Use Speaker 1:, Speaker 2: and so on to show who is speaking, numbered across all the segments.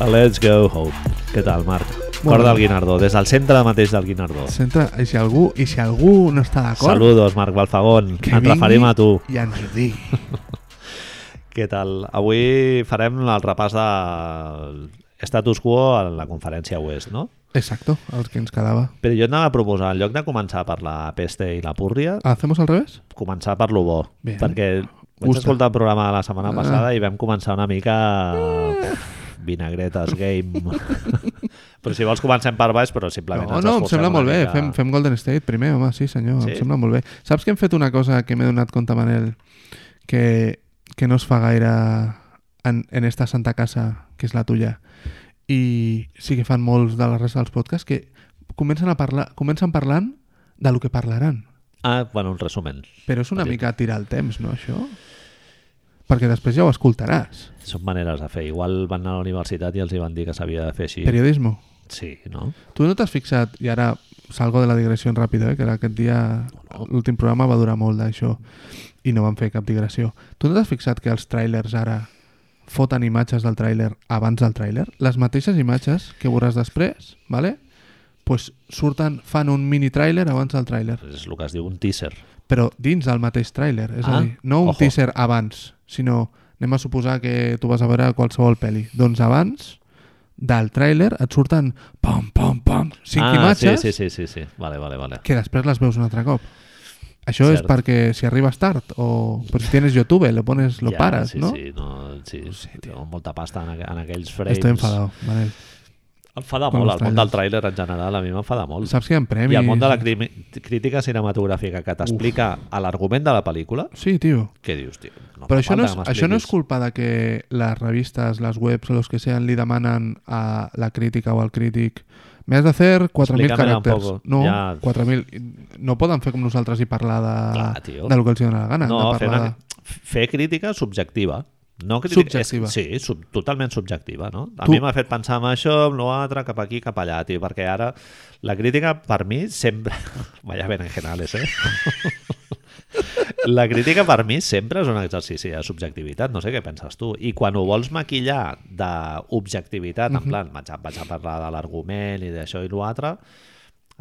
Speaker 1: Let's go home. Què tal, Marc? Cor
Speaker 2: Molt bé.
Speaker 1: del Guinardó, des del centre mateix del Guinardó.
Speaker 2: Centre, i si algú, i si algú no està d'acord,
Speaker 1: Saludos, Marc Balfagón.
Speaker 2: que
Speaker 1: Ens referim a tu.
Speaker 2: i ens ho digui.
Speaker 1: Què tal? Avui farem el repàs de status quo a la conferència oest, no?
Speaker 2: Exacto, el que ens quedava.
Speaker 1: Però jo anava a proposar, en lloc de començar per la peste i la púrria,
Speaker 2: ¿Hacemos al revés?
Speaker 1: començar per lo bo.
Speaker 2: Bien.
Speaker 1: Perquè vaig
Speaker 2: Gusta.
Speaker 1: escoltar el programa la setmana
Speaker 2: Ah.
Speaker 1: passada i vam començar una mica... pf, vinagretes, game... però si vols comencem per baix, però simplement...
Speaker 2: No,
Speaker 1: ens
Speaker 2: no, em
Speaker 1: esforcem
Speaker 2: sembla
Speaker 1: una
Speaker 2: molt bé.
Speaker 1: mica.
Speaker 2: Fem, fem Golden State primer, home, sí senyor,
Speaker 1: Sí?
Speaker 2: em sembla molt bé. Saps que hem fet una cosa que m'he donat compte, Manel, que, que no es fa gaire en, en esta santa casa, que és la tuya, i sí que fan molts de la resta dels podcasts, que comencen, a parlar, comencen parlant de lo que parlaran.
Speaker 1: Ah, bueno, un resumen.
Speaker 2: Però és una
Speaker 1: Sí.
Speaker 2: mica tirar el temps, no, això? Perquè després ja ho escoltaràs.
Speaker 1: Són maneres de fer. Igual van anar a la universitat i els hi van dir que s'havia de fer així.
Speaker 2: Periodismo.
Speaker 1: Sí, no?
Speaker 2: Tu no t'has fixat, i ara salgo de la digressió en ràpid, eh, que aquest dia l'últim programa va durar molt d'això i no van fer cap digressió. Tu no t'has fixat que els trailers ara foten imatges del tràiler abans del tràiler? Les mateixes imatges que veuràs després, vale? pues surten, fan un mini tràiler abans del tràiler,
Speaker 1: És el que es diu un teaser.
Speaker 2: però dins del mateix tràiler, és
Speaker 1: Ah,
Speaker 2: a dir, no un
Speaker 1: ojo.
Speaker 2: teaser abans, sinó anem a suposar que tu vas a veure qualsevol pel·li. Doncs abans del tràiler et surten pam, pam, pam, cinc
Speaker 1: ah,
Speaker 2: imatges
Speaker 1: Sí, sí, sí, sí, sí. Vale, vale, vale.
Speaker 2: que després les veus un altre cop. Això
Speaker 1: Cert.
Speaker 2: és perquè si arribes tard o però si tienes YouTube, lo pones, lo
Speaker 1: ja,
Speaker 2: pares,
Speaker 1: sí,
Speaker 2: no?
Speaker 1: Sí, no, sí.
Speaker 2: sé,
Speaker 1: sí
Speaker 2: tio.
Speaker 1: molta pasta en, aqu en aquells frames.
Speaker 2: Estoy enfadado, Manel.
Speaker 1: Enfada
Speaker 2: Amb
Speaker 1: molt,
Speaker 2: els
Speaker 1: el món del
Speaker 2: trailers.
Speaker 1: tràiler en general a mi m'enfada molt.
Speaker 2: Saps que hi ha premis?
Speaker 1: I el món de la crimi- crítica cinematogràfica que t'explica a l'argument de la pel·lícula,
Speaker 2: Sí, tio.
Speaker 1: què dius, tio? No
Speaker 2: Però
Speaker 1: fa
Speaker 2: això no,
Speaker 1: falta
Speaker 2: és,
Speaker 1: que
Speaker 2: això no és
Speaker 1: m'expliquis.
Speaker 2: culpa de que les revistes, les webs o los que sean li demanen a la crítica o al crític me has de fer 4.000
Speaker 1: Explícamela un
Speaker 2: caràcters.
Speaker 1: poco.
Speaker 2: No,
Speaker 1: Ja.
Speaker 2: 4.000. No poden fer com nosaltres i parlar de,
Speaker 1: Clar, tio.
Speaker 2: de lo que els dona la gana.
Speaker 1: No,
Speaker 2: han de
Speaker 1: fer,
Speaker 2: parlar
Speaker 1: una,
Speaker 2: de...
Speaker 1: fer crítica subjectiva. No crítica,
Speaker 2: Subjectiva.
Speaker 1: És, sí, sub, totalment subjectiva. No? A
Speaker 2: Tu-
Speaker 1: mi m'ha fet pensar en això, en l'altre, cap aquí, cap allà, tio, perquè ara la crítica, per mi, sempre... Vaya berenjenales, eh? la crítica, per mi, sempre és un exercici de subjectivitat, no sé què penses tu. I quan ho vols maquillar d'objectivitat, en plan, vaig a, vaig a parlar de l'argument i d'això i l'altre,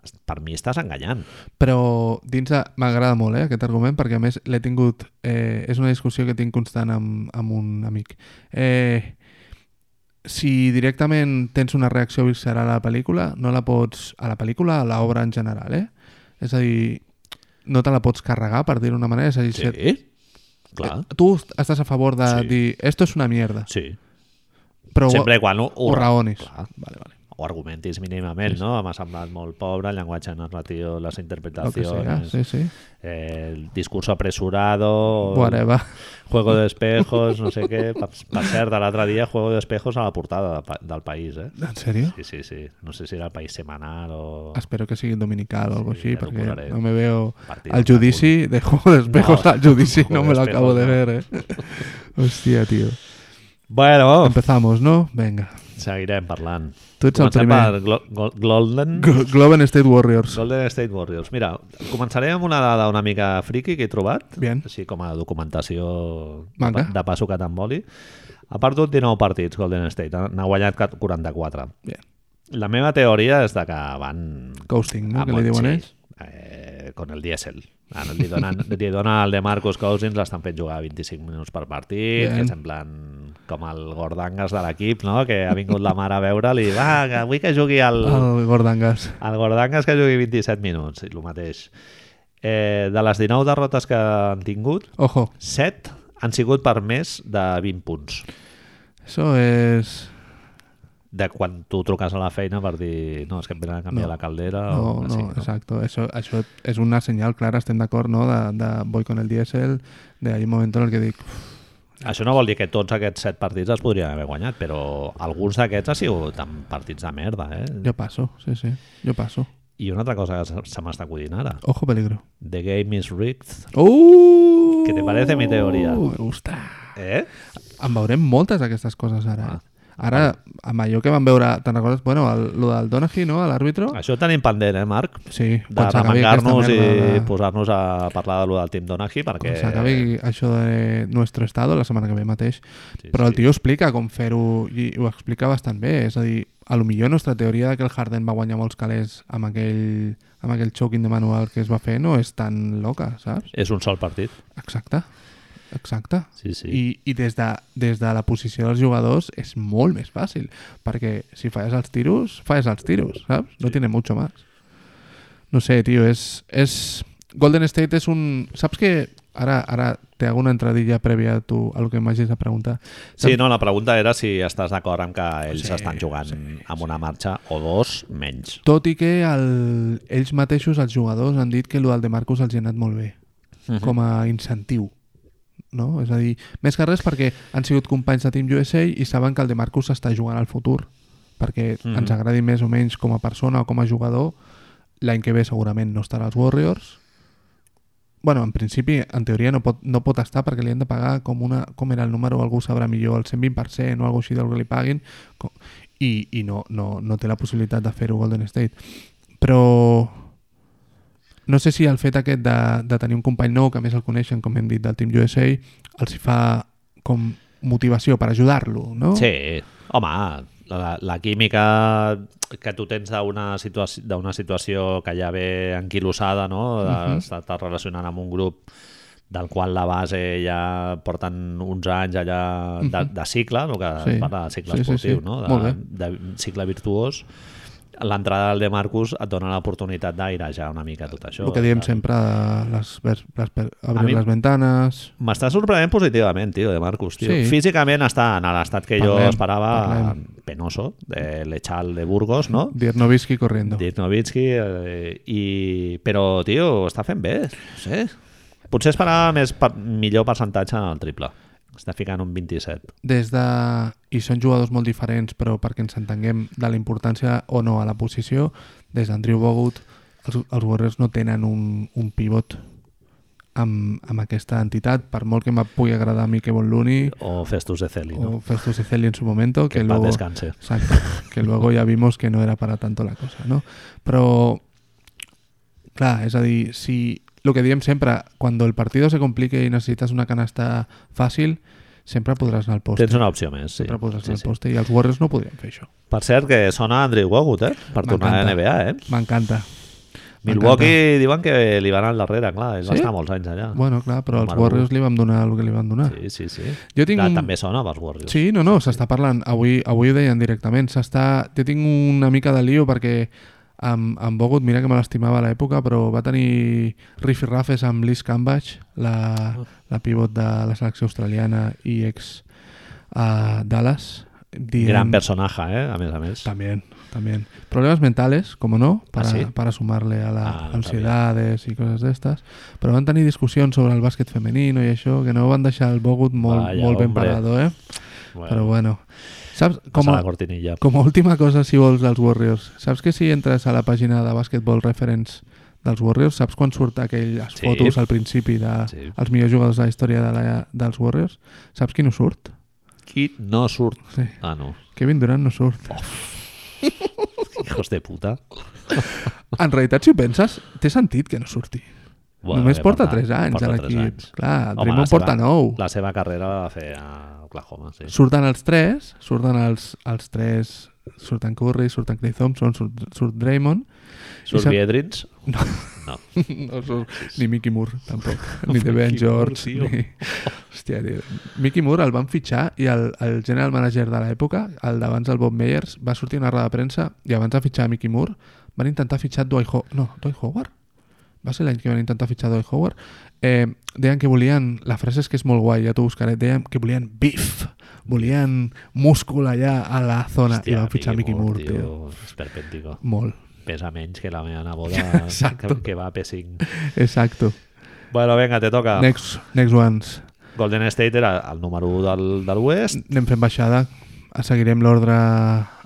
Speaker 1: es- per mi estàs enganyant.
Speaker 2: Però dins de... M'agrada molt, eh, aquest argument, perquè a més l'he tingut... Eh, és una discussió que tinc constant amb, amb un amic. Eh, si directament tens una reacció visceral a la pel·lícula, no la pots... A la pel·lícula, a l'obra en general, eh? És a dir, no te la pots carregar, per dir-ho d'una manera. És a dir, si et- eh,
Speaker 1: Sí, clar.
Speaker 2: tu estàs a favor de
Speaker 1: Sí.
Speaker 2: dir esto és una mierda,
Speaker 1: Sí.
Speaker 2: però
Speaker 1: Sempre quan ho,
Speaker 2: ho, ho raonis.
Speaker 1: Clar.
Speaker 2: Vale, vale.
Speaker 1: o argumentis mínimament, no? M'ha semblat molt pobre, el llenguatge narratiu, les
Speaker 2: Lo que sea,
Speaker 1: interpretacions,
Speaker 2: sí, sí.
Speaker 1: eh, el discurso apresurado,
Speaker 2: Whatever.
Speaker 1: juego de espejos, no sé què. Per, per cert, de l'altre dia, juego de espejos a la portada de, pa- del País, eh?
Speaker 2: En sèrio?
Speaker 1: Sí, sí, sí. No sé si era el País Semanal o...
Speaker 2: Espero que sigui dominical o algo
Speaker 1: Sí,
Speaker 2: así,
Speaker 1: ja t'ho
Speaker 2: porque
Speaker 1: posaré.
Speaker 2: no me veo
Speaker 1: Partido
Speaker 2: al Judici de Juego de Espejos
Speaker 1: No,
Speaker 2: al Judici, no
Speaker 1: Juego
Speaker 2: me
Speaker 1: de
Speaker 2: lo acabo
Speaker 1: Espejos,
Speaker 2: de
Speaker 1: no.
Speaker 2: ver, eh. Hostia, tío.
Speaker 1: Bueno,
Speaker 2: Empezamos, ¿no? Venga.
Speaker 1: seguirem parlant.
Speaker 2: Em Tu ets el
Speaker 1: Comencem
Speaker 2: primer.
Speaker 1: per Glo- Gol- Golden...
Speaker 2: Glo- Globen State Warriors.
Speaker 1: Golden State Warriors. Mira, començaré amb una dada una mica friki que he trobat.
Speaker 2: Bien.
Speaker 1: així com a documentació
Speaker 2: Maca.
Speaker 1: de, de passo que te'n voli. Ha perdut 19 partits Golden State, eh? n'ha guanyat cat- 44.
Speaker 2: Bien.
Speaker 1: La meva teoria és de que van...
Speaker 2: Coasting,
Speaker 1: a
Speaker 2: ¿no? Que le
Speaker 1: molt,
Speaker 2: diuen
Speaker 1: Ah, pues sí,
Speaker 2: ells.
Speaker 1: Eh, con el diésel. Ara li donen, li donen el de Marcus Cousins, l'estan fent jugar 25 minuts per partit,
Speaker 2: Bien.
Speaker 1: que semblen com el gordangas de l'equip, no? que ha vingut la mare a veure'l i va, que vull que jugui el,
Speaker 2: El Gordon Gas.
Speaker 1: el Gordangas que jugui 27 minuts, i el mateix. Eh, de les 19 derrotes que han tingut,
Speaker 2: Ojo,
Speaker 1: 7 han sigut per més de 20 punts.
Speaker 2: eso es...
Speaker 1: De quan tu truques a la feina per dir no, és que em venen a canviar
Speaker 2: No.
Speaker 1: la caldera o el
Speaker 2: No,
Speaker 1: que
Speaker 2: no,
Speaker 1: sigui,
Speaker 2: exacto. Eso, eso es una señal clara, estén de acuerdo, ¿no? De, de voy con el diésel, de hay un momento en el que digo,
Speaker 1: Això no vol dir que tots aquests 7 partits els podrien haver guanyat, però alguns d'aquests han sigut amb partits de merda, eh?
Speaker 2: yo paso, sí, sí, yo paso.
Speaker 1: I una altra cosa que se- se m'està acudint ara.
Speaker 2: Ojo peligro.
Speaker 1: The game is rigged.
Speaker 2: ¡Uh!
Speaker 1: ¿Qué te parece mi teoría?
Speaker 2: Me gusta.
Speaker 1: Eh?
Speaker 2: En veurem moltes d'aquestes coses ara.
Speaker 1: Ah.
Speaker 2: Ah. Ara, amb allò que vam veure, te'n recordes? Bueno, el, lo del Donaghy, no?, a l'àrbitro.
Speaker 1: Això ho tenim pendent, eh, Marc? Ah, De
Speaker 2: Sí, s'acabi aquesta
Speaker 1: remengar-nos i
Speaker 2: merda de-
Speaker 1: posar-nos a parlar de lo del Tim Donaghy perquè...
Speaker 2: Quan s'acabi això de Nuestro Estado, la setmana que ve mateix.
Speaker 1: Sí,
Speaker 2: Però
Speaker 1: sí.
Speaker 2: el tio explica com fer-ho i ho explica bastant bé. És a dir, a lo millor nostra teoria de que el Harden va guanyar molts calés amb aquell, amb aquell choking de manual que es va fer no és tan loca, saps?
Speaker 1: És un sol partit.
Speaker 2: Exacte. Exacte.
Speaker 1: Sí, sí.
Speaker 2: I, i des, de, des de la posició dels jugadors és molt més fàcil, perquè si falles els tiros, falles els tiros, saps? No tiene mucho más. No sé, tio, és... és... Golden State és un... Saps que... Ara, ara te hago una entradilla prèvia a tu, a lo que m'hagis de preguntar.
Speaker 1: Sí, no, la pregunta era si estàs d'acord amb que ells
Speaker 2: Sí,
Speaker 1: estan jugant amb una marxa o dos menys.
Speaker 2: Tot i que el, ells mateixos, els jugadors, han dit que el del de Marcus els hi ha anat molt bé, com a incentiu. No? És a dir, més que res perquè han sigut companys de Team USA i saben que el de Marcus està jugant al futur, perquè
Speaker 1: Mhm.
Speaker 2: ens agradi més o menys com a persona o com a jugador, l'any que ve segurament no estarà als Warriors. bueno, en principi, en teoria no pot, no pot estar perquè li han de pagar com, una, com era el número, algú sabrà millor, el 120% o alguna així del que li paguin, co- i, i no, no, no té la possibilitat de fer-ho Golden State. Però no sé si el fet aquest de, de tenir un company nou, que a més el coneixen, com hem dit, del Team USA, els hi fa com motivació per ajudar-lo, no?
Speaker 1: Sí, home, la, la química que tu tens d'una situaci d'una situació que ja ve enquilosada, no? De-
Speaker 2: Mhm.
Speaker 1: T'estàs relacionant amb un grup del qual la base ja porten uns anys allà de, de cicle, el que
Speaker 2: Mhm. Sí.
Speaker 1: es parla de cicle
Speaker 2: Sí, sí,
Speaker 1: esportiu,
Speaker 2: sí.
Speaker 1: no?
Speaker 2: Molt
Speaker 1: De,
Speaker 2: bé.
Speaker 1: de cicle virtuós. L'entrada del de Marcus et dona l'oportunitat d'airejar una mica tot això.
Speaker 2: El que diem
Speaker 1: de-
Speaker 2: sempre de les, les, les, per-
Speaker 1: A mi-
Speaker 2: abrir les ventanes...
Speaker 1: M'està sorprenent positivament, tio, de Marcus, tio.
Speaker 2: Sí.
Speaker 1: Físicament està en l'estat que jo
Speaker 2: Parlem,
Speaker 1: esperava,
Speaker 2: parlem.
Speaker 1: penoso, de l'Echal de Burgos, no?
Speaker 2: Dirnovitsky corriendo.
Speaker 1: Dirk Nowitzki, eh, i... però, tio, està fent bé, no sé. Potser esperava més per... millor percentatge en el triple. Està ficant un 27.
Speaker 2: des de... i són jugadors molt diferents, però perquè ens entenguem de la importància o no a la posició, des d'Andrew Bogut, els, els Warriors no tenen un, un pivot amb, amb aquesta entitat, per molt que em pugui agradar a mi Kevon Looney
Speaker 1: O Festus de Celi, no?
Speaker 2: o Festus Ezeli en su momento, que,
Speaker 1: Que en paz
Speaker 2: luego...
Speaker 1: descanse.
Speaker 2: Exacto, que luego ya vimos que no era para tanto la cosa, no? Però, clar, és a dir, si el que diem sempre, quan el partido se complique i necessites una canasta fàcil, sempre podràs anar al poste.
Speaker 1: Tens una opció més, sí.
Speaker 2: Sempre podràs
Speaker 1: sí,
Speaker 2: anar al
Speaker 1: sí.
Speaker 2: poste i els Warriors no podrien fer això.
Speaker 1: Per cert, que sona Andrew Wogut, eh? Per tornar a
Speaker 2: M'encanta.
Speaker 1: NBA, eh?
Speaker 2: M'encanta.
Speaker 1: Milwaukee diuen que li van al darrere, clar. Ell va
Speaker 2: Sí?
Speaker 1: estar molts anys allà.
Speaker 2: Bueno, clar, però els
Speaker 1: Número
Speaker 2: Warriors li vam donar el que li van donar.
Speaker 1: Sí, sí, sí.
Speaker 2: Jo tinc
Speaker 1: Clar,
Speaker 2: un-
Speaker 1: També sona pels Warriors.
Speaker 2: Sí, no, no, s'està parlant. Avui, avui ho deien directament. S'està... Jo tinc una mica de lío perquè amb, amb Bogut, mira que me l'estimava a l'època, però va tenir rifirrafes amb Liz Cambage, la, la pivot de la selecció australiana i ex a Dallas. Dient...
Speaker 1: Gran personatge, eh? a més a més.
Speaker 2: También, también. Problemas mentales, como no, para,
Speaker 1: ¿Ah, sí?
Speaker 2: para sumarle a las
Speaker 1: Ah, no
Speaker 2: ansiedades y cosas de estas. Pero van tener discusión sobre el básquet femenino y eso, que no van deixar el Bogut molt,
Speaker 1: Vaya,
Speaker 2: molt ben
Speaker 1: hombre.
Speaker 2: parado, eh?
Speaker 1: Bueno,
Speaker 2: Però bueno. Saps, com
Speaker 1: passa
Speaker 2: a,
Speaker 1: la cortinilla.
Speaker 2: com a última cosa, si vols, dels Warriors, saps que si entres a la pàgina de Basketball Reference dels Warriors, saps quan surt aquelles
Speaker 1: Sí.
Speaker 2: fotos al principi dels de,
Speaker 1: Sí.
Speaker 2: els millors jugadors de la història de la, dels Warriors? Saps qui no surt?
Speaker 1: Qui no surt?
Speaker 2: Sí.
Speaker 1: Ah, no.
Speaker 2: Kevin Durant no surt.
Speaker 1: Hijos de puta. Oh.
Speaker 2: En realitat, si ho penses, té sentit que no surti. Bueno, Només
Speaker 1: bé,
Speaker 2: porta 3
Speaker 1: eh,
Speaker 2: anys
Speaker 1: porta
Speaker 2: a
Speaker 1: tres
Speaker 2: l'equip.
Speaker 1: anys.
Speaker 2: Clar, el
Speaker 1: Home,
Speaker 2: Draymond
Speaker 1: la seva-
Speaker 2: porta 9.
Speaker 1: La seva carrera la va fer a Oklahoma, sí.
Speaker 2: Surten els 3, surten els, els 3, surten Curry, surten Clay Thompson, surt, surt Draymond,
Speaker 1: Surt
Speaker 2: sap-
Speaker 1: Biedrins? No. no.
Speaker 2: no surt ni Mickey Moore, tampoc, ni DeVan George,
Speaker 1: Moore, tio.
Speaker 2: ni... Hòstia, tio. Mickey Moore el van fitxar i el, el general manager de l'època, el d'abans del Bob Meyers, va sortir a una roda de premsa i abans de fitxar Mickey Moore van intentar fitxar Dwight Howard. No, Dwight Howard? Va ser l'any que van intentar fitxar Dwight Howard. Eh, deien que volien, la frase és que és molt guai, ja t'ho buscaré, deien que volien beef, volien múscul allà a la zona i van fitxar Mickey Moore, tio.
Speaker 1: És perpèntico.
Speaker 2: Molt,
Speaker 1: Pesa menys que la meva neboda que,
Speaker 2: Exacto.
Speaker 1: que va a P5.
Speaker 2: exacto.
Speaker 1: Bueno, venga, te toca.
Speaker 2: Next, next ones.
Speaker 1: Golden State era el número 1 del, de l'Oest.
Speaker 2: anem fent baixada. Seguirem l'ordre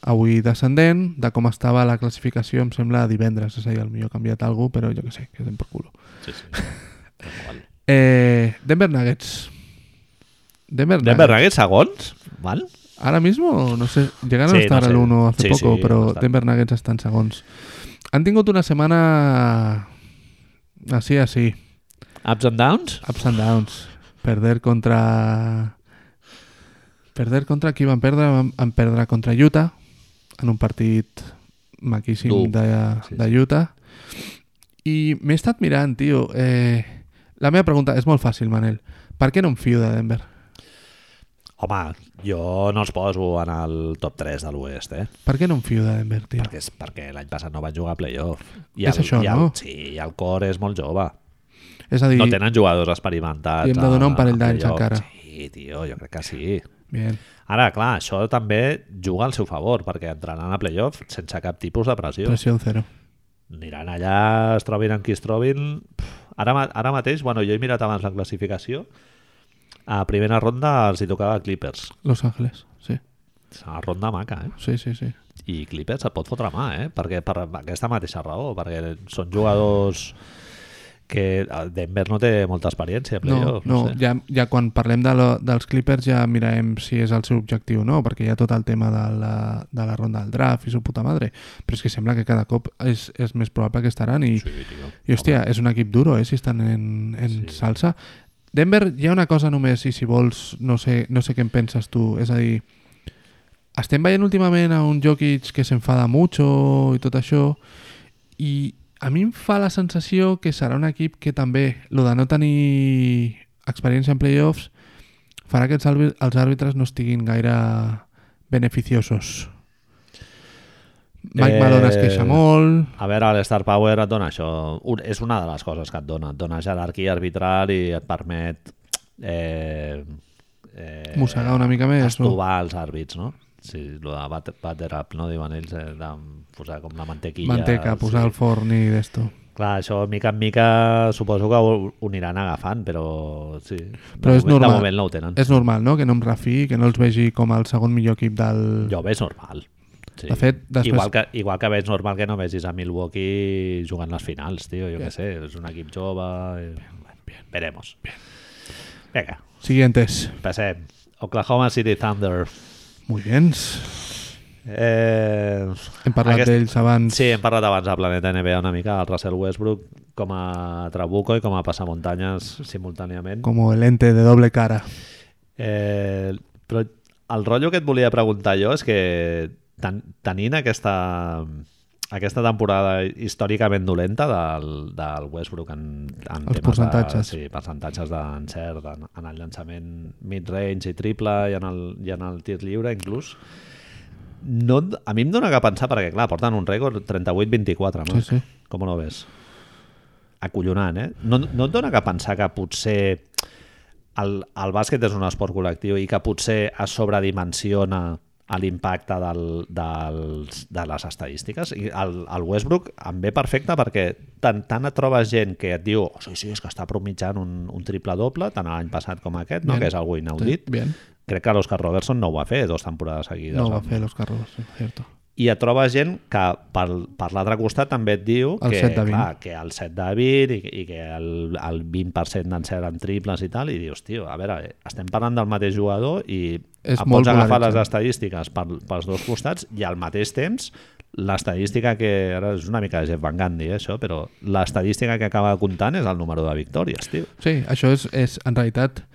Speaker 2: avui descendent, de com estava la classificació, em sembla, divendres. És a dir, potser ha canviat alguna cosa, però jo que sé, que estem per culo.
Speaker 1: Sí, sí. Tal qual.
Speaker 2: Eh, Denver Nuggets. Denver,
Speaker 1: Denver Nuggets segons, val?
Speaker 2: Ahora mismo, no sé, llegaron
Speaker 1: Sí,
Speaker 2: a estar
Speaker 1: no sé.
Speaker 2: al 1 hace
Speaker 1: Sí,
Speaker 2: poco,
Speaker 1: sí,
Speaker 2: pero
Speaker 1: bastant.
Speaker 2: Denver Nuggets están segons. Han tingut una setmana así, así,
Speaker 1: Ups and downs?
Speaker 2: ups and downs. Perder contra... Perder contra qui van perdre? Van, van perdre contra Utah en un partit maquíssim
Speaker 1: Dur.
Speaker 2: de,
Speaker 1: Sí,
Speaker 2: de Utah. I m'he estat mirant, tio. Eh, la meva pregunta és molt fàcil, Manel. Per què no em fio de Denver?
Speaker 1: Home, jo no els poso en el top 3 de l'Oest, eh?
Speaker 2: Per què no em fio de Denver, tio?
Speaker 1: Perquè, és, perquè l'any passat no van jugar a playoff.
Speaker 2: És això,
Speaker 1: i el,
Speaker 2: no?
Speaker 1: Sí, i el cor és molt jove.
Speaker 2: És a dir...
Speaker 1: No tenen jugadors experimentats.
Speaker 2: li hem de donar un parell d'anys
Speaker 1: playoff.
Speaker 2: encara.
Speaker 1: Sí, tio, jo crec que sí.
Speaker 2: Bien.
Speaker 1: Ara, clar, això també juga al seu favor, perquè entraran a playoff sense cap tipus de pressió.
Speaker 2: Presión cero.
Speaker 1: Aniran allà, es trobin amb qui es trobin... Pff, Ara, ma- ara mateix, bueno, jo he mirat abans la classificació, a primera ronda els hi tocava Clippers.
Speaker 2: Los Ángeles, sí.
Speaker 1: És una ronda maca, eh?
Speaker 2: Sí, sí, sí.
Speaker 1: I Clippers et pot fotre mà, eh? Perquè per aquesta mateixa raó, perquè són jugadors que eh, Denver no té molta experiència a
Speaker 2: No,
Speaker 1: playoff.
Speaker 2: no,
Speaker 1: sé.
Speaker 2: ja, ja quan parlem de lo, dels Clippers ja mirarem si és el seu objectiu o no, perquè hi ha tot el tema de la, de la ronda del draft i su puta madre, però és que sembla que cada cop és, és més probable que estaran i,
Speaker 1: Sí, tio.
Speaker 2: i hòstia, és un equip duro, eh, si estan en, en sí. salsa. Denver, hi ha una cosa només, i si vols, no sé, no sé què en penses tu, és a dir, estem veient últimament a un Jokic que s'enfada mucho i tot això i a mi em fa la sensació que serà un equip que també lo de no tenir experiència en playoffs farà que els, àrbi- els àrbitres no estiguin gaire beneficiosos Mike
Speaker 1: Eh,
Speaker 2: Malone es queixa molt
Speaker 1: A veure, l'Star Power et dona això. Un, és una de les coses que et dona. Et dona jerarquia arbitral i et permet... Eh, eh,
Speaker 2: mossegar una mica més no?
Speaker 1: Estovar els àrbits, no? Sí, el de butter, butter up, no? Diuen ells, eh, de posar com la mantequilla.
Speaker 2: manteca, posar al
Speaker 1: Sí.
Speaker 2: forn i d'esto
Speaker 1: Clar, això mica en mica suposo que ho, ho aniran agafant, però sí.
Speaker 2: Però
Speaker 1: de
Speaker 2: és
Speaker 1: moment,
Speaker 2: normal.
Speaker 1: De moment no ho tenen.
Speaker 2: és normal, no? que no em refiï, que no els vegi com el segon millor equip del...
Speaker 1: Jo ho veig normal. Sí.
Speaker 2: De fet, després-
Speaker 1: igual, que, igual que veig normal que no vegis a Milwaukee jugant les finals, tio, jo què sé, és un equip jove... eh, bueno, Veremos. Vinga,
Speaker 2: Siguientes.
Speaker 1: passem. Oklahoma City Thunder.
Speaker 2: Muy bien.
Speaker 1: Eh,
Speaker 2: Hem parlat
Speaker 1: Aquest-
Speaker 2: Aquest... d'ells abans.
Speaker 1: Sí, hem parlat abans de Planeta NBA una mica, el Russell Westbrook com a Trabuco i com a passamuntanyes simultàniament.
Speaker 2: Com el ente de doble cara.
Speaker 1: Eh, però el rotllo que et volia preguntar jo és que ten, tenint aquesta, aquesta temporada històricament dolenta del, del Westbrook en, en
Speaker 2: Els
Speaker 1: temes
Speaker 2: percentatges.
Speaker 1: De, sí, percentatges d'encert en, en el llançament mid-range i triple i en, el, i en el tir lliure inclús no, a mi em dóna que pensar perquè clar, porten un rècord 38-24 no?
Speaker 2: Sí, sí.
Speaker 1: com ho ves? acollonant, eh? No, no et dona que pensar que potser el, el bàsquet és un esport col·lectiu i que potser es sobredimensiona a l'impacte del, dels, de les estadístiques. I el, el Westbrook em ve perfecte perquè tant, tant et trobes gent que et diu oh, sí, sí, és que està promitjant un, un triple-doble tant l'any passat com aquest, no?
Speaker 2: Bien.
Speaker 1: que és algo inaudit.
Speaker 2: Bien.
Speaker 1: Crec que l'Oscar Robertson no ho va fer dos temporades seguides.
Speaker 2: No ho va
Speaker 1: amb-
Speaker 2: fer los carros, sí, cierto.
Speaker 1: i et troba gent que per, per l'altre costat també et diu
Speaker 2: El
Speaker 1: que,
Speaker 2: set de vint.
Speaker 1: clar, que el 7 de 20 i, i que el, el 20% d'encert en triples i tal, i dius, tio, a veure, eh, estem parlant del mateix jugador i
Speaker 2: És
Speaker 1: em
Speaker 2: molt
Speaker 1: pots agafar
Speaker 2: polaritzant.
Speaker 1: les estadístiques per, pels dos costats i al mateix temps l'estadística que, ara és una mica de Jeff Van Gundy eh, això, però l'estadística que acaba comptant és el número de victòries, tio.
Speaker 2: Sí, això és, és en realitat...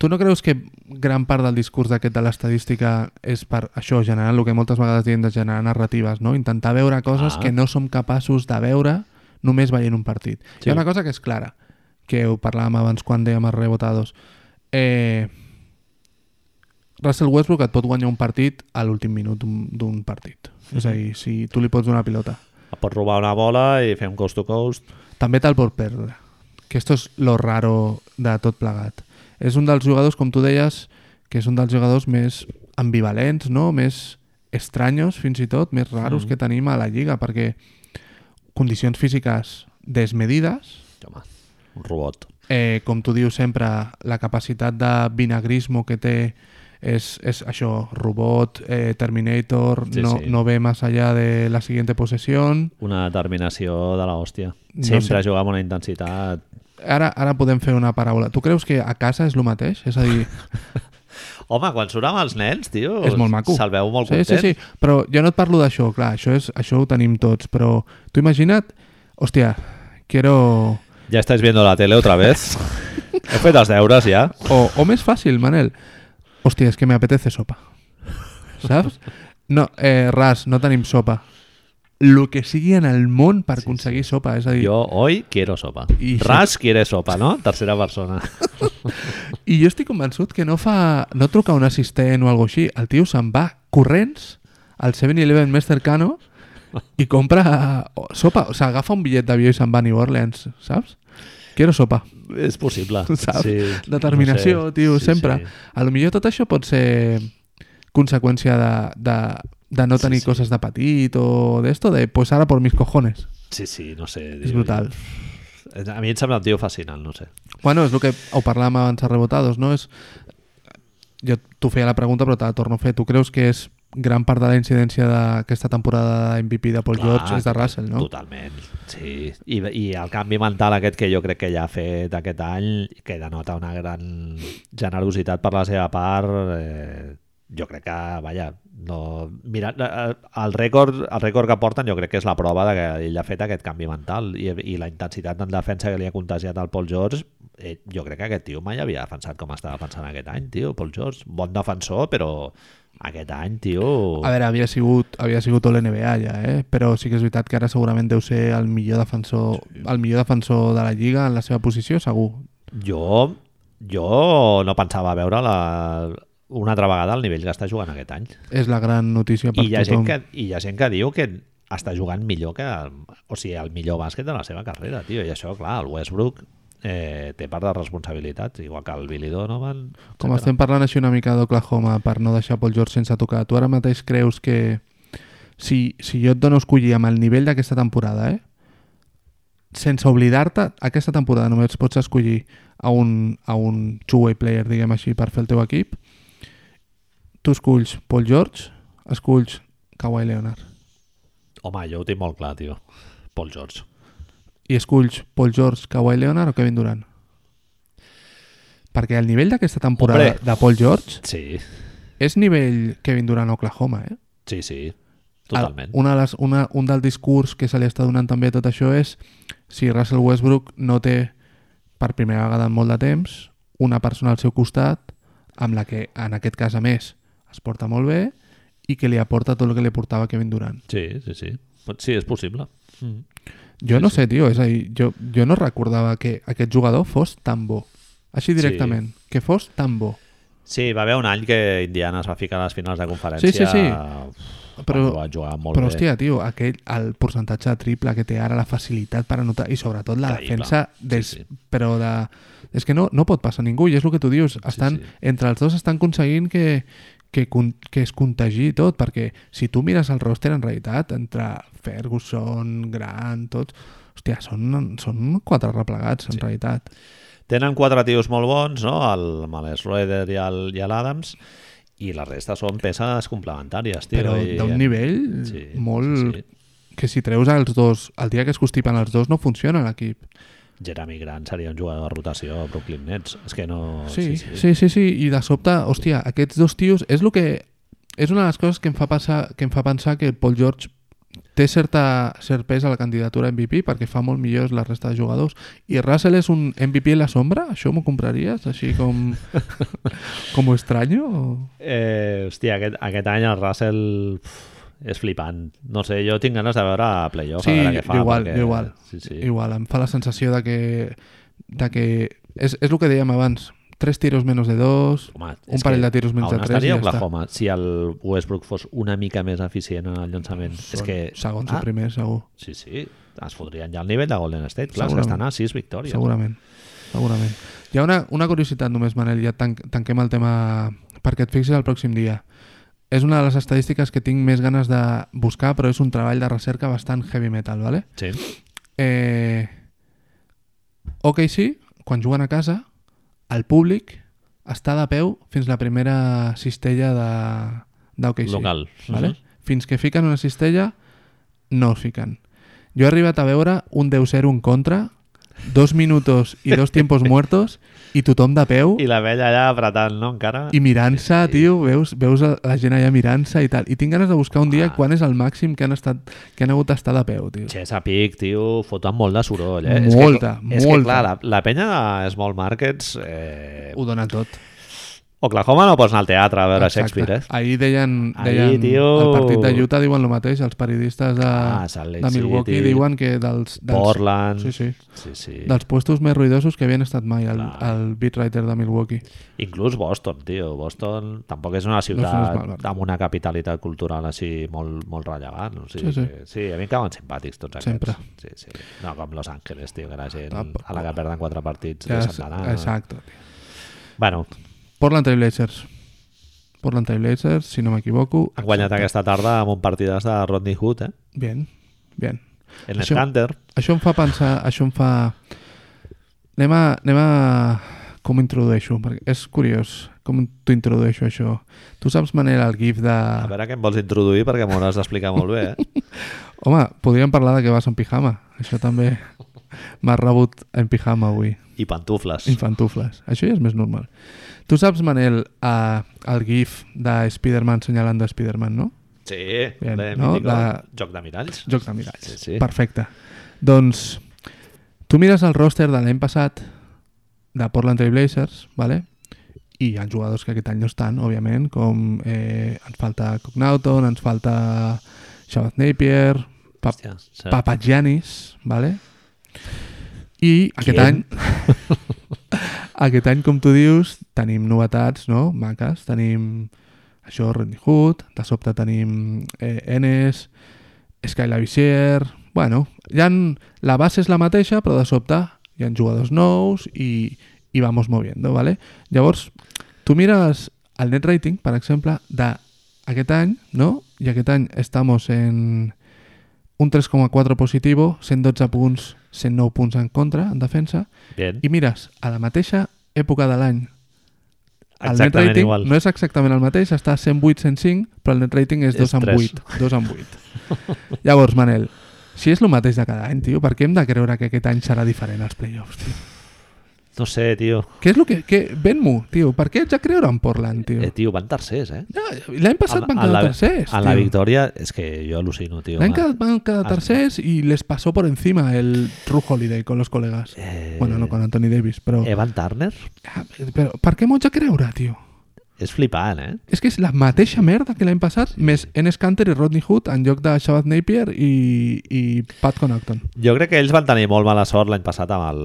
Speaker 2: Tu no creus que gran part del discurs d'aquest de l'estadística és per això, generar el que moltes vegades diem de generar narratives, no? Intentar veure coses
Speaker 1: Ah.
Speaker 2: que no som capaços de veure només veient un partit.
Speaker 1: Sí.
Speaker 2: Sí. Hi ha una cosa que és clara, que ho parlàvem abans quan dèiem els rebotados. Eh, Russell Westbrook et pot guanyar un partit a l'últim minut d'un d'un partit. És a dir, si tu li pots donar pilota.
Speaker 1: Et pots robar una bola i fer un coast to coast
Speaker 2: També te'l pot perdre. Que esto és lo raro de tot plegat. És un dels jugadors, com tu deies, que és un dels jugadors més ambivalents, no? més estranyos fins i tot, més raros mm. que tenim a la Lliga, perquè condicions físiques desmedides,
Speaker 1: home, un robot
Speaker 2: eh, com tu dius sempre, la capacitat de vinagrismo que té és, és això, robot, eh, Terminator,
Speaker 1: Sí,
Speaker 2: sí, no,
Speaker 1: sí.
Speaker 2: sí. no ve més allà de la siguiente posesión.
Speaker 1: una determinació de l'hòstia.
Speaker 2: No
Speaker 1: Sempre
Speaker 2: sé.
Speaker 1: jugar amb una intensitat
Speaker 2: Ara, ara podem fer una paraula. Tu creus que a casa és el mateix? És a dir,
Speaker 1: Home, quan surt amb els nens, tio,
Speaker 2: És molt maco.
Speaker 1: se'l veu molt
Speaker 2: sí,
Speaker 1: content.
Speaker 2: Sí, sí, però jo no et parlo d'això, clar, això, és, això ho tenim tots, però tu imagina't, hòstia, quiero...
Speaker 1: Ya estáis viendo la tele otra vez. He fet els deures ja.
Speaker 2: O, o més fàcil, Manel, hòstia, és que me apetece sopa, saps? No, eh, ras, no tenim sopa. Lo que sigui en el món per aconseguir sopa, és a dir...
Speaker 1: Yo hoy quiero sopa.
Speaker 2: I-
Speaker 1: Ras quiere sopa, ¿no? Tercera persona.
Speaker 2: I jo estic convençut que no fa... no truca un assistent o alguna així. El tio se'n va corrents al 7-Eleven més cercano i compra eh, sopa. O sigui, agafa un bitllet d'avió i se'n va a New Orleans, saps? Quiero sopa.
Speaker 1: És possible.
Speaker 2: Saps?
Speaker 1: Sí,
Speaker 2: Determinació,
Speaker 1: no sé.
Speaker 2: tio,
Speaker 1: Sí,
Speaker 2: sempre.
Speaker 1: sí.
Speaker 2: A lo millor tot això pot ser conseqüència de, de, de no
Speaker 1: Sí,
Speaker 2: tenir
Speaker 1: sí.
Speaker 2: coses de petit o d'esto, de pues ara por mis cojones.
Speaker 1: Sí, sí, no sé.
Speaker 2: És
Speaker 1: tio,
Speaker 2: brutal.
Speaker 1: jo- A mi em sembla un tio fascinant, no sé.
Speaker 2: Bueno, és el que ho parlàvem abans a Rebotados, no? És... Jo t'ho feia la pregunta, però te la torno a fer. Tu creus que és gran part de la incidència d'aquesta temporada de MVP de Paul
Speaker 1: Clar,
Speaker 2: George és de Russell, no?
Speaker 1: Totalment, sí. I, I el canvi mental aquest que jo crec que ja ha fet aquest any, que denota una gran generositat per la seva part, eh, jo crec que, vaja, no... Mira, eh, el rècord, el rècord que porten jo crec que és la prova de que ell ha fet aquest canvi mental i, i la intensitat en defensa que li ha contagiat al Paul George eh, jo crec que aquest tio mai havia defensat com estava defensant aquest any, tio, Paul George. Bon defensor, però aquest any, tio...
Speaker 2: A veure, havia sigut, havia sigut tot l'NBA ja, eh? Però sí que és veritat que ara segurament deu ser el millor defensor, el millor defensor de la Lliga en la seva posició, segur.
Speaker 1: Jo, jo no pensava veure la, una altra vegada el nivell que està jugant aquest any.
Speaker 2: És la gran notícia per
Speaker 1: I hi, ha gent
Speaker 2: tothom.
Speaker 1: que, I hi ha gent que diu que està jugant millor que... O sigui, el millor bàsquet de la seva carrera, tio. I això, clar, el Westbrook eh, té part de responsabilitat, igual que el Billy Donovan...
Speaker 2: Com
Speaker 1: etcètera.
Speaker 2: estem parlant així una mica d'Oklahoma per no deixar Paul George sense tocar, tu ara mateix creus que si, si jo et dono a escollir amb el nivell d'aquesta temporada, eh? sense oblidar-te, aquesta temporada només pots escollir a un, a un two-way player, diguem així, per fer el teu equip, tu esculls Paul George, esculls Kawhi Leonard,
Speaker 1: Home, jo ho tinc molt clar, tio. Paul George.
Speaker 2: i esculls Paul George, Kawhi Leonard o Kevin Durant? Perquè el nivell d'aquesta temporada
Speaker 1: Hombre.
Speaker 2: de Paul George
Speaker 1: Sí,
Speaker 2: és nivell Kevin Durant Oklahoma, eh?
Speaker 1: sí, sí. Totalment.
Speaker 2: El- Una de les, una, un del discurs que se li està donant també a tot això és si Russell Westbrook no té per primera vegada en molt de temps una persona al seu costat amb la que en aquest cas a més es porta molt bé i que li aporta tot el que li portava Kevin Durant.
Speaker 1: Sí, sí, sí. Pot- Sí, és possible. Mm.
Speaker 2: Jo no sé, tio, és a dir, jo, jo no recordava que aquest jugador fos tan bo. Així directament, sí. que fos tan bo.
Speaker 1: Sí, va haver un any que Indiana es va ficar a les finals de conferència.
Speaker 2: Sí, sí, sí.
Speaker 1: Però,
Speaker 2: Però-
Speaker 1: va jugar molt bé.
Speaker 2: Però hòstia, tio, aquell, el percentatge de triple que té ara, la facilitat per anotar i sobretot la
Speaker 1: Increïble.
Speaker 2: defensa dels,
Speaker 1: Sí, sí.
Speaker 2: però de... És que no, no pot passar a ningú i és el que tu dius, estan,
Speaker 1: sí.
Speaker 2: entre els dos estan aconseguint que, que, con- que es contagi tot, perquè si tu mires el roster en realitat, entre Ferguson, Grant, tots, hòstia, són, són quatre replegats en sí. realitat.
Speaker 1: Tenen quatre tios molt bons, no? el Males Roeder i el- i l'Adams, i la resta són peces complementàries. Tio,
Speaker 2: Però
Speaker 1: i,
Speaker 2: d'un nivell
Speaker 1: Sí,
Speaker 2: sí, molt...
Speaker 1: sí, sí.
Speaker 2: Sí, sí. Que si treus els dos, el dia que es constipen els dos no funciona l'equip.
Speaker 1: Jeremy Grant seria un jugador de rotació a Brooklyn Nets. És que no...
Speaker 2: Sí, sí, sí, sí, i de sobte, hòstia, aquests dos tios, és lo que és una de les coses que em fa passar, que em fa pensar que Paul George té certa, cert pes a la candidatura a MVP perquè fa molt millors la resta de jugadors i Russell és un MVP en la sombra? Això m'ho compraries? Així com com ho estranyo? o-
Speaker 1: Eh, hòstia, aquest, aquest any el Russell uf, és flipant. No sé, jo tinc ganes de veure a playoff.
Speaker 2: Sí,
Speaker 1: a veure què fa,
Speaker 2: jo igual,
Speaker 1: perquè...
Speaker 2: jo igual.
Speaker 1: Sí, sí.
Speaker 2: Igual, em fa la sensació de que, de que és, és el que dèiem abans tres tiros menys de dos
Speaker 1: Home,
Speaker 2: un
Speaker 1: és
Speaker 2: parell
Speaker 1: que
Speaker 2: de tiros menys
Speaker 1: on
Speaker 2: de tres i
Speaker 1: estaria
Speaker 2: ja està.
Speaker 1: Oklahoma si el Westbrook fos una mica més eficient en el llançament? és que...
Speaker 2: segons
Speaker 1: ah,
Speaker 2: el primer, segur
Speaker 1: Sí, sí, es fotrien ja al nivell de Golden State. Clar, és que
Speaker 2: Segurament.
Speaker 1: estan a 6 victòries.
Speaker 2: Segurament, segurament. Hi ha una, una curiositat només, Manel, ja tan, tanquem el tema perquè et fixis el pròxim dia. És una de les estadístiques que tinc més ganes de buscar, però és un treball de recerca bastant heavy metal, ¿vale?
Speaker 1: Sí.
Speaker 2: Eh, OKC, quan juguen a casa, el públic està de peu fins la primera cistella de d'OKC.
Speaker 1: Local.
Speaker 2: ¿vale?
Speaker 1: Mhm.
Speaker 2: Fins que fiquen una cistella, no es fiquen. Jo he arribat a veure un 10-0 en contra dos minutos i dos tiempos muertos i tothom de peu
Speaker 1: I la Eh, vella allà apretant, no, encara?
Speaker 2: i mirant-se, tio, veus, veus a la gent allà mirant-se i tal. I tinc ganes de buscar un dia
Speaker 1: Ah.
Speaker 2: quan és el màxim que han, estat, que han hagut d'estar de peu, tio.
Speaker 1: Chesapeake, tio, foten molt de soroll, eh?
Speaker 2: Molta,
Speaker 1: és que, És que,
Speaker 2: molta.
Speaker 1: clar, la, la penya de Small Markets... Eh,
Speaker 2: Ho dona tot.
Speaker 1: Oklahoma no pots anar al teatre a veure
Speaker 2: Exacte.
Speaker 1: Shakespeare, eh?
Speaker 2: Ahir deien,
Speaker 1: Ahir,
Speaker 2: deien
Speaker 1: tio.
Speaker 2: el partit de Utah diuen el mateix, els periodistes de,
Speaker 1: Ah, Salt Lake
Speaker 2: de Milwaukee
Speaker 1: City.
Speaker 2: diuen que dels, dels,
Speaker 1: Portland...
Speaker 2: Doncs sí, Doncs sí,
Speaker 1: sí, sí.
Speaker 2: dels puestos més ruïdosos que havien estat mai el,
Speaker 1: Clar.
Speaker 2: el beat writer de Milwaukee.
Speaker 1: Inclús Boston, tio. Boston tampoc és una
Speaker 2: és
Speaker 1: ciutat
Speaker 2: mal barri.
Speaker 1: amb una capitalitat cultural així molt, molt rellevant. O sigui,
Speaker 2: Sí, sí.
Speaker 1: Que, sí, a mi em cauen simpàtics tots aquests.
Speaker 2: Sempre.
Speaker 1: Sí, sí. No, com Los Angeles, tio, que la gent
Speaker 2: Tampoc.
Speaker 1: a la que perden quatre partits
Speaker 2: Ja
Speaker 1: ja,
Speaker 2: és-
Speaker 1: de setmana.
Speaker 2: Exacte.
Speaker 1: Bueno,
Speaker 2: Portland Trailblazers. Portland Trailblazers, si no m'equivoco.
Speaker 1: han guanyat aquesta tarda amb un partidàs de Rodney Hood, eh?
Speaker 2: Bien, bien.
Speaker 1: En
Speaker 2: Això-
Speaker 1: el Hunter.
Speaker 2: Això em fa pensar, això em fa... Anem a... Anem a... Com ho introdueixo? Perquè és curiós com t'ho introdueixo, això. Tu saps, Manel, el gif de...
Speaker 1: A veure què em vols introduir perquè m'ho hauràs d'explicar molt bé, eh?
Speaker 2: Home, podríem parlar de que vas en pijama. Això també m'ha rebut en pijama avui.
Speaker 1: I pantufles.
Speaker 2: Infantufles. Això ja és més normal. Tu saps, Manel, eh, el gif de Spider-Man senyalant de Spider-Man, no?
Speaker 1: Sí,
Speaker 2: Bien,
Speaker 1: de,
Speaker 2: no?
Speaker 1: no? de...
Speaker 2: De-
Speaker 1: Joc de miralls.
Speaker 2: Joc de miralls.
Speaker 1: Sí, sí.
Speaker 2: Perfecte. Doncs tu mires el roster de l'any passat de Portland Trail Blazers, vale? i hi ha jugadors que aquest any no estan, òbviament, com eh, ens falta Cognauton, ens falta Shabbat Napier, Pap
Speaker 1: Hòstia, sí.
Speaker 2: Papagianis, vale? I aquest
Speaker 1: Qui?
Speaker 2: any... aquest any, com tu dius, tenim novetats, no? Maques. Tenim això, Rodney Hood, de sobte tenim eh, Enes, Sky Lavissier... Bueno, ja han... la base és la mateixa, però de sobte hi ha jugadors nous i, i vamos moviendo, vale? Llavors, tu mires el net rating, per exemple, d'aquest any, no? I aquest any estamos en un 3,4 positivo, 112 punts, 109 punts en contra, en defensa,
Speaker 1: Bien,
Speaker 2: i mires, a la mateixa època de l'any, el net
Speaker 1: exactament
Speaker 2: rating
Speaker 1: igual.
Speaker 2: no és exactament el mateix, està a 108, 105, però el net rating és 2
Speaker 1: És
Speaker 2: en
Speaker 1: tres.
Speaker 2: 8. 2 en 8. Llavors, Manel, si és el mateix de cada any, tio, per què hem de creure que aquest any serà diferent als playoffs, tio?
Speaker 1: No sé, tio.
Speaker 2: Què és el que... que Ven-m'ho, tio, per què ets a creure en Portland, tio?
Speaker 1: Eh, tio, van tercers, eh?
Speaker 2: Ja, L'any passat van quedar tercers,
Speaker 1: En la
Speaker 2: tio.
Speaker 1: victòria, és que jo al·lucino, tio.
Speaker 2: L'any
Speaker 1: va.
Speaker 2: que van cada tercers y les pasó por encima el True Holiday con los colegas.
Speaker 1: Eh,
Speaker 2: Bueno, no con Anthony Davis, pero...
Speaker 1: Evan Turner
Speaker 2: Ah, Però per què m'ho haig de creure, tio?
Speaker 1: és flipant, eh?
Speaker 2: És que és la mateixa merda que l'any passat, més Enes Kanter i Rodney Hood en lloc de Shabbat Napier i, i Pat Connaughton.
Speaker 1: Jo crec que ells van tenir molt mala sort l'any passat amb el,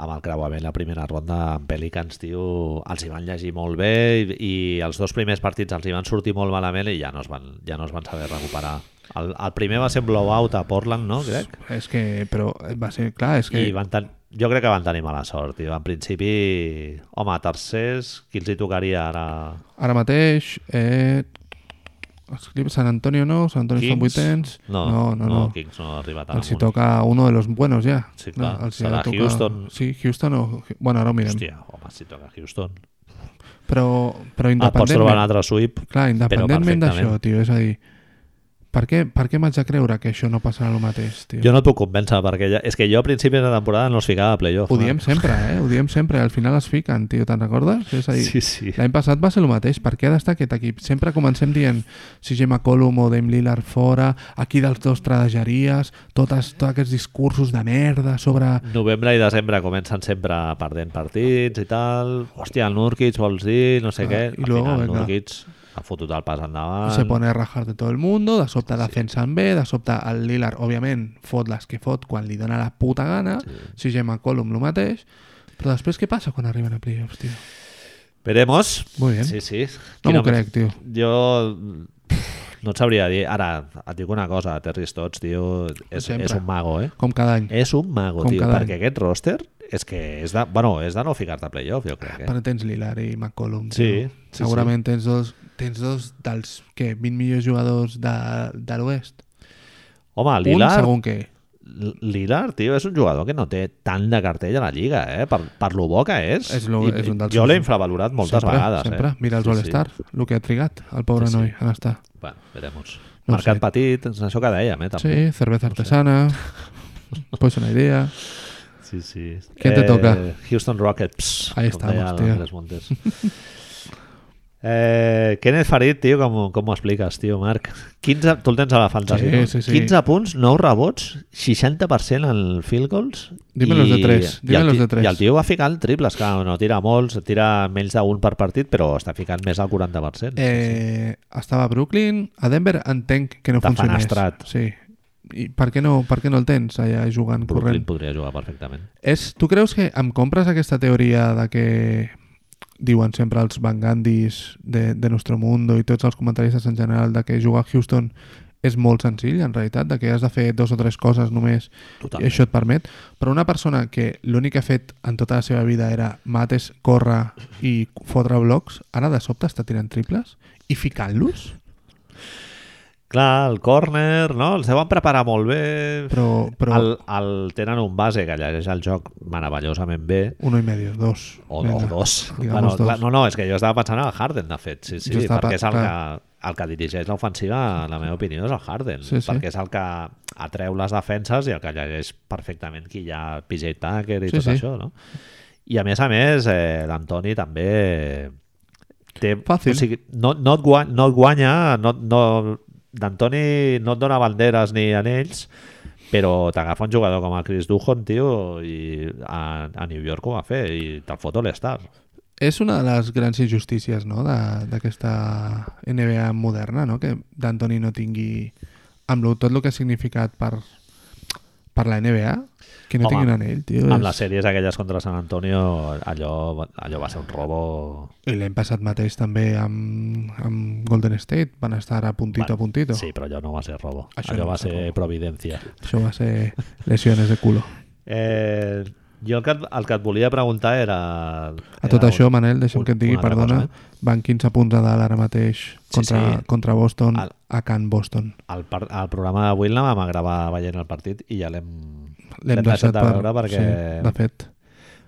Speaker 1: amb el creuament, la primera ronda amb Pelicans, tio, els hi van llegir molt bé i, i els dos primers partits els hi van sortir molt malament i ja no es van, ja no es van saber recuperar. El, el primer va ser un blowout a Portland, no, crec?
Speaker 2: És que, però va ser, clar, és que...
Speaker 1: I van ten... jo crec que van tenir mala sort, tio. En principi, home, tercers, qui els hi tocaria ara?
Speaker 2: Ara mateix... Eh, els Clippers, San Antonio no, San Antonio
Speaker 1: Kings?
Speaker 2: són vuitens.
Speaker 1: No,
Speaker 2: no, no. no.
Speaker 1: Kings no arriba tant
Speaker 2: Els hi
Speaker 1: amunt.
Speaker 2: toca uno de los buenos ja.
Speaker 1: Sí, clar.
Speaker 2: els hi
Speaker 1: Serà
Speaker 2: ha de tocar-
Speaker 1: Houston.
Speaker 2: Sí, Houston o... Bueno, ara ho mirem.
Speaker 1: Hòstia, home, si toca Houston.
Speaker 2: Però, però
Speaker 1: Ah, pots trobar un
Speaker 2: independentment,
Speaker 1: altre sweep.
Speaker 2: clar, independentment
Speaker 1: perfectament.
Speaker 2: d'això, tio, és a dir, per què, per què m'haig de creure que això no passarà el mateix, tio?
Speaker 1: Jo no et puc convèncer, perquè ja... és que jo a principis de temporada no els ficava a playoff.
Speaker 2: Ho diem sempre, eh? Ho diem sempre, al final es fiquen, tio, te'n recordes? És a dir,
Speaker 1: Sí, sí.
Speaker 2: l'any passat va ser el mateix, per què ha d'estar aquest equip? Sempre comencem dient si Gemma Colum o Dame Lillard fora, aquí dels dos tradejaries, totes, tots aquests discursos de merda sobre...
Speaker 1: Novembre i desembre comencen sempre perdent partits i tal. Hòstia, el Nurkic vols dir, no sé
Speaker 2: Ah,
Speaker 1: què.
Speaker 2: i
Speaker 1: Al
Speaker 2: luego,
Speaker 1: final, el
Speaker 2: venga.
Speaker 1: Nurkic ha fotut el pas endavant.
Speaker 2: se pone a rajar de todo el mundo, de sobte defensen bé, de sobte el Lillard, òbviament, fot les que fot quan li dona la puta gana, si Gemma Colum el mateix, però després què passa quan arriben a playoffs, tio?
Speaker 1: Veremos.
Speaker 2: Muy bien.
Speaker 1: Sí, sí.
Speaker 2: No
Speaker 1: Quina
Speaker 2: m'ho crec, tio.
Speaker 1: Jo pff, no et sabria dir. Ara, et dic una cosa, Terry Stotts, tio, és,
Speaker 2: Sempre.
Speaker 1: és un mago, eh?
Speaker 2: Com cada any.
Speaker 1: És un mago,
Speaker 2: Com
Speaker 1: tio,
Speaker 2: cada any.
Speaker 1: perquè aquest roster és que és de, bueno, és de no ficar-te a playoff, jo crec. Eh?
Speaker 2: Però tens Lillard i McCollum.
Speaker 1: Sí,
Speaker 2: tio.
Speaker 1: sí,
Speaker 2: Segurament tens dos, tens dos dels que 20 millors jugadors de, de l'oest.
Speaker 1: Home,
Speaker 2: Un
Speaker 1: Lillard,
Speaker 2: segon que...
Speaker 1: L- Lillard, tio, és un jugador que no té tant de cartell a la Lliga, eh? Per, per lo bo que és.
Speaker 2: És lo-
Speaker 1: I-
Speaker 2: és un dels-
Speaker 1: jo l'he infravalorat moltes
Speaker 2: sempre,
Speaker 1: vegades.
Speaker 2: Sempre.
Speaker 1: Eh?
Speaker 2: Mira els All-Star, el que ha trigat, el pobre
Speaker 1: Sí, sí.
Speaker 2: noi, en estar.
Speaker 1: Sí. Bueno, veremos.
Speaker 2: No ho
Speaker 1: Mercat
Speaker 2: sé.
Speaker 1: petit, és això que dèiem, eh? També.
Speaker 2: Sí, cervesa artesana, pues una idea...
Speaker 1: sí, sí, sí. Eh,
Speaker 2: Què te toca?
Speaker 1: Houston Rockets.
Speaker 2: Ahí
Speaker 1: com
Speaker 2: estamos,
Speaker 1: deia
Speaker 2: tío.
Speaker 1: Andrés Montes. Eh, Kenneth Farid, tio, com, com ho expliques, tio, Marc? 15, tu el tens a la fantasia.
Speaker 2: Sí,
Speaker 1: no?
Speaker 2: sí, sí.
Speaker 1: 15 punts, 9 rebots, 60% en field goals.
Speaker 2: Dime los de tres,
Speaker 1: i
Speaker 2: dime
Speaker 1: el
Speaker 2: los
Speaker 1: ti-
Speaker 2: de tres.
Speaker 1: I el tio va ficant triples, que no tira molts, tira menys d'un per partit, però està ficant més al 40%.
Speaker 2: Eh, estava a Brooklyn, a Denver entenc que no
Speaker 1: T'ha
Speaker 2: funcionés.
Speaker 1: fenestrat.
Speaker 2: Sí. I per què, no, per què no el tens allà jugant
Speaker 1: Brooklyn
Speaker 2: corrent?
Speaker 1: podria jugar perfectament.
Speaker 2: És, tu creus que em compres aquesta teoria de que diuen sempre els Van Gandhis de, de Nostro Mundo i tots els comentaristes en general de que jugar a Houston és molt senzill, en realitat, de que has de fer dos o tres coses només i
Speaker 1: Totalment.
Speaker 2: això et permet. Però una persona que l'únic que ha fet en tota la seva vida era mates, córrer i fotre blocs, ara de sobte està tirant triples i ficant-los?
Speaker 1: Clar, el córner, no? Els deuen preparar molt bé.
Speaker 2: Però, però
Speaker 1: El, el, tenen un base que llegeix el joc meravellosament bé
Speaker 2: uno i medio, dos.
Speaker 1: o,
Speaker 2: Vinga.
Speaker 1: o dos. Bueno,
Speaker 2: Digamos
Speaker 1: clar,
Speaker 2: dos.
Speaker 1: no, no, és que jo estava pensant en el Harden, de fet, sí, sí,
Speaker 2: Jo estava
Speaker 1: perquè és el
Speaker 2: pe-
Speaker 1: que, el que dirigeix l'ofensiva, en la meva opinió, és el Harden,
Speaker 2: Sí, sí.
Speaker 1: perquè és el que atreu les defenses i el que llegeix perfectament qui hi ha PJ Tucker i
Speaker 2: Sí,
Speaker 1: tot
Speaker 2: sí.
Speaker 1: això, no? I a més a més, eh, l'Antoni també té...
Speaker 2: Fàcil.
Speaker 1: O sigui, no, no, et guanya, no et guanya, no, no, d'Antoni no et dona banderes ni anells, però t'agafa un jugador com el Chris Duhon, tio, i a, a New York ho va fer, i te'l fot All-Star.
Speaker 2: És una de les grans injustícies no? de- d'aquesta NBA moderna, no? que d'Antoni no tingui amb lo, tot el que ha significat per, per la NBA, que no
Speaker 1: Home,
Speaker 2: tingui un anell, tio.
Speaker 1: Amb
Speaker 2: és-
Speaker 1: les sèries aquelles contra Sant Antonio, allò, allò va ser un robo...
Speaker 2: I l'any passat mateix també amb, amb Golden State van estar a puntito
Speaker 1: Bueno,
Speaker 2: a puntito.
Speaker 1: Sí, però allò no va ser robo.
Speaker 2: Això
Speaker 1: Això allò
Speaker 2: no
Speaker 1: va
Speaker 2: va ser
Speaker 1: ser
Speaker 2: robo.
Speaker 1: providència.
Speaker 2: Això va ser lesiones de culo.
Speaker 1: Eh, jo el que, et- el que et volia preguntar era...
Speaker 2: A tot
Speaker 1: era
Speaker 2: això,
Speaker 1: un-
Speaker 2: Manel, deixa'm
Speaker 1: un-
Speaker 2: que et digui,
Speaker 1: una altra
Speaker 2: perdona,
Speaker 1: cosa, eh?
Speaker 2: van 15 punts a dalt ara mateix contra,
Speaker 1: sí.
Speaker 2: contra Boston,
Speaker 1: Al-
Speaker 2: a Can Boston.
Speaker 1: El, par- el programa d'avui l'anàvem a gravar veient el partit i ja l'hem
Speaker 2: L'hem
Speaker 1: deixat
Speaker 2: deixat
Speaker 1: de
Speaker 2: per...
Speaker 1: veure perquè...
Speaker 2: Sí, de fet.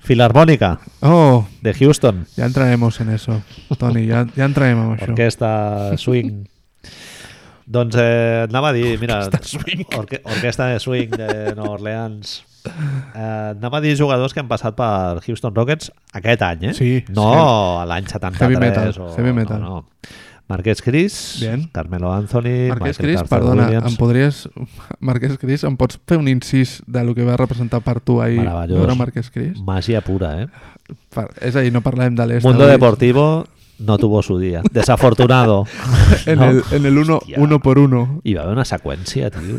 Speaker 1: Filarmònica
Speaker 2: Oh,
Speaker 1: de Houston.
Speaker 2: Ya entraremos en eso, Toni, ya, ya entraremos en eso.
Speaker 1: Orquesta swing. doncs eh, anava a dir, mira, orque, orquesta de swing de Nova Orleans. Eh, anava a dir jugadors que han passat per Houston Rockets aquest any, eh?
Speaker 2: Sí,
Speaker 1: No
Speaker 2: sí.
Speaker 1: a l'any 73
Speaker 2: Heavy metal,
Speaker 1: o...
Speaker 2: heavy metal.
Speaker 1: No, no. Marqués Cris,
Speaker 2: Bien.
Speaker 1: Carmelo Anthony,
Speaker 2: Marquès
Speaker 1: Michael
Speaker 2: Cris,
Speaker 1: Carter
Speaker 2: perdona,
Speaker 1: Williams.
Speaker 2: em podries... Marquès Cris, em pots fer un incís de lo que va representar per tu ahir
Speaker 1: Meravellós.
Speaker 2: veure Marquès Cris?
Speaker 1: Màgia pura, eh?
Speaker 2: Per... És a dir, no parlem de l'est.
Speaker 1: Mundo
Speaker 2: avui.
Speaker 1: Deportivo no tuvo su día. Desafortunado.
Speaker 2: En
Speaker 1: No?
Speaker 2: el, en el uno,
Speaker 1: Hòstia.
Speaker 2: uno por uno.
Speaker 1: Hi va haver una seqüència, tio.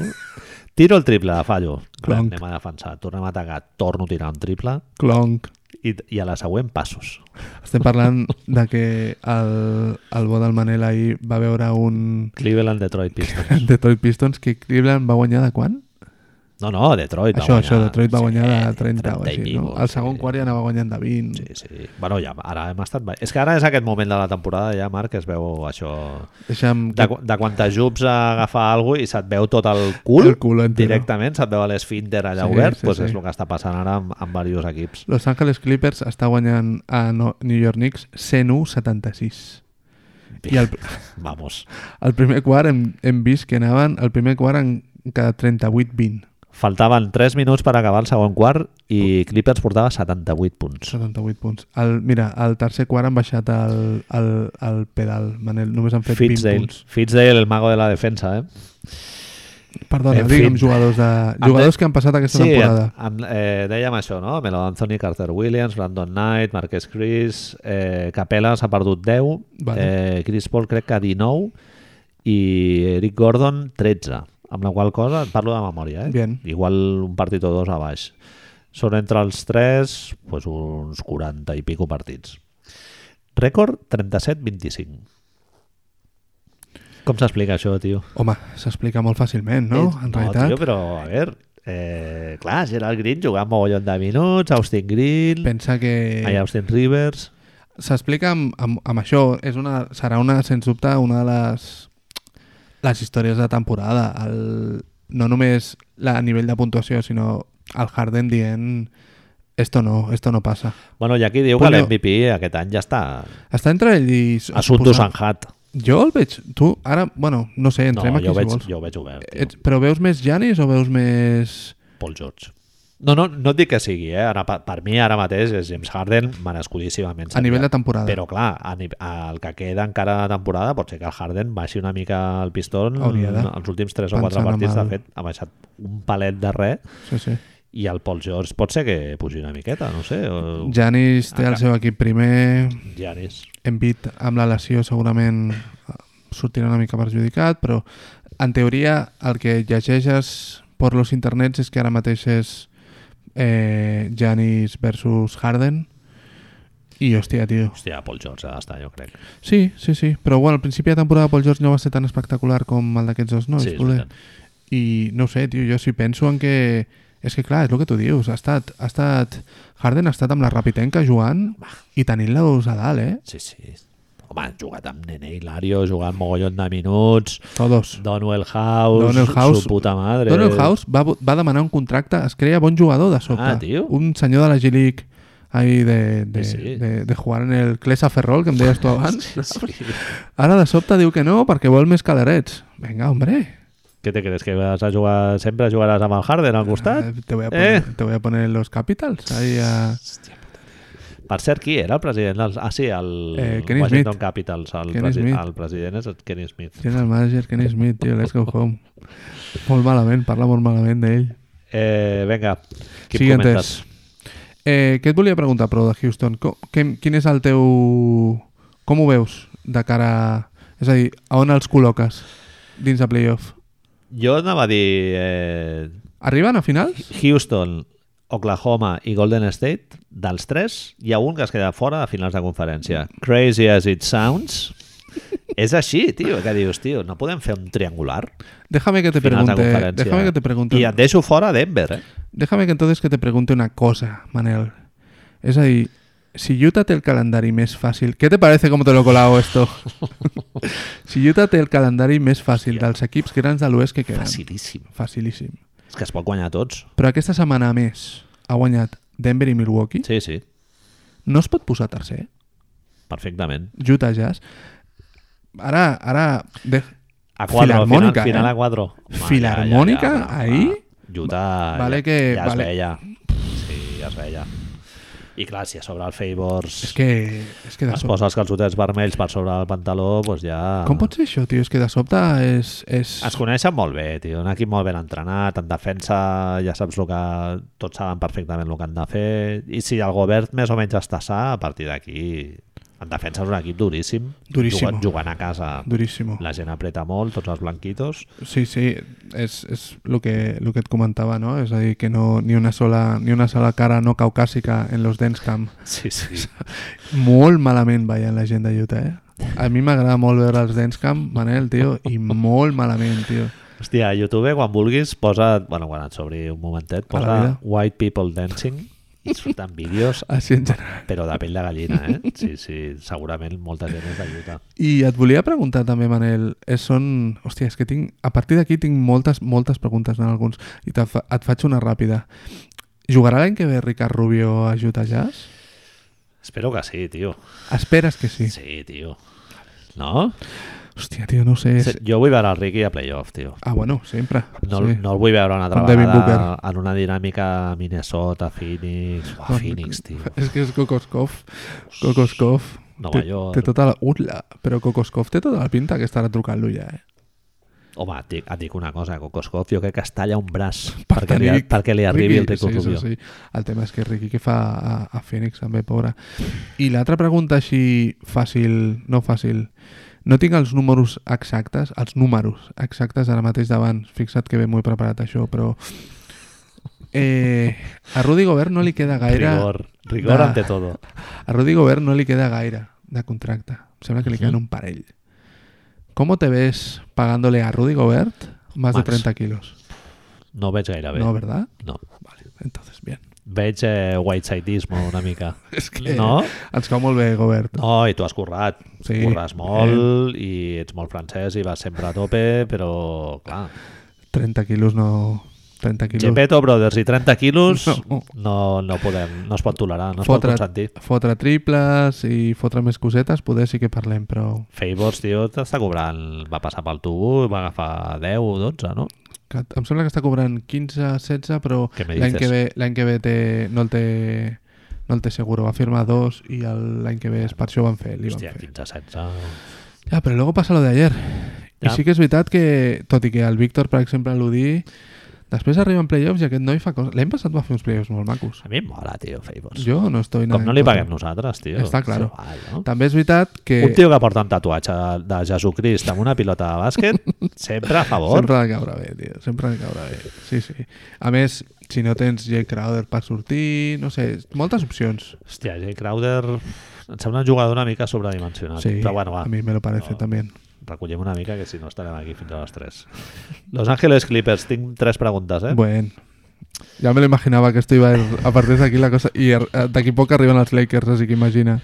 Speaker 1: Tiro el triple, fallo. Clar,
Speaker 2: Clonk.
Speaker 1: anem a defensar, tornem a atacar, torno a tirar un triple
Speaker 2: Clonk.
Speaker 1: i, i a la següent passos.
Speaker 2: Estem parlant de que el, el bo del Manel ahir va veure un
Speaker 1: Cleveland, Detroit, Pistons.
Speaker 2: Detroit Pistons que Cleveland va guanyar de quan?
Speaker 1: No, no, Detroit va
Speaker 2: això,
Speaker 1: guanyar. eh,
Speaker 2: això, Detroit va guanyar de 30, o
Speaker 1: i
Speaker 2: així, no?
Speaker 1: pico,
Speaker 2: El segon quart ja anava guanyant de 20.
Speaker 1: Sí, sí. Bueno, ja, ara hem estat... És que ara és aquest moment de la temporada, ja, Marc, que es veu això...
Speaker 2: Deixa'm...
Speaker 1: De, de quan t'ajups a agafar alguna i se't veu tot el cul,
Speaker 2: El cul entero.
Speaker 1: directament, se't veu l'esfínter allà
Speaker 2: Sí,
Speaker 1: obert,
Speaker 2: sí,
Speaker 1: doncs
Speaker 2: sí.
Speaker 1: és el que està passant ara amb, amb diversos equips.
Speaker 2: Los Angeles Clippers està guanyant a No- New York Knicks 101-76. I el,
Speaker 1: Vamos.
Speaker 2: el primer quart hem, hem vist que anaven... El primer quart han quedat 38-20.
Speaker 1: Faltaven 3 minuts per acabar el segon quart i Clippers portava 78 punts.
Speaker 2: 78 punts. El, mira, al tercer quart han baixat el, el, el pedal, Manel. Només han fet 20
Speaker 1: Fitzdale,
Speaker 2: punts.
Speaker 1: Fitzdale, el mago de la defensa, eh?
Speaker 2: Perdona,
Speaker 1: En
Speaker 2: digue'm
Speaker 1: fi.
Speaker 2: jugadors, de, jugadors que han passat aquesta temporada.
Speaker 1: en, eh, dèiem això, no? Melo Anthony, Carter Williams, Brandon Knight, Marquès Chris, eh, Capella s'ha perdut 10,
Speaker 2: Vale.
Speaker 1: eh, Chris Paul crec que 19 i Eric Gordon 13, amb la qual cosa et parlo de memòria, eh?
Speaker 2: Bien.
Speaker 1: Igual un partit o dos a baix. Són entre els tres pues, uns 40 i pico partits. Rècord 37-25. Com s'explica això, tio?
Speaker 2: Home, s'explica molt fàcilment, no?
Speaker 1: Eh,
Speaker 2: En realitat.
Speaker 1: Tio, però, a veure, eh, clar, Gerald Green jugant mogollon de minuts, Austin Green,
Speaker 2: Pensa que...
Speaker 1: ai, Austin Rivers...
Speaker 2: s'explica amb, amb, amb això és una, serà una, sens dubte una de les les històries de temporada el, no només la, a nivell de puntuació sinó el Harden dient esto no, esto no passa
Speaker 1: Bueno, i aquí diu
Speaker 2: Però-
Speaker 1: que l'MVP aquest any ja està
Speaker 2: està entre ell i...
Speaker 1: assunto
Speaker 2: posant-
Speaker 1: Sanjat.
Speaker 2: jo el veig, tu ara, bueno, no sé,
Speaker 1: No,
Speaker 2: entrem aquí
Speaker 1: jo ho
Speaker 2: si
Speaker 1: veig,
Speaker 2: vols
Speaker 1: jo ho veig obert, tio.
Speaker 2: Ets, però veus més Janis o veus més
Speaker 1: Paul George. No, no, no et dic que sigui, eh? Ara, per, per mi ara mateix és James Harden merescudíssimament.
Speaker 2: A nivell de temporada.
Speaker 1: Però clar, a ni, el que queda encara de temporada pot ser que el Harden baixi una mica el pistó en
Speaker 2: Hauria de.
Speaker 1: els últims 3 o
Speaker 2: Pensant
Speaker 1: 4 partits.
Speaker 2: amb
Speaker 1: De
Speaker 2: el-
Speaker 1: fet, ha baixat un palet de res
Speaker 2: Sí, sí.
Speaker 1: i el Paul George pot ser que pugi una miqueta, no sé. O... Ah,
Speaker 2: Janis té el seu equip primer,
Speaker 1: Giannis.
Speaker 2: Embiid amb la lesió segurament eh, sortirà una mica perjudicat, però en teoria el que llegeixes per los internets és que ara mateix és eh, Giannis versus Harden i hòstia, tio.
Speaker 1: Hòstia, Paul George ha d'estar, jo crec.
Speaker 2: Sí, sí, sí, però bueno, al principi de temporada Paul George no va ser tan espectacular com el d'aquests dos nois,
Speaker 1: sí, és
Speaker 2: voler.
Speaker 1: veritat.
Speaker 2: I no ho sé, tio, jo sí penso en que... És que clar, és el que tu dius, ha estat, ha estat... Harden ha estat amb la Rapitenca jugant i tenint-los a dalt, eh?
Speaker 1: sí, sí. Home, han jugat amb Nene Hilario, jugant mogollon de minuts,
Speaker 2: Todos.
Speaker 1: Donwell House,
Speaker 2: Donwell House-
Speaker 1: su puta madre.
Speaker 2: Donald House va, va demanar un contracte, es creia bon jugador de sobte.
Speaker 1: Ah, tio.
Speaker 2: Un senyor de la G-League ahí de, de,
Speaker 1: Sí, sí.
Speaker 2: de, de jugar en el Clesa Ferrol, que em deies tu abans.
Speaker 1: Sí.
Speaker 2: Ara de sobte diu que no perquè vol més calarets. Vinga, hombre.
Speaker 1: ¿Qué te crees? ¿Que vas a jugar sempre jugaràs amb el Harden al costat?
Speaker 2: Eh, Te voy a poner,
Speaker 1: Eh?
Speaker 2: te voy a poner los capitals. Ahí a...
Speaker 1: Per cert, qui era el president? dels- Ah, sí, el
Speaker 2: Eh, Kenny
Speaker 1: Washington
Speaker 2: Smith.
Speaker 1: Capitals. El,
Speaker 2: Kenny
Speaker 1: presi
Speaker 2: Smith.
Speaker 1: el president és el Kenny Smith.
Speaker 2: General Manager Kenny Smith, tio, let's go home. Molt malament, parla molt malament d'ell.
Speaker 1: Eh, venga, qui
Speaker 2: Siguientes.
Speaker 1: comentes?
Speaker 2: Eh, què et volia preguntar, però, de Houston? Com, quin, quin és el teu... Com ho veus de cara... a- És a dir, a on els col·loques dins de playoff?
Speaker 1: Jo anava a dir eh,
Speaker 2: Arriben a finals?
Speaker 1: Houston, Oklahoma i Golden State. Dels tres, hi ha un que es queda fora a finals de conferència. Crazy as it sounds. és així, tio, que dius, tio, no podem fer un triangular?
Speaker 2: Déjame que te
Speaker 1: Finals de
Speaker 2: pregunte...
Speaker 1: conferència.
Speaker 2: Déjame que te pregunte...
Speaker 1: I et deixo fora Denver, eh?
Speaker 2: Déjame que entonces que te pregunte una cosa, Manel. Es ahí, si Utah te el calendario más fácil, ¿qué te parece cómo te lo he colado esto? si Utah té el calendari més fàcil dels equips grans de l'oest que queden.
Speaker 1: Facilíssim.
Speaker 2: Facilíssim.
Speaker 1: És que es pot guanyar a tots.
Speaker 2: Però aquesta setmana, a més, ha guanyat Denver i Milwaukee.
Speaker 1: Sí, sí,
Speaker 2: No es pot posar tercer? eh?
Speaker 1: perfectament.
Speaker 2: Utah Jazz. Ara, ara... De...
Speaker 1: A 4, final,
Speaker 2: Filarmònica,
Speaker 1: final
Speaker 2: eh?
Speaker 1: a 4.
Speaker 2: Filarmònica, ahí?
Speaker 1: Utah,
Speaker 2: Vale
Speaker 1: ja,
Speaker 2: que-
Speaker 1: ja es
Speaker 2: vale.
Speaker 1: veia. Sí, ja es veia. I clar, si a sobre el Favors
Speaker 2: És que, és que de
Speaker 1: es
Speaker 2: sobte-
Speaker 1: posa els calçotets vermells per sobre del pantaló, doncs ja...
Speaker 2: Com pot ser això, tio? És que de sobte és... és...
Speaker 1: Es coneixen molt bé, tio. Un equip molt ben entrenat, en defensa ja saps el que... Tots saben perfectament el que han de fer. I si el govern més o menys està sa, a partir d'aquí... En defensa és un equip duríssim.
Speaker 2: Duríssim.
Speaker 1: Jugant, jugant a casa.
Speaker 2: Duríssim.
Speaker 1: La gent apreta molt, tots els blanquitos.
Speaker 2: Sí, sí, és, és el, que, el que et comentava, no? És a dir, que no, ni, una sola, ni una sola cara no caucàsica en los dance camp.
Speaker 1: Sí, sí.
Speaker 2: Molt malament veient la gent de Utah, eh? A mi m'agrada molt veure els dance camp, Manel, tio, i molt malament, tio.
Speaker 1: Hòstia, a YouTube, quan vulguis, posa... Bueno, quan et s'obri un momentet,
Speaker 2: A la vida.
Speaker 1: posa White People Dancing i surten vídeos,
Speaker 2: Així en general.
Speaker 1: però de pell de gallina, eh? Sí, sí, segurament molta gent és de Utah.
Speaker 2: I et volia preguntar també, Manel, és, són... Hòstia, és que tinc... A partir d'aquí tinc moltes, moltes preguntes en alguns. I te fa, et faig una ràpida. Jugarà l'any que ve Ricard Rubio a Utah Jazz?
Speaker 1: Espero que sí, tio.
Speaker 2: Esperes que sí?
Speaker 1: Sí, tio. No?
Speaker 2: Hòstia, tio, no ho sé.
Speaker 1: Sí,
Speaker 2: És...
Speaker 1: Jo vull veure el Ricky a playoff, tio.
Speaker 2: Ah, bueno, sempre.
Speaker 1: No, sí.
Speaker 2: sí.
Speaker 1: no el vull veure una altra
Speaker 2: Com Devin
Speaker 1: vegada en una dinàmica Minnesota, Phoenix... Uah, Phoenix, tio.
Speaker 2: És que és Kokoskov. Kokoskov.
Speaker 1: Nova
Speaker 2: Té,
Speaker 1: York.
Speaker 2: té tota la... Ula, però Kokoskov té tota la pinta que estarà trucant-lo ja, eh?
Speaker 1: Home, et dic, et dic una cosa, Kokoskov jo crec que es talla un braç
Speaker 2: Per
Speaker 1: perquè, li,
Speaker 2: tenir
Speaker 1: perquè li arribi el Ricky
Speaker 2: sí,
Speaker 1: Rubio.
Speaker 2: Sí, sí. El tema és que Ricky que fa a, a Phoenix també, pobra. I l'altra pregunta així fàcil, no fàcil, no tinc els números exactes, els números exactes ara mateix davant, fixa't que bé m'ho he preparat això, però eh, a Rudy Gobert no li queda gaire...
Speaker 1: Rigor, rigor
Speaker 2: de-
Speaker 1: ante todo.
Speaker 2: A Rudy Gobert no le queda gaire de contracte. Em sembla que le quedan un parell. ¿Cómo te ves pagándole a Rudy Gobert más de
Speaker 1: Max.
Speaker 2: 30 kilos?
Speaker 1: No veig gaire bé.
Speaker 2: No, ¿verdad?
Speaker 1: No.
Speaker 2: Vale, entonces, bien.
Speaker 1: Veig eh, whitesideisme una mica.
Speaker 2: És que-
Speaker 1: No?
Speaker 2: Ens cau molt bé, Gobert.
Speaker 1: No, i tu has currat.
Speaker 2: Sí. Eh,
Speaker 1: Sí. Curres molt i ets molt francès i vas sempre a tope, però, clar...
Speaker 2: 30 kilos no... 30 kilos.
Speaker 1: Gepetto Brothers i 30 quilos
Speaker 2: No.
Speaker 1: no, no, podem, no es pot tolerar, no es
Speaker 2: fotre,
Speaker 1: pot consentir.
Speaker 2: fotre triples i fotre més cosetes, poder sí que parlem, però...
Speaker 1: Favors, tio, t'està cobrant... Va passar pel tubo, va agafar 10 o 12, no?
Speaker 2: que em sembla que està cobrant 15, 16, però
Speaker 1: ¿Qué me
Speaker 2: l'any
Speaker 1: dices?
Speaker 2: que ve, l'any que ve té, no el té no el té seguro, va firmar dos i el- l'any que ve és per això ho van fer, li van
Speaker 1: Hòstia,
Speaker 2: fer.
Speaker 1: 15, 16...
Speaker 2: Ja, però luego passa lo de ayer.
Speaker 1: Ja.
Speaker 2: I sí que és veritat que, tot i que el Víctor, per exemple, l'Udí, després arriben playoffs i aquest noi fa coses... L'any passat va fer uns playoffs molt macos.
Speaker 1: A mi em mola, tio, Favors. Jo,
Speaker 2: Jo no estoy... nada
Speaker 1: Com no
Speaker 2: en
Speaker 1: li
Speaker 2: contra.
Speaker 1: paguem nosaltres, tio.
Speaker 2: Està claro.
Speaker 1: És Igual, no?
Speaker 2: També és veritat que...
Speaker 1: Un tio que porta un tatuatge de Jesucrist amb una pilota de bàsquet, sempre a favor.
Speaker 2: Sempre ha de caure bé, tio. Sempre ha de caure bé. Sí, sí. A més, si no tens Jay Crowder per sortir, no sé, moltes opcions.
Speaker 1: Hòstia, Jay Crowder em sembla un jugador una mica sobredimensionat.
Speaker 2: sí,
Speaker 1: però Ah, bueno, va,
Speaker 2: a mi me lo parece
Speaker 1: No.
Speaker 2: también.
Speaker 1: recollem una mica que si no estarem aquí fins a les 3. Los Angeles Clippers, tinc tres preguntes, eh?
Speaker 2: Bueno, ya me lo imaginaba que esto iba a ir a partir de aquí la cosa. Y er, eh, ar- de aquí poco arriban los Lakers, así que imagina.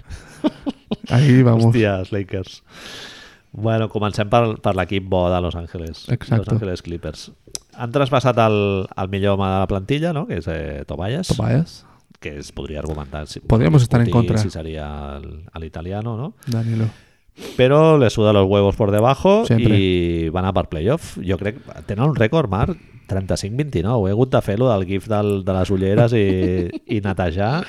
Speaker 2: Ahí vamos.
Speaker 1: Hòstia, els Lakers. Bueno, comencem per, per l'equip bo de Los Angeles.
Speaker 2: Exacto.
Speaker 1: Los Angeles Clippers. Han traspassat el, el millor home de la plantilla, no? que és eh, Tobias,
Speaker 2: Tobias,
Speaker 1: que es podria argumentar si,
Speaker 2: Podríamos estar en
Speaker 1: discutir
Speaker 2: contra.
Speaker 1: si seria el- el italiano, no?
Speaker 2: Danilo.
Speaker 1: Però le suda los huevos por debajo
Speaker 2: Sempre.
Speaker 1: i van a per playoff. Jo crec que tenen un rècord, Marc, 35-29. He hagut de fer-lo del gif del, de les ulleres i, i netejar.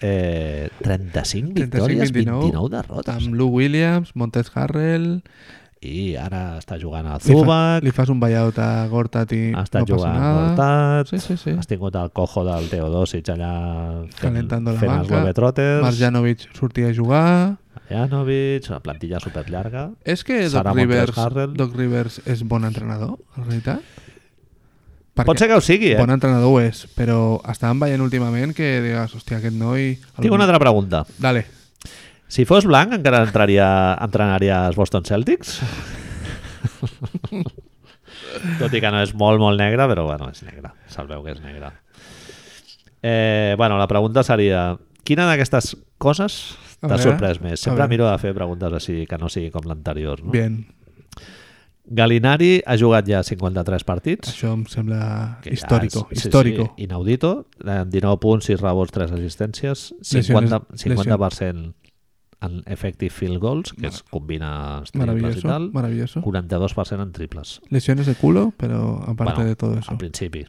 Speaker 1: Eh, 35 victòries, 29, 29 derrotes.
Speaker 2: Amb Lou Williams, Montes Harrell...
Speaker 1: I ara està jugant a
Speaker 2: Li, fa,
Speaker 1: Zubac,
Speaker 2: li fas un buyout a Gortat i
Speaker 1: ha
Speaker 2: no
Speaker 1: estat
Speaker 2: passa
Speaker 1: jugant a
Speaker 2: nada.
Speaker 1: Mortat,
Speaker 2: Sí, sí, sí.
Speaker 1: has tingut el cojo del Teodosic allà fent,
Speaker 2: Calentando la
Speaker 1: fent els
Speaker 2: banca.
Speaker 1: globetrotters,
Speaker 2: Marjanovic sortia a jugar...
Speaker 1: Marjanovic, una plantilla superllarga.
Speaker 2: És que Doc
Speaker 1: Sara
Speaker 2: Rivers,
Speaker 1: Montes-Harrell.
Speaker 2: Doc Rivers és bon entrenador, en realitat?
Speaker 1: Pot ser que ho sigui, eh?
Speaker 2: Bon entrenador ho és, però estàvem veient últimament que digues, hòstia, aquest noi...
Speaker 1: Tinc una altra pregunta.
Speaker 2: Dale.
Speaker 1: Si fos blanc, encara entraria, entrenaria els Boston Celtics? Tot i que no és molt, molt negre, però bueno, és negre. Salveu que és negre. Eh, bueno, la pregunta seria... Quina d'aquestes coses
Speaker 2: A
Speaker 1: t'ha
Speaker 2: veure,
Speaker 1: sorprès més?
Speaker 2: a
Speaker 1: Sempre
Speaker 2: veure.
Speaker 1: miro de fer preguntes així que no sigui com l'anterior. No?
Speaker 2: Bien.
Speaker 1: Galinari ha jugat ja 53 partits.
Speaker 2: Això em sembla
Speaker 1: que ja
Speaker 2: històrico.
Speaker 1: és- sí,
Speaker 2: històrico.
Speaker 1: Sí, inaudito. Eh, 19 punts, 6 rebots, 3 assistències,
Speaker 2: Lesiones-
Speaker 1: 50%, 50 en effective field goals, que es combina els triples i
Speaker 2: Maravilloso,
Speaker 1: tal,
Speaker 2: maravilloso.
Speaker 1: 42% en triples.
Speaker 2: Lesiones de culo, però a parte
Speaker 1: Bueno,
Speaker 2: de todo eso.
Speaker 1: Al principi.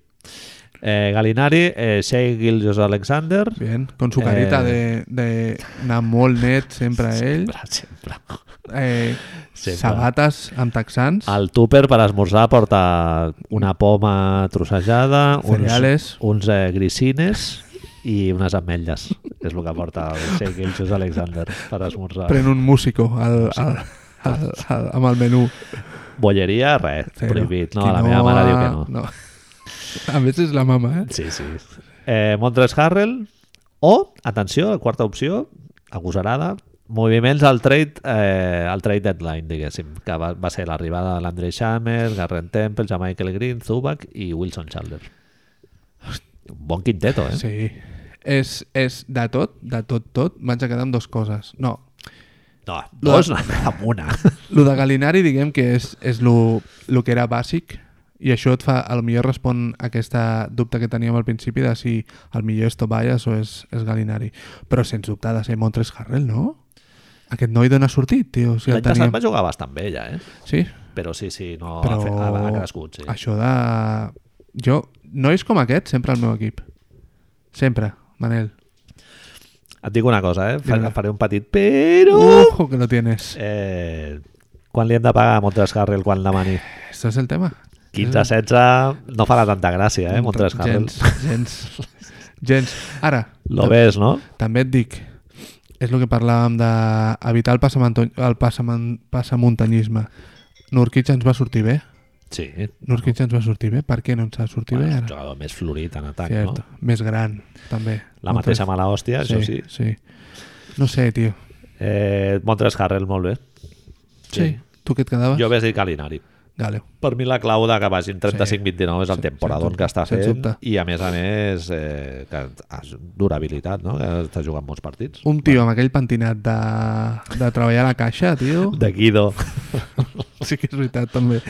Speaker 1: Eh, Galinari, eh, Shea Gilgis Alexander...
Speaker 2: Bien, con su
Speaker 1: Eh.
Speaker 2: carita de, de anar molt net sempre ell.
Speaker 1: Sempre, sempre.
Speaker 2: Eh,
Speaker 1: Sempre.
Speaker 2: sabates amb texans.
Speaker 1: El tupper per esmorzar porta una poma trossejada, uns,
Speaker 2: Cereales.
Speaker 1: uns eh, grisines i unes ametlles. És el que porta el Shea Gilgis Alexander per esmorzar.
Speaker 2: Pren un músico al, al, al, al, amb el menú.
Speaker 1: Bolleria, res,
Speaker 2: Cero.
Speaker 1: prohibit. No,
Speaker 2: Qui
Speaker 1: la meva mare diu que no.
Speaker 2: no. A veces la mama, eh?
Speaker 1: Sí, sí. Eh, Montres Harrell o, atenció, la quarta opció, agosarada, moviments al trade, eh, al trade deadline, diguéssim, que va, va ser l'arribada de l'Andre Chamers, Garren Temple, Jamaica Green, Zubac i Wilson Chandler. Un bon quinteto, eh?
Speaker 2: Sí. És, és de tot, de tot, tot, vaig a quedar amb dues coses. No,
Speaker 1: No, dos, amb una.
Speaker 2: lo de Galinari diguem que és, és lo, lo que era bàsic i això et fa, a lo millor respon a aquesta dubte que teníem al principi de si el millor és Tobias o és, és Galinari. Però sens dubte ha de ser Montres Harrell, no? Aquest noi d'on ha sortit, tio? O sigui,
Speaker 1: L'any
Speaker 2: el
Speaker 1: passat va
Speaker 2: teníem...
Speaker 1: jugar bastant bé, ja, eh?
Speaker 2: Sí,
Speaker 1: Però sí, sí, no,
Speaker 2: però...
Speaker 1: ha, fe, ha, ha crescut, sí.
Speaker 2: Això de... Jo, nois com aquest, sempre al meu equip. Sempre, Manel.
Speaker 1: Et dic una cosa, eh? Faré,
Speaker 2: Dime.
Speaker 1: faré un petit però...
Speaker 2: Ojo que lo tienes.
Speaker 1: Eh, quan li hem de pagar a Montres Harrell quan demani?
Speaker 2: Este és el tema.
Speaker 1: 15-16 no farà tanta gràcia, eh, Montres Harrell.
Speaker 2: Eh. Gens, gens. gens. Ara,
Speaker 1: Lo
Speaker 2: tam-
Speaker 1: ves, no?
Speaker 2: també et dic, és el que parlàvem d'evitar el, passamanto- el passaman- passamuntanyisme. Nurkic ens va sortir bé.
Speaker 1: Sí.
Speaker 2: Nurkic ens va sortir bé. Per què no ens ha sortit
Speaker 1: Bueno, és un
Speaker 2: bé ara?
Speaker 1: jugador més florit en atac,
Speaker 2: Cert.
Speaker 1: no?
Speaker 2: Més gran, també.
Speaker 1: La mateixa mala hòstia,
Speaker 2: sí,
Speaker 1: això sí.
Speaker 2: sí. No sé, tio.
Speaker 1: Eh, Montres Harrell, molt bé.
Speaker 2: Sí. Tu què et quedaves?
Speaker 1: Jo hauria dit Calinari.
Speaker 2: Gale.
Speaker 1: Per mi la clau de que vagin 35-29 és el
Speaker 2: Sí,
Speaker 1: temporadon
Speaker 2: sens
Speaker 1: que està
Speaker 2: dubte, sens
Speaker 1: fent
Speaker 2: dubte.
Speaker 1: i a més a més eh, que es- durabilitat, no? que està jugant molts partits.
Speaker 2: Un tio amb aquell pentinat de, de treballar a la caixa, tio.
Speaker 1: De Guido.
Speaker 2: Sí que és veritat, també.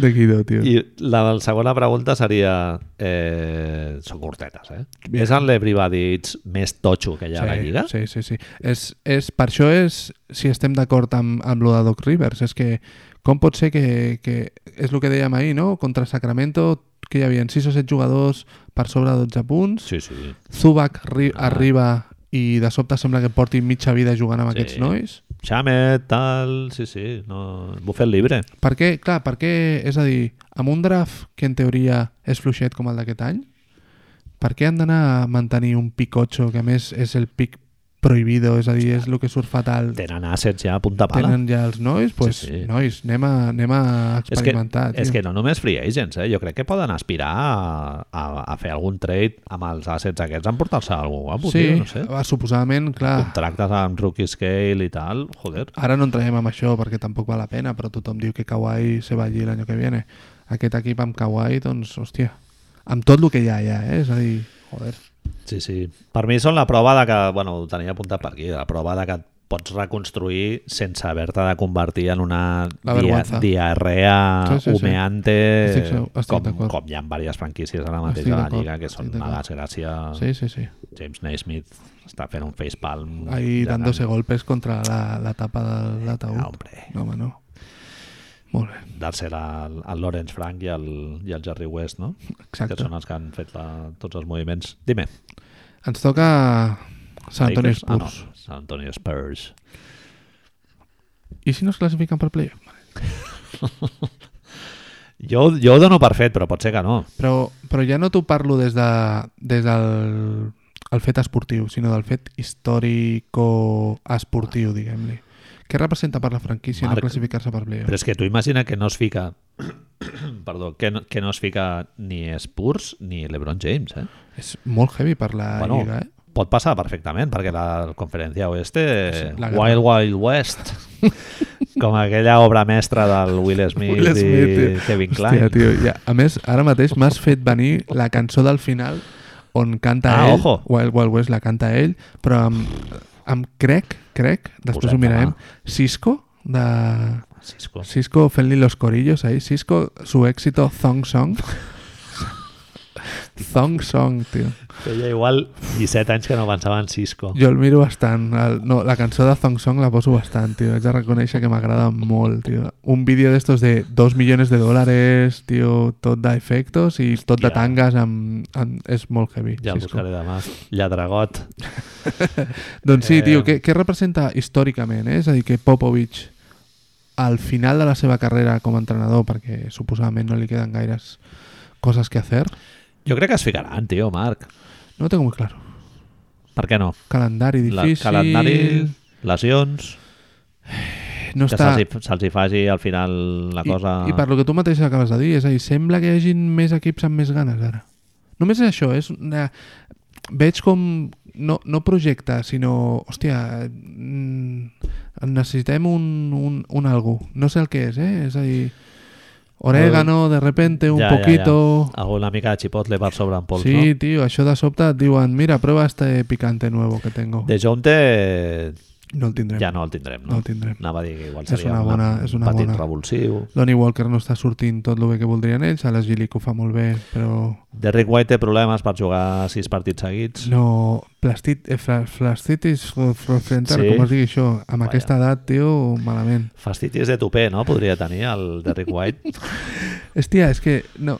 Speaker 2: De Guido, tio.
Speaker 1: I la, la segona pregunta seria... Eh, són cortetes, eh?
Speaker 2: Bien.
Speaker 1: És el Lebrivadits més totxo que hi ha a la
Speaker 2: sí,
Speaker 1: Lliga?
Speaker 2: Sí, sí, sí. És, és, per això és, si estem d'acord amb, amb lo de Doc Rivers, és que com pot ser que, que és el que dèiem ahir, no? Contra Sacramento que hi havia 6 o 7 jugadors per sobre de 12 punts.
Speaker 1: Sí, sí.
Speaker 2: Zubac arri
Speaker 1: Ah.
Speaker 2: arriba i de sobte sembla que porti mitja vida jugant amb
Speaker 1: Sí.
Speaker 2: aquests nois.
Speaker 1: Xamet, tal... Sí, sí. No... Bufet libre.
Speaker 2: Per què? Clar, per què? És a dir, amb un draft que en teoria és fluixet com el d'aquest any, per què han d'anar a mantenir un picotxo que a més és el pic prohibido, és a dir, és el que surt fatal.
Speaker 1: Tenen assets ja a punta pala.
Speaker 2: Tenen ja els nois, doncs,
Speaker 1: Sí, sí.
Speaker 2: nois, anem a, anem a
Speaker 1: És que,
Speaker 2: experimentar.
Speaker 1: és
Speaker 2: tio.
Speaker 1: que no només free agents, eh? jo crec que poden aspirar a, a, a fer algun trade amb els assets aquests, emportar-se algú guapo,
Speaker 2: sí, Ah.
Speaker 1: tio, no sé.
Speaker 2: va, suposadament, clar,
Speaker 1: Contractes amb rookie scale i tal, joder.
Speaker 2: ara no entrarem amb això perquè tampoc val la pena, però tothom diu que Kawhi se va allí l'any que viene. Aquest equip amb Kawhi, doncs, hòstia, amb tot el que hi ha ja, eh? és a dir, joder.
Speaker 1: Sí, sí. Per mi són la prova de que, bueno, ho tenia apuntat per aquí, la prova de que et pots reconstruir sense haver-te de convertir en una
Speaker 2: La vergüenza.
Speaker 1: diarrea
Speaker 2: Sí, sí, sí.
Speaker 1: humeante
Speaker 2: Estic segur- estic
Speaker 1: com,
Speaker 2: d'acord.
Speaker 1: com hi ha en diverses franquícies ara mateix
Speaker 2: Estic
Speaker 1: a la
Speaker 2: d'acord,
Speaker 1: Lliga que són
Speaker 2: estic
Speaker 1: una
Speaker 2: d'acord.
Speaker 1: desgràcia sí.
Speaker 2: Sí, sí, sí.
Speaker 1: James Naismith està fent un facepalm
Speaker 2: Ahí uh.
Speaker 1: gegant.
Speaker 2: dándose golpes contra la, la tapa de l'ataúd.
Speaker 1: Ah, hombre.
Speaker 2: No, home, no. Molt bé,
Speaker 1: Darcer al, al Lawrence Frank i al, i al Jerry West, no? Que
Speaker 2: exacte.
Speaker 1: són els que han fet la, tots els moviments. Dime.
Speaker 2: Ens toca Sant Antonio
Speaker 1: Lakers?
Speaker 2: Spurs.
Speaker 1: Ah, no. San Antonio Spurs.
Speaker 2: I si no es classifiquen per playoff? Vale.
Speaker 1: Jo, jo ho dono per fet, però pot ser que no.
Speaker 2: Però, però ja no t'ho parlo des, de, des del el fet esportiu, sinó del fet històrico-esportiu, diguem-li. Què representa per la franquícia
Speaker 1: Marc,
Speaker 2: no classificar-se per playoff?
Speaker 1: Però és que tu imagina que no es fica... Perdó, que no, que no es fica ni Spurs ni LeBron James, eh?
Speaker 2: És molt heavy per la
Speaker 1: Bueno,
Speaker 2: Lliga, eh?
Speaker 1: Pot passar perfectament, perquè la conferència oeste...
Speaker 2: Ah, La guerra.
Speaker 1: Wild Wild West. Com aquella obra mestra del Will Smith,
Speaker 2: Will Smith,
Speaker 1: i
Speaker 2: tio.
Speaker 1: Kevin Klein.
Speaker 2: Hòstia, tio, ja. A més, ara mateix m'has fet venir la cançó del final on canta
Speaker 1: Ah,
Speaker 2: ell,
Speaker 1: ojo.
Speaker 2: Wild Wild West la canta ell, però amb, amb crec, crec, després
Speaker 1: Posem
Speaker 2: ho mirarem,
Speaker 1: demà.
Speaker 2: Cisco, de...
Speaker 1: Cisco.
Speaker 2: Cisco fent-li los corillos ahí, Cisco, su éxito Thong Song. Thong Song, tio.
Speaker 1: Feia igual 17 anys que no pensava en Cisco.
Speaker 2: Jo el miro bastant. El, no, la cançó de Thong Song la poso bastant, tio. Haig de reconèixer que m'agrada molt, tio. Un vídeo d'estos de 2 milions de dòlars, tio, tot d'efectos i tot de
Speaker 1: Ja.
Speaker 2: tangas amb, amb, és molt heavy.
Speaker 1: Ja el
Speaker 2: Cisco.
Speaker 1: buscaré demà. Lladragot.
Speaker 2: Doncs sí, tio,
Speaker 1: Eh,
Speaker 2: què, què representa històricament? Eh? És a dir, que Popovich al final de la seva carrera com a entrenador, perquè suposadament no li queden gaires coses que hacer,
Speaker 1: Jo crec que es ficaran, tio, Marc.
Speaker 2: no ho tengo muy claro.
Speaker 1: Per què no?
Speaker 2: Calendari
Speaker 1: La-
Speaker 2: difícil... Eh,
Speaker 1: Calendari, lesions,
Speaker 2: no
Speaker 1: que
Speaker 2: està...
Speaker 1: se'ls hi- se'ls hi faci al final la cosa...
Speaker 2: I, I per lo que tu mateix acabes de dir, és a dir, sembla que hi hagin més equips amb més ganes ara. Només és això, és una... Veig com... No, no projecte, sinó... Hòstia, mm, necessitem un, un, un algú. No sé el que és, eh? És a dir... Orégano, de repente, un
Speaker 1: Ja, ja, ja.
Speaker 2: poquito...
Speaker 1: Alguna mica de xipotle per sobre en pols,
Speaker 2: Sí, tio, això de sobte et diuen mira, prueba este picante nuevo que tengo.
Speaker 1: no? De Jonte
Speaker 2: No el tindrem.
Speaker 1: ja no el tindrem, no?
Speaker 2: No el tindrem.
Speaker 1: Anava a dir que igual
Speaker 2: És
Speaker 1: seria
Speaker 2: una
Speaker 1: un
Speaker 2: bona- és una
Speaker 1: petit
Speaker 2: bona.
Speaker 1: revulsiu.
Speaker 2: Lonnie Walker no està sortint tot el bé que voldrien ells, a les Gilic ho fa molt bé, però...
Speaker 1: Derrick White té problemes per jugar sis partits seguits.
Speaker 2: No, plastit, eh, fla- flastitis frozentar,
Speaker 1: Sí?
Speaker 2: sí? com es digui això, amb
Speaker 1: Vaja.
Speaker 2: aquesta edat, tio, malament.
Speaker 1: Fastitis de topé, no? Podria tenir el Derrick White.
Speaker 2: Hòstia, és que no,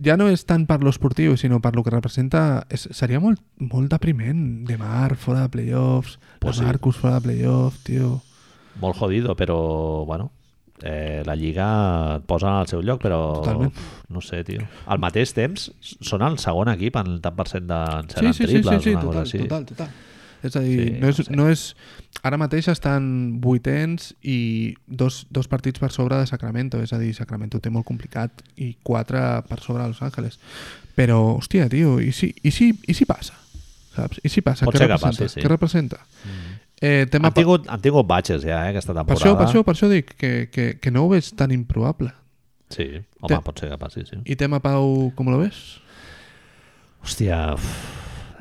Speaker 2: ja no és tant per lo esportiu, sinó per lo que representa... És, seria molt, molt depriment, de mar, fora de playoffs,
Speaker 1: Pues
Speaker 2: pues
Speaker 1: sí.
Speaker 2: de Marcus fora de playoffs, tio...
Speaker 1: Molt jodido, però, bueno, eh, la Lliga et posa al seu lloc, però
Speaker 2: Totalment.
Speaker 1: pf, no sé, tio. Al mateix temps, són el segon equip en tant per cent d'encerant sí,
Speaker 2: Sí, sí, sí, sí,
Speaker 1: triples,
Speaker 2: sí,
Speaker 1: una cosa
Speaker 2: total,
Speaker 1: així.
Speaker 2: total, total. És a dir,
Speaker 1: Sí,
Speaker 2: sí, no, és,
Speaker 1: no sé.
Speaker 2: no és... Ara mateix estan vuitens i dos, dos partits per sobre de Sacramento. És a dir, Sacramento té molt complicat i quatre per sobre de Los Angeles. Però, hòstia, tio, i si, i si, i si passa? Saps? I si passa?
Speaker 1: Pot
Speaker 2: Què
Speaker 1: ser que
Speaker 2: representa?
Speaker 1: passi, sí.
Speaker 2: Què representa? Eh, tema
Speaker 1: Mm. Han tingut, han tingut batxes ja, eh, aquesta
Speaker 2: per,
Speaker 1: temporada.
Speaker 2: això, per, això, per això dic que, que, que no ho veig tan improbable.
Speaker 1: Sí, home,
Speaker 2: Té-
Speaker 1: pot ser que passi, sí.
Speaker 2: I tema Pau, com lo ves?
Speaker 1: Hòstia, uf.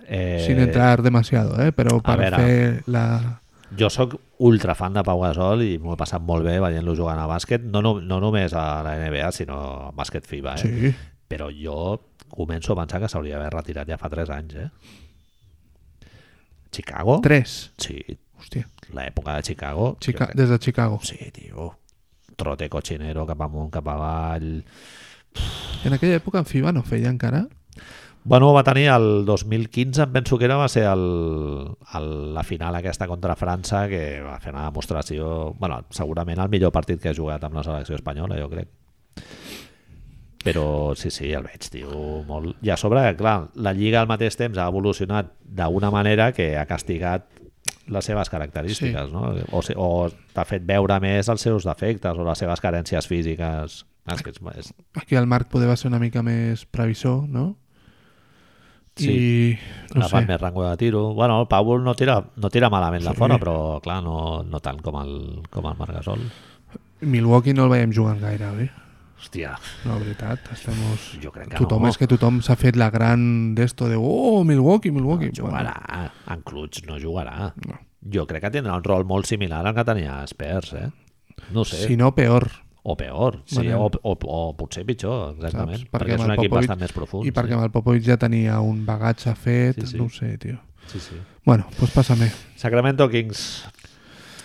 Speaker 1: eh,
Speaker 2: Sin entrar demasiado, eh? però
Speaker 1: a
Speaker 2: per
Speaker 1: veure.
Speaker 2: fer la...
Speaker 1: jo sóc ultra fan de Pau Gasol i m'ho he passat molt bé veient-lo jugant a bàsquet, no, no, no només a la NBA, sinó a bàsquet FIBA, eh?
Speaker 2: Sí.
Speaker 1: Però jo començo a pensar que s'hauria d'haver retirat ja fa 3 anys, eh? Chicago?
Speaker 2: Tres.
Speaker 1: Sí,
Speaker 2: Hòstia.
Speaker 1: l'època de Chicago.
Speaker 2: Chica
Speaker 1: jo crec-
Speaker 2: des de Chicago.
Speaker 1: Sí, tio. Trote cochinero cap amunt, cap avall. Uf,
Speaker 2: En aquella època en FIBA no feia encara?
Speaker 1: Bueno, va tenir el 2015, em penso que era, va ser el, el, la final aquesta contra França, que va fer una demostració... bueno, segurament el millor partit que ha jugat amb la selecció espanyola, jo crec. Però sí, sí, el veig, tio, molt... I a sobre, clar, la Lliga al mateix temps ha evolucionat d'una manera que ha castigat les seves característiques, sí. no? O, se- o t'ha fet veure més els seus defectes o les seves carències físiques. Ah, és que és, és,
Speaker 2: Aquí el Marc poder va ser una mica més previsor, no?
Speaker 1: Pues Sí.
Speaker 2: I no
Speaker 1: no fa
Speaker 2: sé.
Speaker 1: més rango de tiro. Bueno, el Paul no tira, no tira malament de
Speaker 2: Sí.
Speaker 1: fora, però clar, no, no tant com el, com el Marc Gasol.
Speaker 2: Milwaukee no el veiem jugant gaire bé,
Speaker 1: Hòstia,
Speaker 2: la veritat. Estamos...
Speaker 1: jo crec que
Speaker 2: Tothom,
Speaker 1: no.
Speaker 2: és que tothom s'ha fet la gran d'esto de oh, Milwaukee, Milwaukee.
Speaker 1: Jugarà, en Clutch no jugarà.
Speaker 2: No.
Speaker 1: Jo crec que tindrà un rol molt similar al que tenia Spurs, eh? No ho sé,
Speaker 2: si no, peor.
Speaker 1: o peor, sí,
Speaker 2: Bueno.
Speaker 1: o, o, o potser pitjor, exactament,
Speaker 2: eh. Saps?
Speaker 1: perquè, perquè és
Speaker 2: Perquè amb
Speaker 1: un
Speaker 2: el
Speaker 1: equip
Speaker 2: Popovich-
Speaker 1: bastant més profund.
Speaker 2: I perquè amb el Popovich ja tenia un bagatge fet,
Speaker 1: Sí, sí.
Speaker 2: no ho sé, tio.
Speaker 1: sí. sí, sí.
Speaker 2: Bueno, doncs pues pásame.
Speaker 1: Sacramento Kings.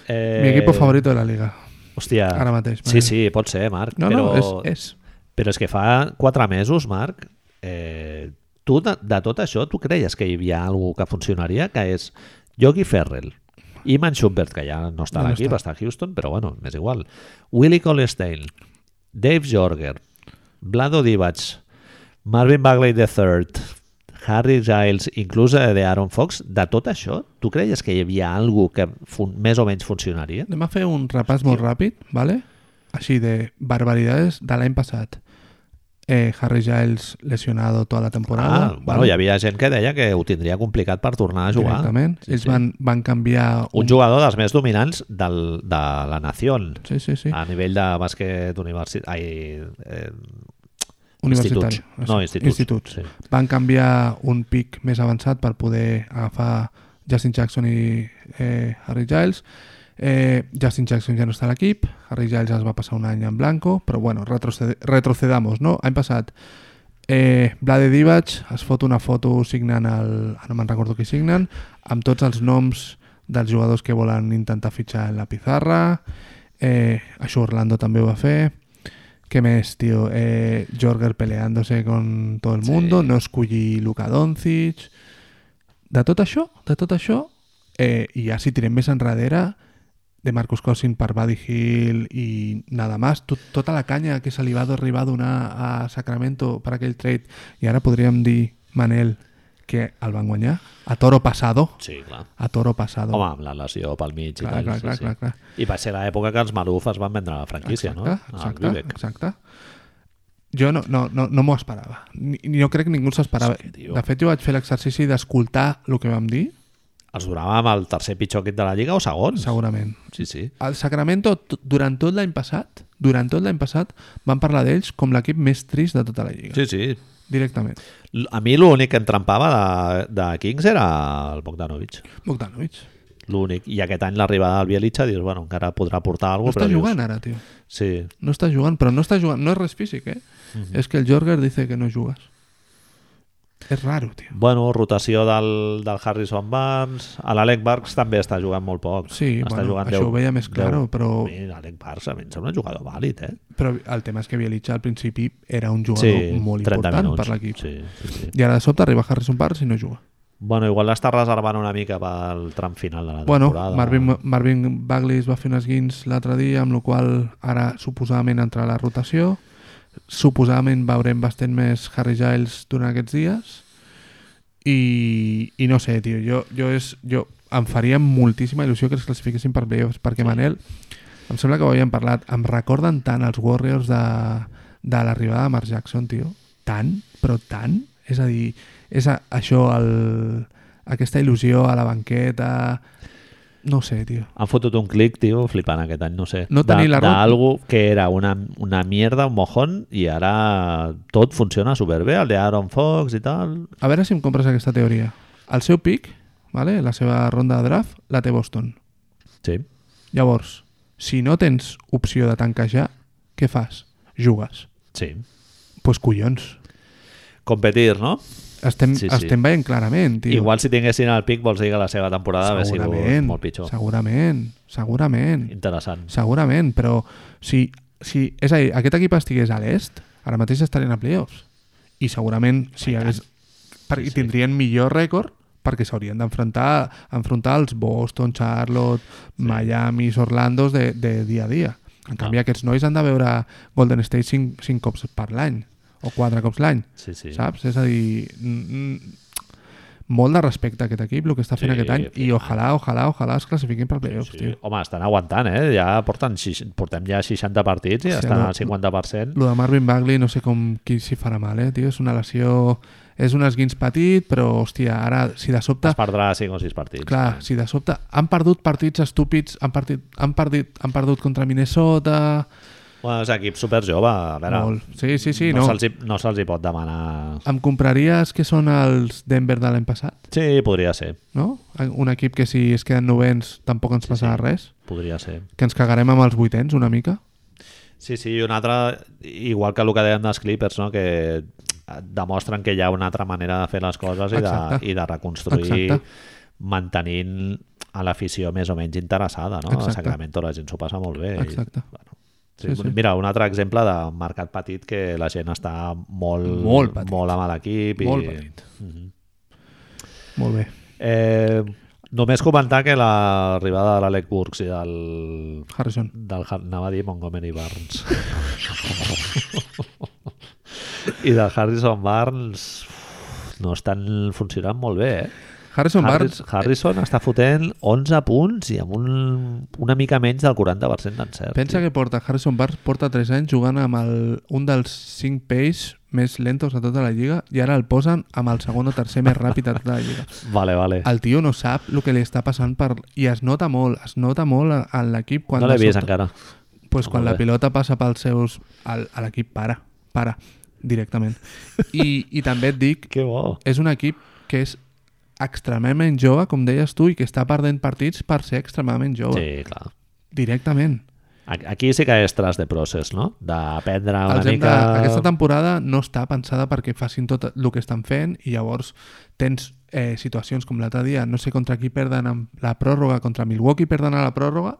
Speaker 1: Eh,
Speaker 2: Mi equipo favorito de la liga.
Speaker 1: Hòstia,
Speaker 2: ara mateix,
Speaker 1: Sí,
Speaker 2: Manel.
Speaker 1: sí, pot ser, Marc,
Speaker 2: No,
Speaker 1: però...
Speaker 2: no, és, és.
Speaker 1: Però és que fa quatre mesos, Marc, eh, tu de, de tot això, tu creies que hi havia algú que funcionaria, que és Yogi Ferrell, Iman Schubert, que ja no està
Speaker 2: Ja
Speaker 1: a
Speaker 2: no
Speaker 1: l'equip,
Speaker 2: està.
Speaker 1: està a Houston, però bueno, m'és igual, Willie Colestein, Dave Jorger, Vlado Divac, Marvin Bagley III, Harry Giles, inclús eh, de Aaron Fox, de tot això, tu creies que hi havia algú que fun- més o menys funcionaria?
Speaker 2: Anem a fer un repàs molt ràpid, ¿vale? així de barbaridades de l'any passat. Eh, Harry Giles lesionado tota la temporada.
Speaker 1: Ah, bueno, hi havia gent que deia que ho tindria complicat per tornar a jugar.
Speaker 2: Directament.
Speaker 1: Sí,
Speaker 2: Ells
Speaker 1: sí.
Speaker 2: Van, van canviar...
Speaker 1: un jugador dels més dominants del, de la nació
Speaker 2: Mm. Sí, sí, sí.
Speaker 1: a nivell de bàsquet universitat ai, eh,
Speaker 2: Universitari.
Speaker 1: instituts. no, instituts,
Speaker 2: instituts.
Speaker 1: Sí.
Speaker 2: Van canviar un pic més avançat per poder agafar Justin Jackson i eh, Harry Giles. Eh, Justin Jackson ja no està a l'equip, Harry Giles es va passar un any en blanco, però bueno, retroced retrocedamos, no? Any passat eh, Vlade Divac es fot una foto signant el... ah, no me'n recordo qui signen, amb tots els noms dels jugadors que volen intentar fitxar en la pizarra, eh, això Orlando també ho va fer, ¿Qué mes, tío? Eh, Jorger peleándose con todo el
Speaker 1: Sí.
Speaker 2: mundo, no escullí Luka Doncic... De tot això, de tot això, eh, i ja si tirem més enrere, de Marcus Cosin per Buddy Hill i nada más, tot, tota la canya que se li va arribar a donar a Sacramento per aquell trade, i ara podríem dir, Manel, que el van guanyar a toro pasado,
Speaker 1: sí, clar.
Speaker 2: a toro pasado.
Speaker 1: Home, amb la lesió pel mig i
Speaker 2: Clar,
Speaker 1: tal.
Speaker 2: clar, clar,
Speaker 1: sí,
Speaker 2: clar, clar.
Speaker 1: sí. I va ser l'època que els Maluf es van vendre la franquícia, no? Al
Speaker 2: Exacte,
Speaker 1: Vivek.
Speaker 2: exacte. Jo no, no, no, no m'ho esperava. Ni, no crec que ningú s'esperava.
Speaker 1: És que, tio.
Speaker 2: De fet, jo vaig fer l'exercici d'escoltar el que vam dir,
Speaker 1: Els donàvem el tercer pitjor equip de la Lliga o segons.
Speaker 2: segurament.
Speaker 1: Sí, sí.
Speaker 2: El Sacramento, t- durant tot l'any passat, durant tot l'any passat, van parlar d'ells com l'equip més trist de tota la Lliga.
Speaker 1: Sí, sí.
Speaker 2: Directament.
Speaker 1: L- A mi l'únic que em trempava de, de Kings era el Bogdanovic.
Speaker 2: Bogdanovic.
Speaker 1: L'únic. I aquest any l'arribada del Bielitsa dius, bueno, encara podrà portar
Speaker 2: No
Speaker 1: alguna
Speaker 2: està jugant eh? ara, tio.
Speaker 1: Sí,
Speaker 2: No està jugant, però no està jugant. No és res físic, eh?
Speaker 1: Mhm.
Speaker 2: És que el Jorger dice que no jugues. És raro, tio.
Speaker 1: Bueno, rotació del, del Harrison Barnes. A L'Alec Barks també està jugant molt poc.
Speaker 2: Sí,
Speaker 1: està
Speaker 2: bueno, això ho veia més claro, però-
Speaker 1: L'Alec Barks a mi em sembla un jugador vàlid, eh?
Speaker 2: Però el tema és que Bielitsa al principi era un jugador
Speaker 1: Sí,
Speaker 2: molt
Speaker 1: 30
Speaker 2: important
Speaker 1: minuts.
Speaker 2: per l'equip.
Speaker 1: Sí, sí, sí.
Speaker 2: I ara de sobte arriba Harrison Barnes i no juga.
Speaker 1: Bueno, igual l'està reservant una mica pel tram final de la
Speaker 2: Bueno,
Speaker 1: temporada.
Speaker 2: Marvin, Marvin Bagley es va fer un esguins l'altre dia, amb la qual cosa ara suposadament entrarà a la rotació. Suposadament veurem bastant més Harry Giles durant aquests dies. I, i no sé, tio, jo, jo, és, jo em faria moltíssima il·lusió que es classifiquessin per playoffs, perquè sí. Manel, em sembla que ho havíem parlat, em recorden tant els Warriors de, de l'arribada de Mark Jackson, tio. Tant, però tant. És a dir, és a, això, el, aquesta il·lusió a la banqueta... No ho sé, tio.
Speaker 1: Han fotut un clic, tio, flipant aquest any, no sé.
Speaker 2: No
Speaker 1: De-
Speaker 2: tenir la ro-
Speaker 1: D'algo que era una, una mierda, un mojón, i ara tot funciona superbé, el de Aaron Fox i tal.
Speaker 2: A veure si em compres aquesta teoria. El seu pic, vale? la seva ronda de draft, la té Boston.
Speaker 1: Sí.
Speaker 2: Llavors, si no tens opció de tanquejar, què fas? Jugues.
Speaker 1: Sí.
Speaker 2: Pues collons.
Speaker 1: Competir, no?
Speaker 2: Estem,
Speaker 1: Sí,
Speaker 2: sí,
Speaker 1: sí.
Speaker 2: sí. estem veient clarament, tio.
Speaker 1: Igual si tinguessin el pic vols dir que la seva temporada hauria sigut molt pitjor.
Speaker 2: Segurament, segurament,
Speaker 1: Interessant.
Speaker 2: segurament, però si, si, és a dir, aquest equip estigués a l'est, ara mateix estarien a playoffs. I segurament, si hi hagués... Perquè
Speaker 1: sí.
Speaker 2: tindrien millor rècord perquè s'haurien d'enfrontar enfrontar als Boston, Charlotte, Miami, Orlando de, de dia a dia. En
Speaker 1: Ah.
Speaker 2: canvi, aquests nois han de veure Golden State 5, 5 cops per l'any o 4 cops l'any,
Speaker 1: Sí, sí.
Speaker 2: saps? És a dir, mm, mm, molt de respecte a aquest equip, el que està fent
Speaker 1: Sí,
Speaker 2: aquest any, i
Speaker 1: flipant.
Speaker 2: ojalà, ojalà, ojalà es classifiquin per playoffs,
Speaker 1: Sí.
Speaker 2: tio.
Speaker 1: Home, estan aguantant, eh? Ja porten, xix- portem ja 60 partits i
Speaker 2: Sí,
Speaker 1: ja estan
Speaker 2: no-
Speaker 1: al 50%.
Speaker 2: Lo de Marvin Bagley no sé com qui s'hi farà mal, eh, tio. És una lesió... És un esguins petit, però, hòstia, ara, si de sobte...
Speaker 1: Es perdrà 5 o 6 partits.
Speaker 2: Clar, si de sobte han perdut partits estúpids, han, partit, han, perdit, han perdut contra Minnesota...
Speaker 1: Bueno, és equip superjove, a veure...
Speaker 2: Molt. Sí, sí, sí,
Speaker 1: no
Speaker 2: no.
Speaker 1: se'ls hi, no se'ls hi pot demanar...
Speaker 2: Em compraries que són els Denver de l'any passat,
Speaker 1: Sí, podria ser,
Speaker 2: no? Un equip que si es queden novens tampoc ens passarà
Speaker 1: sí.
Speaker 2: res,
Speaker 1: podria ser.
Speaker 2: que ens cagarem amb els vuitens una mica.
Speaker 1: Sí, sí, i un altre, igual que el que dèiem dels Clippers, no? que demostren que hi ha una altra manera de fer les coses i, de,
Speaker 2: Exacte.
Speaker 1: i de reconstruir
Speaker 2: Exacte.
Speaker 1: mantenint a l'afició més o menys interessada. No? A
Speaker 2: Exacte.
Speaker 1: Sacramento la gent s'ho passa molt bé. i,
Speaker 2: Exacte.
Speaker 1: bueno, sí,
Speaker 2: Sí, sí.
Speaker 1: Mira, un altre exemple de mercat petit que la gent està molt,
Speaker 2: Molt petit.
Speaker 1: molt amb l'equip.
Speaker 2: Molt
Speaker 1: i... Mhm.
Speaker 2: petit. Molt bé.
Speaker 1: Eh, només comentar que l'arribada de l'Alec Burks i del,
Speaker 2: Harrison.
Speaker 1: del Har- anava a dir Montgomery Barnes i del Harrison Barnes uf, no estan funcionant molt bé eh?
Speaker 2: Harrison Barnes...
Speaker 1: Harris, Harrison està fotent 11 punts i amb un, una mica menys del 40% d'encert
Speaker 2: Pensa
Speaker 1: tio.
Speaker 2: que porta Harrison Barnes porta 3 anys jugant amb el, un dels 5 pace més lentos de tota la lliga i ara el posen amb el segon o tercer més ràpid de tota la lliga.
Speaker 1: vale, vale.
Speaker 2: El tio no sap el que li està passant per... i es nota molt, es nota molt a- en l'equip quan,
Speaker 1: no l'he
Speaker 2: de
Speaker 1: vist
Speaker 2: sobte-
Speaker 1: encara
Speaker 2: pues quan
Speaker 1: Molt
Speaker 2: la
Speaker 1: bé.
Speaker 2: pilota passa pels seus... el- a l'equip para, para, directament. I, I també et dic,
Speaker 1: que bo
Speaker 2: és un equip que és extremadament jove, com deies tu, i que està perdent partits per ser extremadament jove.
Speaker 1: sí, clar
Speaker 2: Directament.
Speaker 1: A- Aquí sí que és tras de process, no? D'aprendre una
Speaker 2: Els hem
Speaker 1: mica...
Speaker 2: de, aquesta temporada no està pensada perquè facin tot el que estan fent i llavors tens eh, situacions com l'altre dia, no sé contra qui perden amb la pròrroga, contra Milwaukee perden a la pròrroga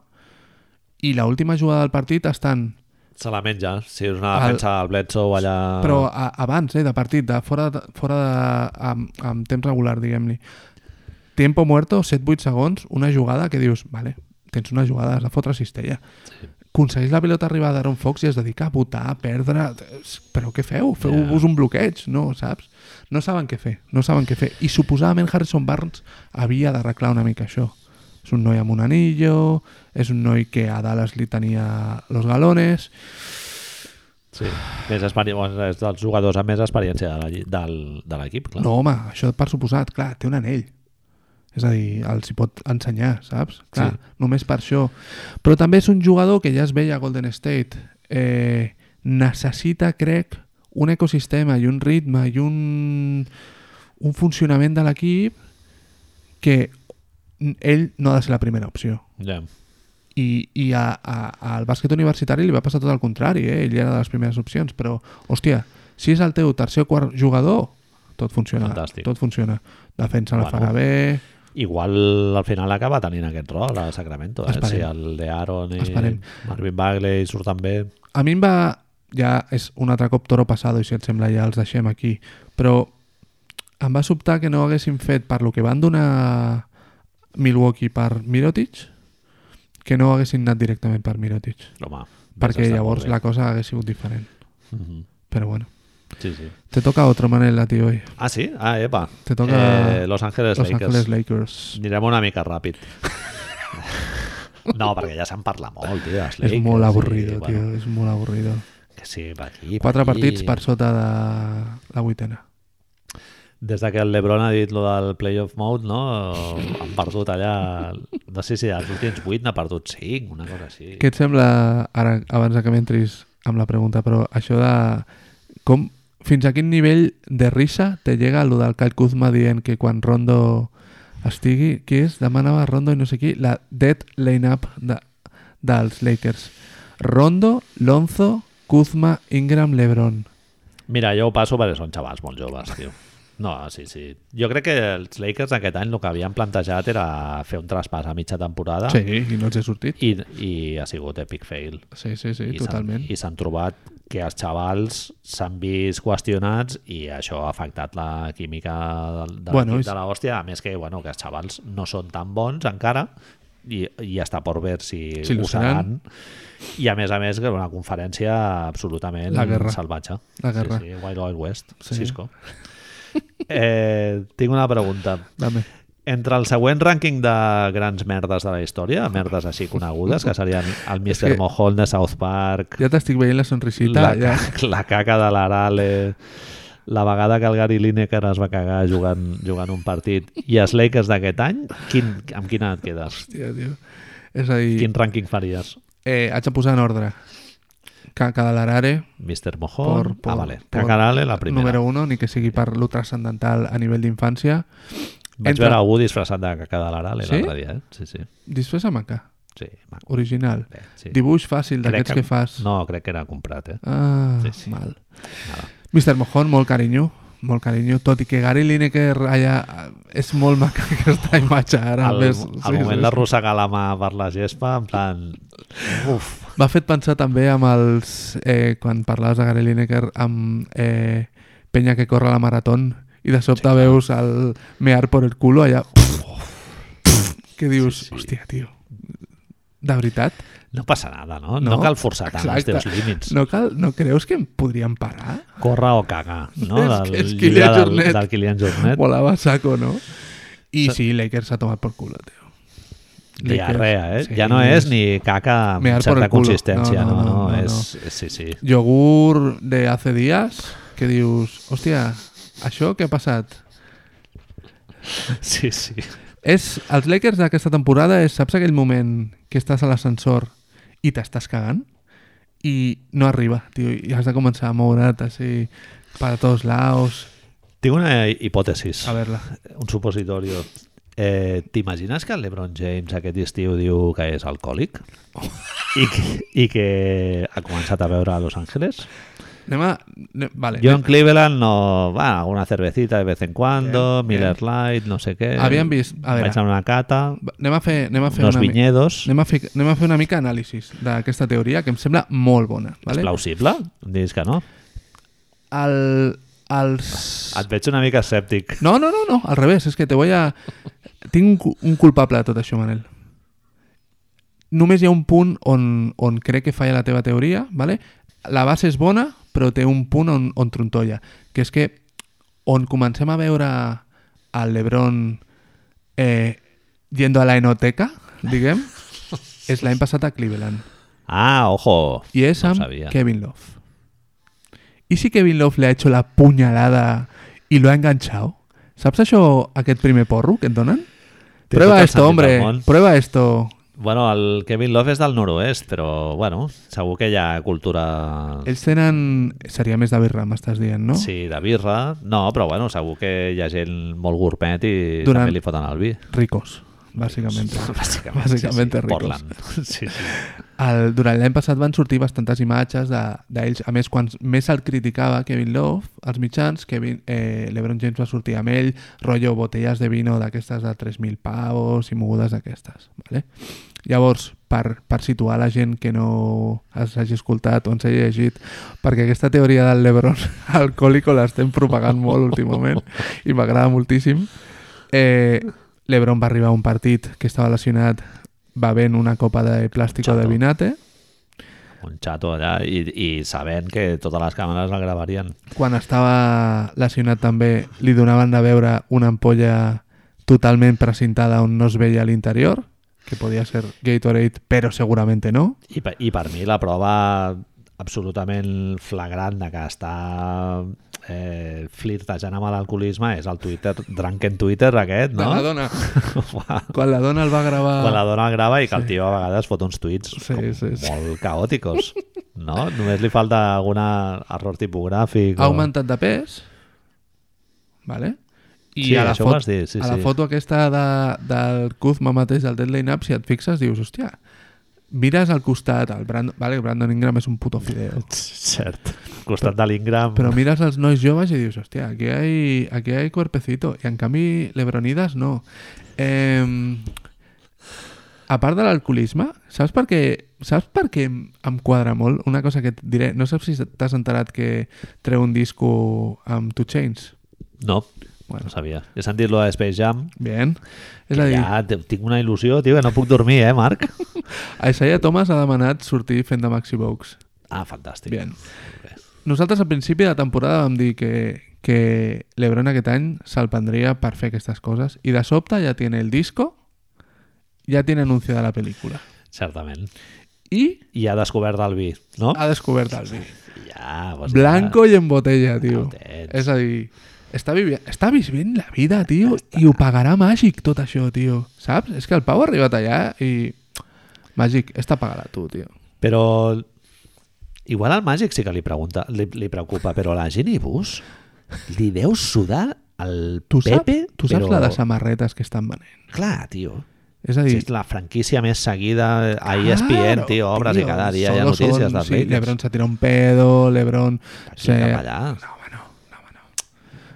Speaker 2: i l última jugada del partit estan,
Speaker 1: Se la menja, si és una
Speaker 2: El-
Speaker 1: defensa del Bledsoe allà...
Speaker 2: però a, abans eh, de partit, de fora, de, fora de, amb, amb temps regular, diguem-li. Tiempo muerto, 7-8 segons, una jugada que dius, vale, tens una jugada, has de fotre cistella.
Speaker 1: Sí.
Speaker 2: aconsegueix la pilota arribar d'Aaron Fox i es dedica a votar, a perdre... Però què feu? Feu-vos
Speaker 1: Ja.
Speaker 2: un bloqueig, no, saps? No saben què fer, no saben què fer. I suposadament Harrison Barnes havia d'arreglar una mica això. És un noi amb un anillo, és un noi que a Dallas li tenia los galones...
Speaker 1: Sí. Més experi... bueno, és dels jugadors amb més experiència de la lli- del- de l'equip, clar.
Speaker 2: No, home, això per suposat, clar, té un anell. És a dir, els hi pot ensenyar, saps? Clar,
Speaker 1: Sí.
Speaker 2: només per això. Però també és un jugador que ja es veia a Golden State. Eh, necessita, crec, un ecosistema i un ritme i un, un funcionament de l'equip que ell no ha de ser la primera opció.
Speaker 1: Ja.
Speaker 2: I, i a, a, al bàsquet universitari li va passar tot el contrari, eh? ell era de les primeres opcions, però, hòstia, si és el teu tercer o quart jugador, tot funciona.
Speaker 1: Fantàstic.
Speaker 2: Tot funciona. Defensa la
Speaker 1: Bueno,
Speaker 2: farà bé,
Speaker 1: Igual al final acaba tenint aquest rol a Sacramento. Eh?
Speaker 2: Esperem.
Speaker 1: Si el de Aaron i
Speaker 2: Esperem.
Speaker 1: Marvin Bagley surten bé...
Speaker 2: A mi em va... Ja és un altre cop toro passado i si et sembla ja els deixem aquí. Però em va sobtar que no haguessin fet per lo que van donar Milwaukee per Mirotic que no haguessin anat directament per Mirotic.
Speaker 1: Home,
Speaker 2: Perquè llavors la cosa hagués sigut diferent.
Speaker 1: Uh -huh.
Speaker 2: Però bueno.
Speaker 1: Sí, sí.
Speaker 2: Te toca otro, Manel, a ti hoy.
Speaker 1: Ah, sí? Ah, epa.
Speaker 2: Te toca
Speaker 1: Eh, Los Angeles
Speaker 2: Los
Speaker 1: Lakers.
Speaker 2: Angeles Lakers.
Speaker 1: Anirem una mica ràpid. No, perquè ja se'n parla molt, tio. dels
Speaker 2: És
Speaker 1: Lakers,
Speaker 2: molt
Speaker 1: i,
Speaker 2: avorrido,
Speaker 1: bueno,
Speaker 2: tio. És molt avorrido.
Speaker 1: Que sí, per aquí, per
Speaker 2: Quatre
Speaker 1: aquí.
Speaker 2: partits per sota de la vuitena.
Speaker 1: Des de que el LeBron ha dit lo del playoff mode, no? Han perdut allà... No sé si els últims 8 n'ha perdut 5, una cosa així.
Speaker 2: Què et sembla, ara, abans de que m'entris amb la pregunta, però això de... Com, fins a quin nivell de risa te llega el del Cal Kuzma dient que quan Rondo estigui, qui és? Demanava Rondo i no sé qui, la dead line-up de, dels Lakers. Rondo, Lonzo, Kuzma, Ingram, Lebron.
Speaker 1: Mira, jo ho passo perquè són xavals molt joves, tio. No, sí, sí. Jo crec que els Lakers aquest any el que havien plantejat era fer un traspàs a mitja temporada
Speaker 2: Sí, i no els he sortit.
Speaker 1: i, i ha sigut epic fail.
Speaker 2: Sí, sí, sí,
Speaker 1: I s'han-
Speaker 2: totalment.
Speaker 1: I s'han trobat que els xavals s'han vist qüestionats i això ha afectat la química de, de
Speaker 2: Bueno,
Speaker 1: l'equip
Speaker 2: és-
Speaker 1: de l'hòstia, a més que, bueno, que els xavals no són tan bons encara i, i està per veure si,
Speaker 2: Si
Speaker 1: ho
Speaker 2: ho
Speaker 1: seran. I a més a més, que era una conferència absolutament
Speaker 2: La guerra.
Speaker 1: salvatge.
Speaker 2: La guerra.
Speaker 1: Sí, sí, Wild Wild West,
Speaker 2: Sí.
Speaker 1: Cisco. Eh, tinc una pregunta.
Speaker 2: Dame.
Speaker 1: Entre el següent rànquing de grans merdes de la història, merdes així conegudes, que serien el Mr.
Speaker 2: És que-
Speaker 1: Mohol de South Park,
Speaker 2: Ja t'estic veient la sonrisita.
Speaker 1: la,
Speaker 2: ja.
Speaker 1: ca la caca de l'Arale, la vegada que el Gary Lineker es va cagar jugant, jugant un partit, i els Lakers d'aquest any, quin, amb quina et quedes?
Speaker 2: Hòstia, tio. És a dir,
Speaker 1: Quin rànquing faries?
Speaker 2: eh, haig de posar en ordre. Caca de l'Arare,
Speaker 1: Mr. Mohol?
Speaker 2: Por- por-
Speaker 1: ah, vale.
Speaker 2: por-
Speaker 1: Caca d'Arale, la primera.
Speaker 2: número 1, ni que sigui per lo transcendental a nivell d'infància.
Speaker 1: Vaig
Speaker 2: Entre-
Speaker 1: veure algú disfressat de caca de l'Arale
Speaker 2: Sí?
Speaker 1: l'altre dia, eh? Sí, sí.
Speaker 2: Disfressa maca,
Speaker 1: sí maco.
Speaker 2: original.
Speaker 1: Bé, sí.
Speaker 2: Dibuix fàcil
Speaker 1: Crec
Speaker 2: d'aquests que... que fas.
Speaker 1: No, crec que era comprat, eh?
Speaker 2: Ah,
Speaker 1: Sí, sí.
Speaker 2: mal. Mr. Mojón, molt carinyo, molt carinyo, tot i que Gary Lineker allà eh, és molt maca aquesta imatge ara.
Speaker 1: al,
Speaker 2: més,
Speaker 1: al moment d'arrossegar la mà per la gespa, en plan... Uf,
Speaker 2: M'ha fet pensar també amb els... Eh, quan parlaves de Gary Lineker, amb eh, penya que corre la maratón i de sobte veus el mear por el culo allà... que dius,
Speaker 1: Sí, sí.
Speaker 2: hòstia, tio, de veritat?
Speaker 1: no passa nada, no? No,
Speaker 2: No,
Speaker 1: no cal forçar tant
Speaker 2: exacte.
Speaker 1: els teus límits. No.
Speaker 2: No, cal, no creus que em podríem parar?
Speaker 1: Corre o cagar, no?
Speaker 2: És
Speaker 1: Del,
Speaker 2: que és
Speaker 1: llibre
Speaker 2: Kilian
Speaker 1: del,
Speaker 2: Jornet.
Speaker 1: del Kilian Jornet.
Speaker 2: Volava a saco, no? I
Speaker 1: Sa-
Speaker 2: sí, Lakers s'ha tomat por culo, tio.
Speaker 1: Diarrea, eh?
Speaker 2: Sí,
Speaker 1: Ja no és ni caca amb
Speaker 2: Mear por
Speaker 1: certa
Speaker 2: el culo.
Speaker 1: consistència, no, no, no,
Speaker 2: no,
Speaker 1: és, és, sí, sí.
Speaker 2: Yogur de hace dies que dius, hòstia, això què ha passat?
Speaker 1: sí, sí.
Speaker 2: És, els Lakers d'aquesta temporada és, saps aquell moment que estàs a l'ascensor i t'estàs cagant? I no arriba, tio, i has de començar a moure't així per a tots laos.
Speaker 1: Tinc una hipòtesis.
Speaker 2: A veure-la.
Speaker 1: un supositorio. Eh, T'imagines que el LeBron James aquest estiu diu que és alcohòlic?
Speaker 2: Oh.
Speaker 1: I que, I que ha començat a veure a Los Angeles?
Speaker 2: Anem a... anem- Vale.
Speaker 1: John Cleveland no... Va, una cervecita de vez en cuando,
Speaker 2: Bien,
Speaker 1: Miller Light, no sé què...
Speaker 2: Havíem vist... A
Speaker 1: Vaig a
Speaker 2: veure,
Speaker 1: una cata,
Speaker 2: anem a fer, anem a fer
Speaker 1: unos
Speaker 2: una... mi-
Speaker 1: viñedos...
Speaker 2: Anem a, fer, anem a fer una mica anàlisis d'aquesta teoria que em sembla molt bona.
Speaker 1: És
Speaker 2: Vale?
Speaker 1: plausible? Em Diguis que no.
Speaker 2: El, els...
Speaker 1: Et veig una mica escèptic.
Speaker 2: No, no, no, no, al revés, és que te voy a... Tinc un, cu- un culpable de tot això, Manel. Només hi ha un punt on, on crec que falla la teva teoria, ¿vale? la base és bona, però té un punt on, on trontolla, que és que on comencem a veure el Lebron eh, yendo a la enoteca, diguem, és l'any passat a Cleveland.
Speaker 1: Ah, ojo!
Speaker 2: Y es
Speaker 1: No
Speaker 2: amb
Speaker 1: sabía.
Speaker 2: Kevin Love. ¿Y si Kevin Love le ha hecho la puñalada y lo ha enganchado? ¿Saps això, aquest primer porro que et donen?
Speaker 1: Té
Speaker 2: Prueba
Speaker 1: tot el
Speaker 2: esto,
Speaker 1: sentit
Speaker 2: hombre.
Speaker 1: del món.
Speaker 2: Prueba esto.
Speaker 1: Bueno, el Kevin Love és del noroest, però, bueno, segur que hi ha cultura...
Speaker 2: Ells tenen... Seria més David Ram, estàs dient, no?
Speaker 1: Sí, de birra. No, però bueno, segur que hi ha gent molt gourmet i
Speaker 2: Durant-
Speaker 1: també li foten el vi.
Speaker 2: Ricos, bàsicament.
Speaker 1: Bàsicament,
Speaker 2: Bàsicament
Speaker 1: sí, sí.
Speaker 2: ricos.
Speaker 1: Portland. Sí, sí.
Speaker 2: El, durant l'any passat van sortir bastantes imatges de- d'ells. a més, quan més el criticava Kevin Love, als mitjans, Kevin, eh, l'Ebron James va sortir amb ell, rotllo botelles de vino d'aquestes de 3.000 pavos i mogudes d'aquestes. Vale? Llavors, per, per situar la gent que no es hagi escoltat o ens hagi llegit, perquè aquesta teoria del Lebron alcohòlico l'estem propagant molt últimament i m'agrada moltíssim, eh, Lebron va arribar a un partit que estava lesionat bevent una copa de plàstic o de
Speaker 1: Chato.
Speaker 2: vinate,
Speaker 1: Un xato allà i, i sabent que totes les càmeres el gravarien.
Speaker 2: quan estava lesionat també li donaven de veure una ampolla totalment precintada on no es veia l'interior, que podia ser Gatorade, però segurament no.
Speaker 1: I, per- I per mi la prova absolutament flagrant de que està eh, flirtejant amb l'alcoholisme és el Twitter, Drunken Twitter aquest,
Speaker 2: De la
Speaker 1: no?
Speaker 2: dona.
Speaker 1: Uah.
Speaker 2: Quan la dona el va gravar...
Speaker 1: Quan la dona el grava i que el tio a vegades fot uns tuits
Speaker 2: Sí,
Speaker 1: com
Speaker 2: sí, sí.
Speaker 1: molt caòticos, no? Només li falta algun error tipogràfic.
Speaker 2: Ha augmentat de pes, vale? I
Speaker 1: Sí,
Speaker 2: a, la
Speaker 1: això ho
Speaker 2: fot,
Speaker 1: vas dir, sí,
Speaker 2: a la
Speaker 1: sí.
Speaker 2: foto aquesta de, del Kuzma mateix, del Deadline Up, si et fixes, dius, hòstia, mires al costat, el Brandon, vale, Brandon Ingram és un puto fideo,
Speaker 1: Cert. Al costat de l'Ingram.
Speaker 2: Pero miras a los nois joves y dices, hostia, aquí hay, aquí hay cuerpecito. Y en cambio, Lebronidas no. Em, a part de l'alcoholisme, saps per què saps per què em quadra molt una cosa que et diré? No saps si t'has enterat que treu un disco amb Two Chains?
Speaker 1: No,
Speaker 2: Bueno.
Speaker 1: no sabia. He sentit lo de Space Jam.
Speaker 2: Bien. És a
Speaker 1: que
Speaker 2: dir,
Speaker 1: Ja te- tinc una il·lusió, tio, que no puc dormir, eh, Marc?
Speaker 2: Isaiah Thomas ha demanat sortir fent de Maxi Box.
Speaker 1: Ah, fantàstic.
Speaker 2: Bien.
Speaker 1: Bé.
Speaker 2: Nosaltres al principi de la temporada vam dir que, que l'Ebron aquest any se'l prendria per fer aquestes coses i de sobte ja tiene el disco, ja tiene anunciada la pel·lícula
Speaker 1: Certament.
Speaker 2: i
Speaker 1: I ha descobert el vi, no?
Speaker 2: ha descobert el vi.
Speaker 1: Ja, doncs pues
Speaker 2: Ah. Blanco i en botella, tio.
Speaker 1: Ah, ho tens.
Speaker 2: És a dir, està, vivi... està vivint la vida, tio, i ho pagarà màgic tot això, tio. Saps? És que el Pau ha arribat allà i... Màgic, està pagarà tu, tio.
Speaker 1: Ja. Però igual al màgic sí que li, pregunta, li, li preocupa, però a la Genibus li deu sudar el
Speaker 2: Tu saps,
Speaker 1: Pepe?
Speaker 2: tu saps
Speaker 1: però...
Speaker 2: la de samarretes que estan venent?
Speaker 1: Clar, tio.
Speaker 2: És a
Speaker 1: Sí.
Speaker 2: dir,
Speaker 1: Si és la franquícia més seguida a ESPN,
Speaker 2: Claro,
Speaker 1: tio, obres i cada dia hi ha
Speaker 2: solo
Speaker 1: notícies
Speaker 2: son-
Speaker 1: dels
Speaker 2: sí,
Speaker 1: Lakers.
Speaker 2: Lebron se tira un pedo, Lebron...
Speaker 1: Sí,
Speaker 2: Se...
Speaker 1: cap allà.
Speaker 2: No, home, no, no, home, no.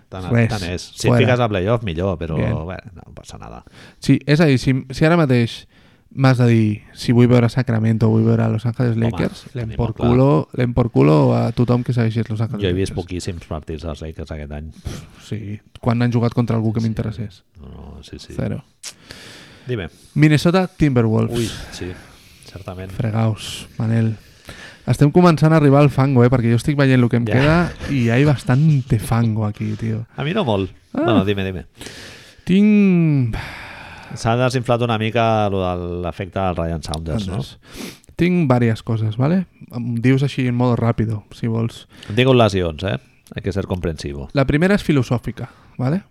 Speaker 1: Tant,
Speaker 2: Res,
Speaker 1: tant és. Si
Speaker 2: fuera.
Speaker 1: et fiques a playoff, millor, però
Speaker 2: Bien.
Speaker 1: bueno, no passa nada.
Speaker 2: Sí, és a dir, si, si ara mateix m'has de dir si vull veure Sacramento o vull veure Los Angeles
Speaker 1: Home,
Speaker 2: Lakers,
Speaker 1: tenim
Speaker 2: l'hem
Speaker 1: molt
Speaker 2: por,
Speaker 1: clar.
Speaker 2: culo- l'hem por culo a tothom que segueixi Los Angeles
Speaker 1: Jo he vist
Speaker 2: Lakers.
Speaker 1: poquíssims partits dels Lakers aquest any.
Speaker 2: Sí, quan han jugat contra algú que m'interessés.
Speaker 1: No, no, sí, sí.
Speaker 2: Zero.
Speaker 1: Dime.
Speaker 2: Minnesota Timberwolves.
Speaker 1: Ui, sí, certament.
Speaker 2: Fregaus, Manel. Estem començant a arribar al fango, eh? Perquè jo estic veient el que em
Speaker 1: Ja.
Speaker 2: queda i hi ha bastante fango aquí, tio.
Speaker 1: A mi no molt. Ah. Bueno, dime, dime.
Speaker 2: Tinc...
Speaker 1: S'ha desinflat una mica lo de l'efecte del Ryan Saunders, no?
Speaker 2: Saunders. Tinc diverses coses, ¿vale? Em dius així en modo ràpido, si vols.
Speaker 1: Hem tingut lesions, eh? Hay que ser comprensivo.
Speaker 2: La primera és filosòfica, ¿vale?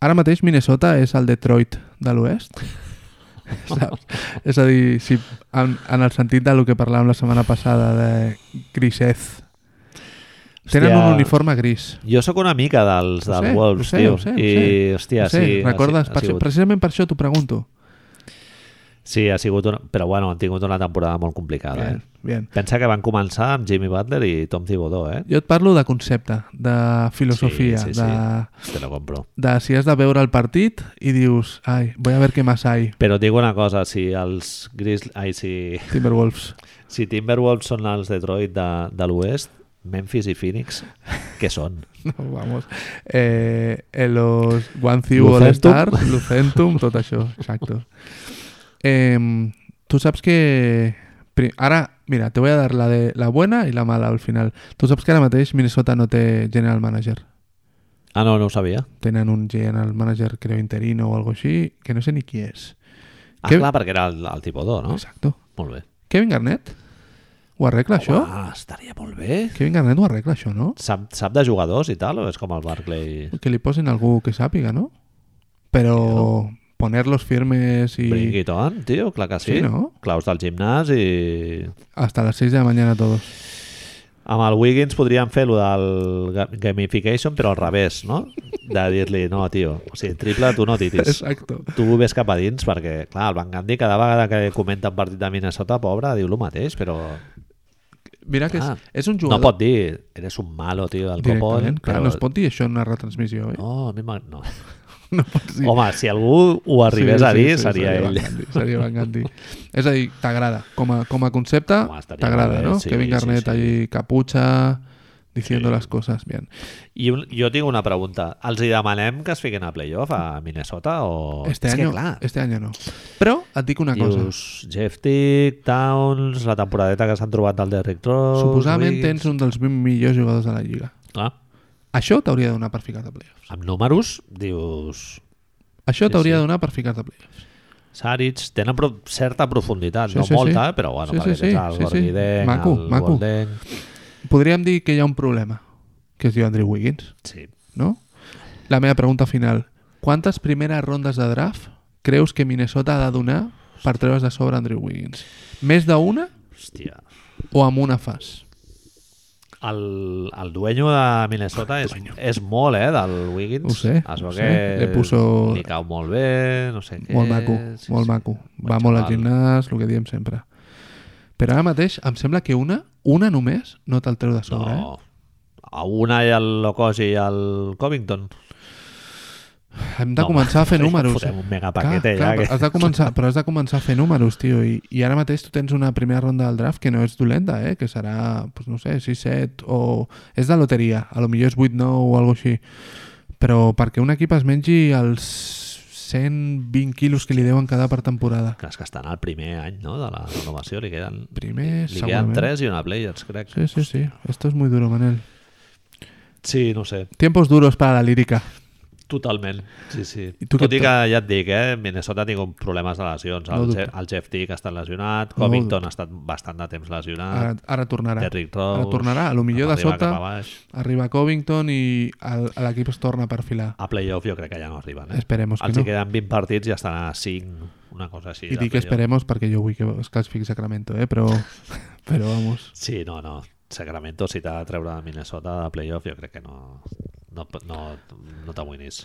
Speaker 2: Ara mateix Minnesota és el Detroit de l'oest. Saps? és a dir, si en, en el sentit del que parlàvem la setmana passada de grisez. Tenen
Speaker 1: Hòstia.
Speaker 2: un uniforme gris.
Speaker 1: Jo sóc una mica dels,
Speaker 2: Ho
Speaker 1: dels
Speaker 2: sé,
Speaker 1: Wolves,
Speaker 2: ho sé,
Speaker 1: tio.
Speaker 2: ho sé, ho
Speaker 1: I,
Speaker 2: sé.
Speaker 1: hòstia,
Speaker 2: No sé,
Speaker 1: sí. ha
Speaker 2: recordes?
Speaker 1: si- ha
Speaker 2: Per això,
Speaker 1: sigut-
Speaker 2: precisament per això t'ho pregunto.
Speaker 1: Sí, ha sigut una... Però bueno, han tingut una temporada molt complicada,
Speaker 2: Bien,
Speaker 1: eh?
Speaker 2: bien.
Speaker 1: Pensa que van començar amb Jimmy Butler i Tom Thibodeau, eh?
Speaker 2: Jo et parlo de concepte, de filosofia,
Speaker 1: Sí, sí, sí.
Speaker 2: de...
Speaker 1: Te lo compro.
Speaker 2: de si has de veure el partit i dius, ai, voy a ver què més hay,
Speaker 1: Però et dic una cosa, si els Grizzlies... Ai, si,
Speaker 2: Timberwolves.
Speaker 1: si Timberwolves són els Detroit de, de l'oest, Memphis i Phoenix, què són?
Speaker 2: No, vamos. Eh, en los One Few
Speaker 1: Lucentum.
Speaker 2: All-Star, Lucentum, tot això, exacto. Eh, tu saps que... pri- Ara, mira, te voy a dar la, de, la buena i la mala al final. Tu saps que ara mateix Minnesota no té general manager.
Speaker 1: Ah, no, no ho sabia.
Speaker 2: Tenen un general manager, creo, interino o algo així, que no sé ni qui és.
Speaker 1: Ah,
Speaker 2: Què-
Speaker 1: clar, perquè era el, el tipus 2, no?
Speaker 2: Exacto.
Speaker 1: Molt bé.
Speaker 2: Kevin Garnett? Ho arregla, això?
Speaker 1: Ah, estaria molt bé.
Speaker 2: Kevin Garnett ho arregla, això, no?
Speaker 1: Sap, sap de jugadors i tal, o és com el Barclay
Speaker 2: pues, Que li posin algú que sàpiga, no? Però ponerlos firmes
Speaker 1: i...
Speaker 2: i
Speaker 1: Bring it on, tio? Clar que sí.
Speaker 2: Sí, no?
Speaker 1: Claus del gimnàs i...
Speaker 2: hasta las 6 de la mañana todos.
Speaker 1: Amb el Wiggins podríem fer lo del ga- gamification, però al revés, no? De dir-li, no, tio, o sigui, triple tu no titis.
Speaker 2: Exacto.
Speaker 1: Tu ves cap a dins, perquè, clar, el Van Gandhi cada vegada que comenta un partit de Minnesota, pobre, diu el mateix, però
Speaker 2: Mira que
Speaker 1: Ah,
Speaker 2: és, és un
Speaker 1: no
Speaker 2: jugador...
Speaker 1: pot dir, eres un malo, tio, del
Speaker 2: directament.
Speaker 1: Copon.
Speaker 2: Clar,
Speaker 1: però...
Speaker 2: no es pot dir això en una retransmissió, eh?
Speaker 1: No, a mi m'ag- no.
Speaker 2: No pots dir.
Speaker 1: Home, si algú ho arribés
Speaker 2: Sí,
Speaker 1: a
Speaker 2: sí,
Speaker 1: dir,
Speaker 2: sí,
Speaker 1: seria
Speaker 2: Van
Speaker 1: ell.
Speaker 2: Gundy, seria Van Gandhi. és a dir, t'agrada. Com, a, com a concepte,
Speaker 1: Home, estaria
Speaker 2: t'agrada,
Speaker 1: molt bé,
Speaker 2: no?
Speaker 1: sí,
Speaker 2: Kevin
Speaker 1: sí,
Speaker 2: Garnett
Speaker 1: sí.
Speaker 2: allí, caputxa, diciendo las cosas bien.
Speaker 1: I un, jo tinc una pregunta. Els hi demanem que es fiquin a playoff a Minnesota o...
Speaker 2: Este
Speaker 1: és
Speaker 2: año,
Speaker 1: que, clar,
Speaker 2: este año no. Però et dic una cosa.
Speaker 1: dius Jeff Tick, Towns, la temporadeta que s'han trobat del Derrick Rose...
Speaker 2: Suposadament
Speaker 1: Wiggins.
Speaker 2: tens un dels 20 millors jugadors de la Lliga.
Speaker 1: Clar,
Speaker 2: Això t'hauria de donar per ficar-te a playoffs.
Speaker 1: amb números, dius...
Speaker 2: Això
Speaker 1: Sí,
Speaker 2: t'hauria
Speaker 1: sí.
Speaker 2: de donar per ficar-te a playoffs.
Speaker 1: Saric, tenen pro certa profunditat,
Speaker 2: Sí,
Speaker 1: no
Speaker 2: sí,
Speaker 1: molta,
Speaker 2: sí.
Speaker 1: però bueno,
Speaker 2: Sí,
Speaker 1: perquè
Speaker 2: sí,
Speaker 1: tens
Speaker 2: sí,
Speaker 1: el
Speaker 2: sí, sí.
Speaker 1: Gordiden,
Speaker 2: Maco,
Speaker 1: el
Speaker 2: maco.
Speaker 1: Golden...
Speaker 2: Podríem dir que hi ha un problema, que es diu Andrew Wiggins,
Speaker 1: Sí.
Speaker 2: no? La meva pregunta final. Quantes primeres rondes de draft creus que Minnesota ha de donar per treure's de sobre Andrew Wiggins? Més d'una
Speaker 1: Hòstia.
Speaker 2: o amb una fas?
Speaker 1: El, el dueño de Minnesota és, és molt, eh, del Wiggins.
Speaker 2: Ho sé,
Speaker 1: Es
Speaker 2: ho
Speaker 1: veu
Speaker 2: sé.
Speaker 1: que
Speaker 2: Le puso-
Speaker 1: li cau molt bé, no sé què...
Speaker 2: Molt maco,
Speaker 1: Eh, Sí,
Speaker 2: molt
Speaker 1: sí.
Speaker 2: maco. Va
Speaker 1: Bon
Speaker 2: molt al
Speaker 1: xaval.
Speaker 2: gimnàs, el que diem sempre. Però ara mateix em sembla que una, una només, no te'l treu de sobre, eh?
Speaker 1: No. A una i el Locosi i el Covington.
Speaker 2: Hem de no, començar a fer números.
Speaker 1: Fotem un megapaquete clar,
Speaker 2: clar,
Speaker 1: ja.
Speaker 2: has de començar, però has de començar a fer números, tio, i, i ara mateix tu tens una primera ronda del draft que no és dolenta, eh? que serà, pues, no sé, 6-7 o... És de loteria, a lo millor és 8-9 o alguna així. Però perquè un equip es mengi els 120 quilos que li deuen cada per temporada.
Speaker 1: Que... És que estan al primer any no? de la renovació, li queden, li
Speaker 2: Primer,
Speaker 1: queden
Speaker 2: segurament.
Speaker 1: 3 i una Players, crec.
Speaker 2: Sí, sí, sí. Esto es muy duro, Manel.
Speaker 1: sí no sé.
Speaker 2: Tiempos duros para la lírica.
Speaker 1: Totalment, sí, sí.
Speaker 2: I
Speaker 1: Tu
Speaker 2: tu què
Speaker 1: Tot i
Speaker 2: et-
Speaker 1: que ja et dic, eh, Minnesota ha tingut problemes de lesions.
Speaker 2: No
Speaker 1: El,
Speaker 2: dubte.
Speaker 1: Je el Jeff Tick ha estat lesionat,
Speaker 2: No
Speaker 1: Covington ha estat bastant de temps lesionat,
Speaker 2: Ara, ara tornarà.
Speaker 1: Derrick Rose...
Speaker 2: Ara tornarà. A lo millor
Speaker 1: Ah. cap arriba,
Speaker 2: de sobte
Speaker 1: cap A, baix.
Speaker 2: arriba Covington i el- l'equip es torna a perfilar.
Speaker 1: a playoff jo crec que ja no arriben. Eh?
Speaker 2: Esperemos que
Speaker 1: Els
Speaker 2: no.
Speaker 1: hi queden 20 partits i ja estan a 5, una cosa així.
Speaker 2: I
Speaker 1: de
Speaker 2: dic
Speaker 1: playoff.
Speaker 2: esperemos perquè jo vull que es classifiqui Sacramento, eh? però, però vamos.
Speaker 1: Sí, no, no. Sacramento, si t'ha de treure de Minnesota de playoff, jo crec que no, no, no, no t'amoïnis.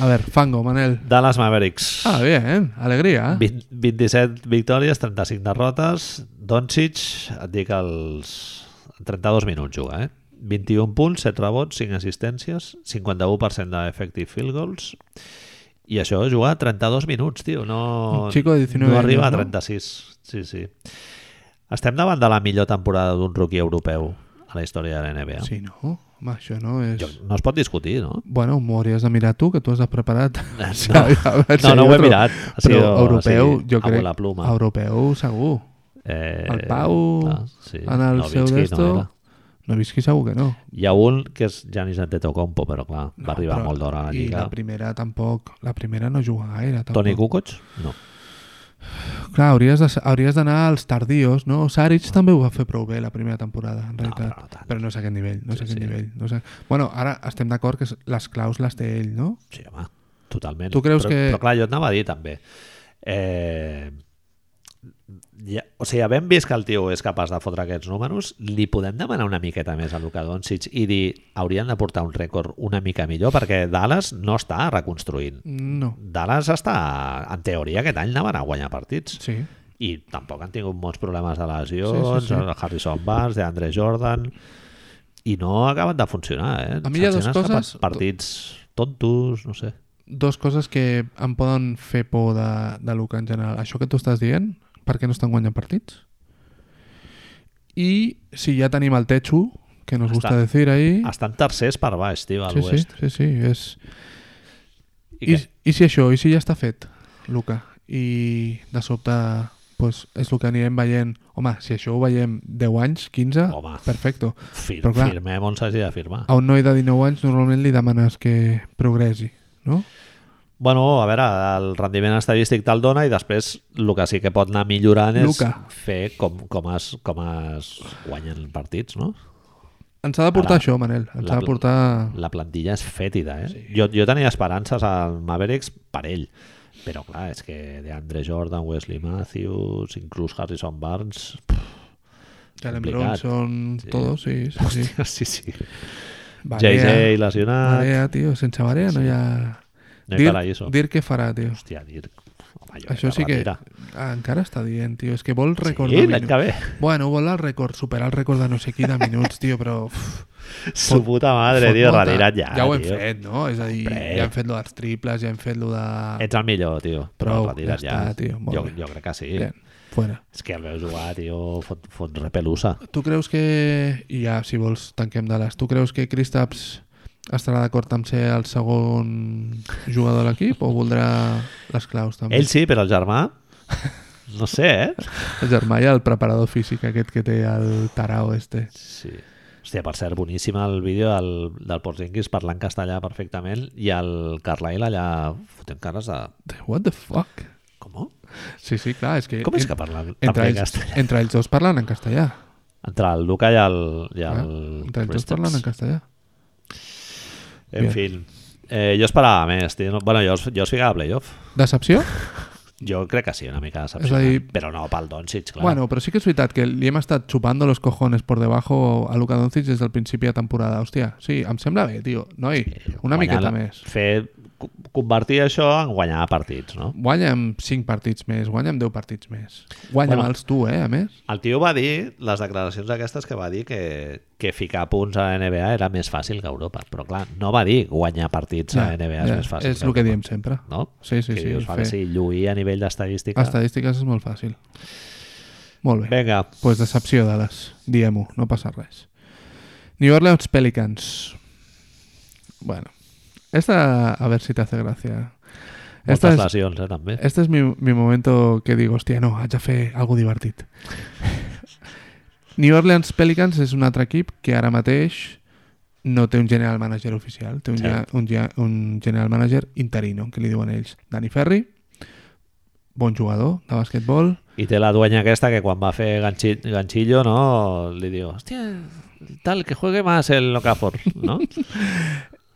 Speaker 2: A veure, Fango, Manel.
Speaker 1: Dallas Mavericks.
Speaker 2: Ah, bien, alegria. eh?
Speaker 1: 20, 27 victòries, 35 derrotes. Doncic, et dic els 32 minuts juga, eh? 21 punts, 7 rebots, 5 assistències, 51% d'effective field goals. I això és jugar 32 minuts, tio. No,
Speaker 2: Un chico de 19
Speaker 1: no arriba
Speaker 2: años,
Speaker 1: a
Speaker 2: no?
Speaker 1: 36. Sí, sí. Estem davant de la millor temporada d'un rookie europeu a la història de la NBA.
Speaker 2: Sí, no? Home, això no és...
Speaker 1: Jo, no es pot discutir, no?
Speaker 2: Bueno, m'ho hauries de mirar tu, que tu has preparat.
Speaker 1: No.
Speaker 2: no,
Speaker 1: No, no ho he mirat. Ha
Speaker 2: Però
Speaker 1: sido
Speaker 2: europeu,
Speaker 1: así,
Speaker 2: jo
Speaker 1: a
Speaker 2: crec...
Speaker 1: volar pluma.
Speaker 2: Europeu, segur.
Speaker 1: Eh,
Speaker 2: El Pau,
Speaker 1: sí.
Speaker 2: en el seu
Speaker 1: Nowitzki
Speaker 2: d'esto-
Speaker 1: era.
Speaker 2: No visqui segur que no.
Speaker 1: Hi ha un que és Janis Antetokounmpo, però clar, no, va arribar
Speaker 2: però-
Speaker 1: molt d'hora a la
Speaker 2: I
Speaker 1: Lliga.
Speaker 2: la primera tampoc. La primera no juga gaire. Tampoc.
Speaker 1: Toni Kukoc? No.
Speaker 2: Clar, hauries de- hauries d'anar als tardios, no? Saric també ho va fer prou bé la primera temporada, en realitat.
Speaker 1: però no tant.
Speaker 2: però no és aquest nivell, no és
Speaker 1: Ah, Sí,
Speaker 2: aquest
Speaker 1: sí.
Speaker 2: nivell. No és... a- Bueno, ara estem d'acord que s- les claus les té ell, no?
Speaker 1: Sí, home, totalment.
Speaker 2: Tu creus
Speaker 1: però,
Speaker 2: que-
Speaker 1: Però clar, jo et anava a dir també. Eh, ja, o sigui, havent vist que el tio és capaç de fotre aquests números, li podem demanar una miqueta més a Luka Doncic i dir, haurien de portar un rècord una mica millor perquè Dallas no està reconstruint.
Speaker 2: No.
Speaker 1: Dallas està, en teoria, aquest any anaven a guanyar partits.
Speaker 2: Sí.
Speaker 1: i tampoc han tingut molts problemes de
Speaker 2: Sí,
Speaker 1: lesions,
Speaker 2: sí, sí.
Speaker 1: el Harrison Barnes, de Andre Jordan, i no acaben de funcionar, eh?
Speaker 2: A mi hi ha
Speaker 1: Se'ls
Speaker 2: dues
Speaker 1: han escapat
Speaker 2: coses-
Speaker 1: Partits tontos, no sé.
Speaker 2: Dos coses que em poden fer por de, de Luca en general. Això que tu estàs dient, per què no estan guanyant partits? I si ja tenim el Techu, que nos gusta
Speaker 1: Està-
Speaker 2: decir ahí...
Speaker 1: Estan tercers per baix, tio, a
Speaker 2: Sí, sí,
Speaker 1: l'oest.
Speaker 2: sí, sí, és...
Speaker 1: Sí,
Speaker 2: I, I si això, i si ja està fet, Luca, i de sobte pues, és el que anirem veient. Home, si això ho veiem 10 anys, 15,
Speaker 1: Home.
Speaker 2: perfecto.
Speaker 1: Fir
Speaker 2: però clar-
Speaker 1: firmem on s'hagi de firmar.
Speaker 2: A un noi de 19 anys normalment li demanes que progressi, no?
Speaker 1: Bueno, a veure, el rendiment estadístic te'l dona i després el que sí que pot anar millorant és
Speaker 2: Luka.
Speaker 1: fer com, com, es, com es guanyen partits, no?
Speaker 2: Ens ha de portar
Speaker 1: Ara,
Speaker 2: això, Manel. Ens
Speaker 1: la pla-
Speaker 2: ha de portar...
Speaker 1: la plantilla és fètida, eh? Sí. Jo, jo tenia esperances al Mavericks per ell, però clar, és que de Andre Jordan, Wesley Matthews, inclús Harrison Barnes... Pff,
Speaker 2: Jalen
Speaker 1: complicat.
Speaker 2: Bronson,
Speaker 1: Sí.
Speaker 2: todos, sí, sí, sí.
Speaker 1: sí, sí.
Speaker 2: Barea,
Speaker 1: JJ lesionat...
Speaker 2: Barea, tio, sense Barea no hi ha...
Speaker 1: No hi
Speaker 2: dir,
Speaker 1: paraíso.
Speaker 2: dir què farà, tio.
Speaker 1: Hòstia, Dirk... Home, jo
Speaker 2: Això sí que...
Speaker 1: Retira.
Speaker 2: Ah, encara està dient, tio. És que vol record
Speaker 1: Sí,
Speaker 2: de
Speaker 1: l'any
Speaker 2: minuts.
Speaker 1: que ve.
Speaker 2: Bueno, vol el rècord, superar el rècord de no sé qui de minuts, tio, però... Uf,
Speaker 1: Su puta madre,
Speaker 2: fot
Speaker 1: tio,
Speaker 2: molta-
Speaker 1: retirat ja.
Speaker 2: Ja ho hem
Speaker 1: tio.
Speaker 2: fet, no? És a dir,
Speaker 1: Hombre. Eh,
Speaker 2: ja hem fet lo dels triples, ja hem fet lo de...
Speaker 1: Ets el millor, tio. Però
Speaker 2: Prou,
Speaker 1: retirat
Speaker 2: ja
Speaker 1: ja.
Speaker 2: està, tio, molt
Speaker 1: jo,
Speaker 2: bé.
Speaker 1: jo crec que sí.
Speaker 2: Bien, fuera.
Speaker 1: És que el veus jugar, tio, fot, fot repelusa.
Speaker 2: Tu creus que... I ja, si vols, tanquem Dallas. Tu creus que Kristaps estarà d'acord amb ser el segon jugador de l'equip o voldrà les claus també?
Speaker 1: Ell sí, però el germà... No sé, eh?
Speaker 2: El germà i el preparador físic aquest que té el tarao este.
Speaker 1: Sí. Hòstia, per cert, boníssim el vídeo del, del Porzingis parlant castellà perfectament i el Carlyle allà fotent cares de...
Speaker 2: What the fuck?
Speaker 1: Com?
Speaker 2: Sí, sí, clar, és que...
Speaker 1: Com és que parla
Speaker 2: entre
Speaker 1: també en
Speaker 2: ells,
Speaker 1: castellà?
Speaker 2: Entre ells dos parlen en castellà.
Speaker 1: Entre el Luca i el... I
Speaker 2: Ah,
Speaker 1: el
Speaker 2: entre ells dos
Speaker 1: Christians.
Speaker 2: parlen en castellà.
Speaker 1: En fi, eh, jo esperava més, tio. No- Bueno, jo, us- jo us ficava a playoff.
Speaker 2: Decepció?
Speaker 1: Jo crec que sí, una mica
Speaker 2: És a
Speaker 1: decepcionant.
Speaker 2: dir-
Speaker 1: Però no pel Doncic, clar.
Speaker 2: Bueno, però sí que és veritat que li hem estat xupando los cojones por debajo a Luka Doncic des del principi de temporada. Hòstia, sí, em sembla bé, tio. Noi, una
Speaker 1: Guanyar
Speaker 2: miqueta
Speaker 1: la-
Speaker 2: més.
Speaker 1: Fer co- convertir això en guanyar partits, no?
Speaker 2: Guanya amb 5 partits més, guanya amb 10 partits més.
Speaker 1: Bueno.
Speaker 2: Guanya bueno. els tu, eh, a més.
Speaker 1: El tio va dir, les declaracions aquestes que va dir que, que ficar punts a la NBA era més fàcil que a Europa, però clar, no va dir guanyar partits a la NBA és més fàcil
Speaker 2: És el que
Speaker 1: Europa,
Speaker 2: diem sempre.
Speaker 1: No?
Speaker 2: Sí, sí,
Speaker 1: que
Speaker 2: sí.
Speaker 1: dius, vale,
Speaker 2: fer
Speaker 1: sí, lluir a nivell d'estadística.
Speaker 2: Estadístiques és molt fàcil. Molt bé.
Speaker 1: Vinga,
Speaker 2: Doncs pues decepció, Dallas. Diem-ho, no passa res. New Orleans Pelicans. Bueno. Esta, a ver si te hace gracia. Esta
Speaker 1: moltes
Speaker 2: és,
Speaker 1: lesions, eh, també.
Speaker 2: este es mi, mi momento que digo, hòstia, no, haig de fer alguna divertit. New Orleans Pelicans és un altre equip que ara mateix no té un general manager oficial, té un,
Speaker 1: Cert.
Speaker 2: ge- un, ge- un general manager interino, que li diuen ells. Dani Ferri, bon jugador de basquetbol,
Speaker 1: I té la dueña aquesta que quan va fer ganchi, ganchillo, no? Li diu, hòstia, tal, que juegue más el Okafor, no?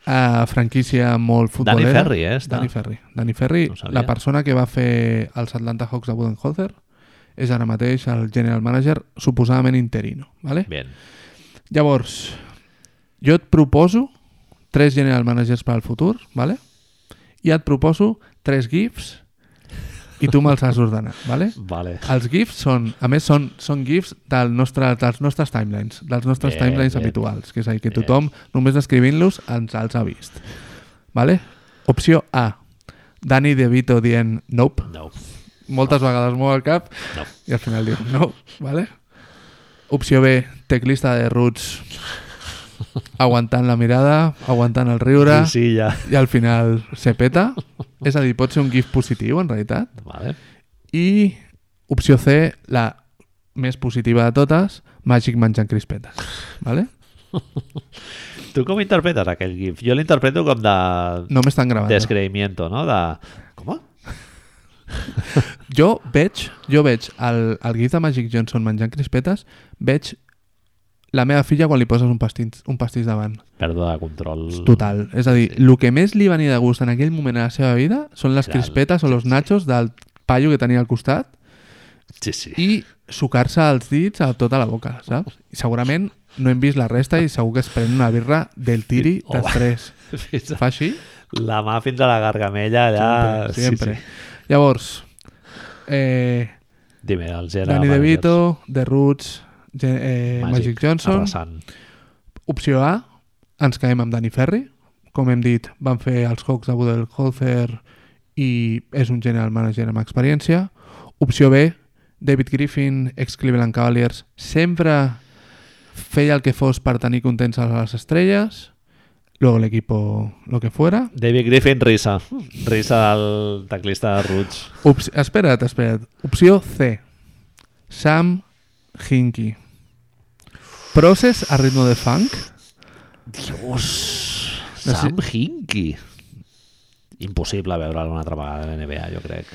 Speaker 2: a franquícia molt
Speaker 1: Dani
Speaker 2: futbolera.
Speaker 1: Ferri, eh, està.
Speaker 2: Dani Ferri. Dani Ferri,
Speaker 1: No ho sabia.
Speaker 2: la persona que va fer els Atlanta Hawks de Budenholzer, és ara mateix el general manager suposadament interino. ¿vale?
Speaker 1: Bien.
Speaker 2: Llavors, jo et proposo tres general managers per al futur, ¿vale? i et proposo tres GIFs i tu me'ls has d'ordenar. ¿vale?
Speaker 1: Vale.
Speaker 2: Els GIFs són, a més, són, són GIFs del nostre, dels nostres timelines, dels nostres
Speaker 1: Bé,
Speaker 2: timelines
Speaker 1: bé.
Speaker 2: habituals, que és a dir, que
Speaker 1: Bé.
Speaker 2: tothom, només escrivint-los, ens els ha vist. Vale? Opció A. Dani De Vito dient nope.
Speaker 1: No,
Speaker 2: Moltes vegades mou el cap
Speaker 1: no.
Speaker 2: i al final diu no, vale? Opció B. Teclista de Roots aguantant la mirada, aguantant el riure
Speaker 1: Sí, sí, ja.
Speaker 2: i al final se peta. És a dir, pot ser un GIF positiu, en realitat.
Speaker 1: Vale.
Speaker 2: I opció C, la més positiva de totes, Magic menjant crispetes. Vale?
Speaker 1: Tu com interpretes aquell GIF? Jo l'interpreto com de
Speaker 2: No m'estan gravant.
Speaker 1: descreimiento, no? De... Com?
Speaker 2: Jo veig, jo veig el, el gif de Magic Johnson menjant crispetes, veig la meva filla quan li poses un pastís, un pastís davant.
Speaker 1: Pèrdua de control.
Speaker 2: Total. És a dir, el que més li venia de gust en aquell moment a la seva vida són les
Speaker 1: Clar,
Speaker 2: crispetes o los nachos del paio que tenia al costat
Speaker 1: Sí, sí.
Speaker 2: i sucar-se els dits a tota la boca, saps? I segurament no hem vist la resta i segur que es pren una birra del tiri
Speaker 1: Oh, va.
Speaker 2: després.
Speaker 1: Fins a...
Speaker 2: Fa així?
Speaker 1: La mà fins a la gargamella, allà...
Speaker 2: Sempre, sempre. Llavors, eh,
Speaker 1: Sí, sí. Dime, el Gerard.
Speaker 2: Danny DeVito, The Roots, Ge- eh, Magic, Johnson.
Speaker 1: Arrasant.
Speaker 2: Opció A, ens quedem amb Danny Ferry. Com hem dit, van fer els Hawks de Budenholzer i és un general manager amb experiència. Opció B, David Griffin, ex-Cleveland Cavaliers, sempre feia el que fos per tenir contents a les estrelles, luego el equipo lo que fuera,
Speaker 1: David Griffin, risa. Risa del teclista de Roots.
Speaker 2: Ups, espera't, espera't. Opció C. Sam Hinky. Process a ritmo de funk.
Speaker 1: Dios!
Speaker 2: No sé-
Speaker 1: Sam Hinkie. Impossible veure'l una altra vegada a la NBA, jo crec.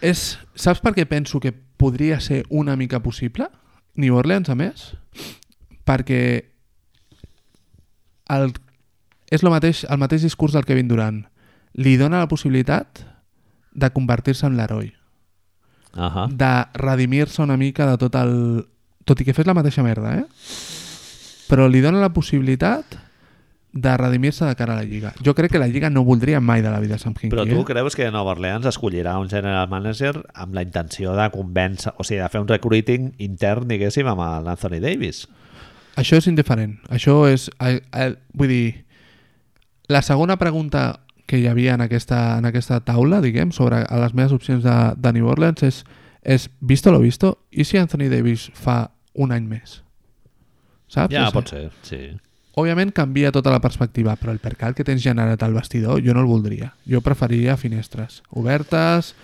Speaker 2: És, saps per què penso que podria ser una mica possible? New Orleans, a més? Perquè el, és el mateix, el mateix discurs del Kevin Durant. Li dona la possibilitat de convertir-se en l'heroi.
Speaker 1: Ahà.
Speaker 2: de redimir-se una mica de tot el... Tot i que fes la mateixa merda, eh? Però li dona la possibilitat de redimir-se de cara a la Lliga. Jo crec que la Lliga no voldria mai de la vida Sam Hinkie.
Speaker 1: Però tu
Speaker 2: eh?
Speaker 1: creus que Nova Orleans escollirà un general manager amb la intenció de convèncer, o sigui, de fer un recruiting intern, diguéssim, amb l'Anthony Davis?
Speaker 2: Això és indiferent. Això és... El, el, vull dir... La segona pregunta que hi havia en aquesta, en aquesta taula, diguem, sobre a les meves opcions de, de New Orleans és, és visto lo visto, i si Anthony Davis fa un any més? Saps?
Speaker 1: Ja,
Speaker 2: És-
Speaker 1: pot ser, sí.
Speaker 2: Òbviament canvia tota la perspectiva, però el percal que tens generat al vestidor jo no el voldria. Jo preferiria finestres obertes,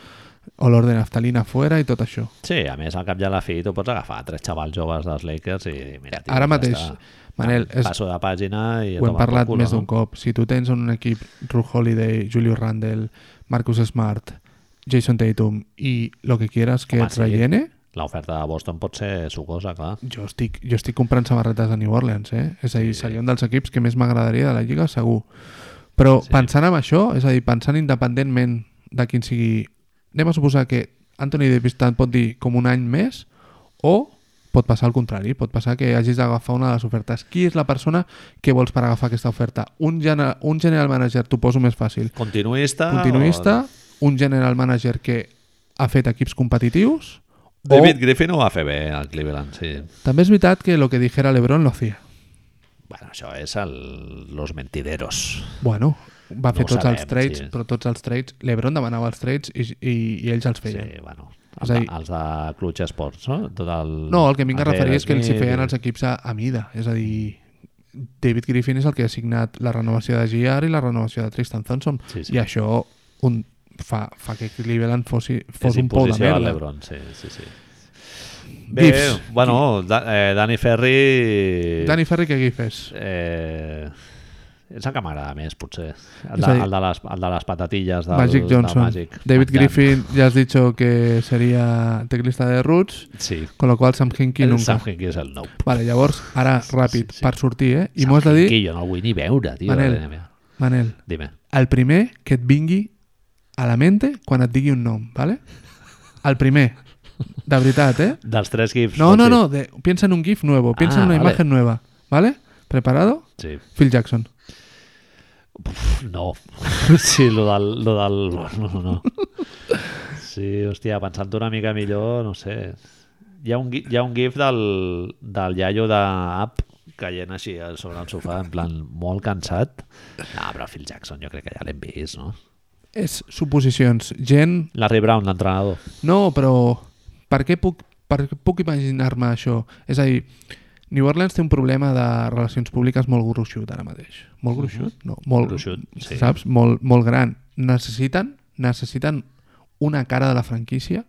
Speaker 2: olor de naftalina fora i tot això.
Speaker 1: Sí, a més, al cap i a la fi, tu pots agafar tres xavals joves dels Lakers i... dir, Mira, tio,
Speaker 2: Ara
Speaker 1: ja
Speaker 2: mateix,
Speaker 1: està.
Speaker 2: Manel, és,
Speaker 1: Passo de pàgina i... a
Speaker 2: ho hem
Speaker 1: tomar per
Speaker 2: parlat
Speaker 1: culo,
Speaker 2: més
Speaker 1: no?
Speaker 2: d'un cop. Si tu tens en un equip Ru Holiday, Julius Randle, Marcus Smart, Jason Tatum i lo que quieras que
Speaker 1: Home,
Speaker 2: et
Speaker 1: sí.
Speaker 2: rellene,
Speaker 1: L'oferta de Boston pot ser sucosa, clar.
Speaker 2: jo estic, jo estic comprant samarretes de New Orleans, eh? És a dir,
Speaker 1: Sí.
Speaker 2: seria un dels equips que més m'agradaria de la Lliga, segur. Però
Speaker 1: Sí.
Speaker 2: sí. pensant en això, és a dir, pensant independentment de quin sigui... Anem a suposar que Anthony Davis tant pot dir com un any més o pot passar al contrari, pot passar que hagis d'agafar una de les ofertes. Qui és la persona que vols per agafar aquesta oferta? Un, gener, un general manager, t'ho poso més fàcil.
Speaker 1: Continuista...
Speaker 2: Continuista, un general manager que ha fet equips competitius...
Speaker 1: O... David Griffin ho va fer bé al Cleveland, sí.
Speaker 2: També és veritat que lo que dijera l'Ebron lo hacía.
Speaker 1: Bueno, això és el... los mentideros.
Speaker 2: Bueno, va fer
Speaker 1: ho
Speaker 2: tots els
Speaker 1: sabem,
Speaker 2: trades,
Speaker 1: sí.
Speaker 2: però tots els trades... L'Ebron demanava els trades i, i, i ells els
Speaker 1: Sí,
Speaker 2: feien.
Speaker 1: bueno. Els
Speaker 2: És a
Speaker 1: de,
Speaker 2: dir-
Speaker 1: els de Clutch Sports, no? Tot el,
Speaker 2: No, el que vinc a
Speaker 1: J.R.
Speaker 2: referir és que els hi
Speaker 1: Smith
Speaker 2: feien
Speaker 1: i-
Speaker 2: els equips a, a mida. És a dir, David Griffin és el que ha signat la renovació de GR i la renovació de Tristan Thompson.
Speaker 1: Sí, sí.
Speaker 2: I això un, fa, fa que Cleveland fossi, fos
Speaker 1: És
Speaker 2: un pou de
Speaker 1: imposició a
Speaker 2: merda.
Speaker 1: l'Ebron, sí, sí, sí. Bé,
Speaker 2: Dips.
Speaker 1: bueno, da, eh, Dani Ferri...
Speaker 2: Dani Ferri, què aquí fes?
Speaker 1: Eh, és el que m'agrada més, potser. El
Speaker 2: És
Speaker 1: de,
Speaker 2: a dir-
Speaker 1: el de, les, el de les patatilles del,
Speaker 2: Magic Johnson.
Speaker 1: Del Magic.
Speaker 2: David
Speaker 1: Menjant.
Speaker 2: Griffin, ya has dicho que sería teclista de Roots,
Speaker 1: Sí.
Speaker 2: con lo cual Sam Hinkie
Speaker 1: El
Speaker 2: nunca.
Speaker 1: Sam Hinkie és el nou.
Speaker 2: Vale, llavors, ara, ràpid,
Speaker 1: sí.
Speaker 2: per sortir, eh? I
Speaker 1: Sam
Speaker 2: m'ho has de dir,
Speaker 1: Hinkie jo no el vull ni veure, tio.
Speaker 2: Manel.
Speaker 1: de l'NBA.
Speaker 2: Manel,
Speaker 1: Dime.
Speaker 2: el primer que et vingui a la mente quan et digui un nom, vale? El primer. De veritat, eh?
Speaker 1: Dels tres gifs.
Speaker 2: No,
Speaker 1: pots
Speaker 2: no,
Speaker 1: dir?
Speaker 2: no. de- piensa en un GIF nuevo. Piensa
Speaker 1: Ah,
Speaker 2: en una
Speaker 1: vale.
Speaker 2: imagen nueva. ¿Vale? ¿Preparado?
Speaker 1: Sí.
Speaker 2: Phil Jackson.
Speaker 1: No. Sí, lo del... Lo del... No, no, no. Sí, hòstia, pensant una mica millor, no sé. Hi ha un, gui- hi ha un gif del, del iaio d'App caient així a sobre el sofà, en plan molt cansat. No, però Phil Jackson jo crec que ja l'hem vist, no?
Speaker 2: És suposicions. Gent...
Speaker 1: Larry Brown, l'entrenador.
Speaker 2: No, però... Per què puc, per què puc imaginar-me això? És a dir, New Orleans té un problema de relacions públiques molt gruixut ara mateix. Molt gruixut? No, molt...
Speaker 1: Gruixut, sí.
Speaker 2: Saps? Molt, molt gran. Necessiten, necessiten una cara de la franquícia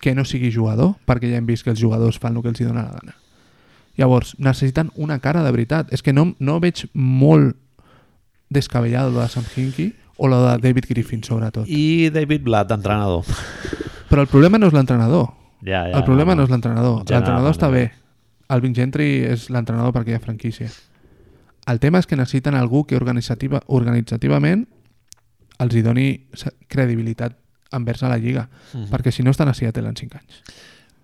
Speaker 2: que no sigui jugador, perquè ja hem vist que els jugadors fan el que els hi dona la gana. Llavors, necessiten una cara de veritat. És que no, no veig molt descabellado lo de Sam Hinkie o lo de David Griffin, sobretot.
Speaker 1: I David Blatt, entrenador.
Speaker 2: Però el problema no és l'entrenador.
Speaker 1: Ja, ja,
Speaker 2: El problema no és l'entrenador.
Speaker 1: Ja,
Speaker 2: L'entrenador
Speaker 1: no,
Speaker 2: està
Speaker 1: no.
Speaker 2: bé. El Vin Gentry és l'entrenador per aquella franquícia. El tema és que necessiten algú que organitzativa, organitzativament els hi doni sa- credibilitat envers a la Lliga,
Speaker 1: Mhm.
Speaker 2: perquè si no estan a Seattle en 5 anys.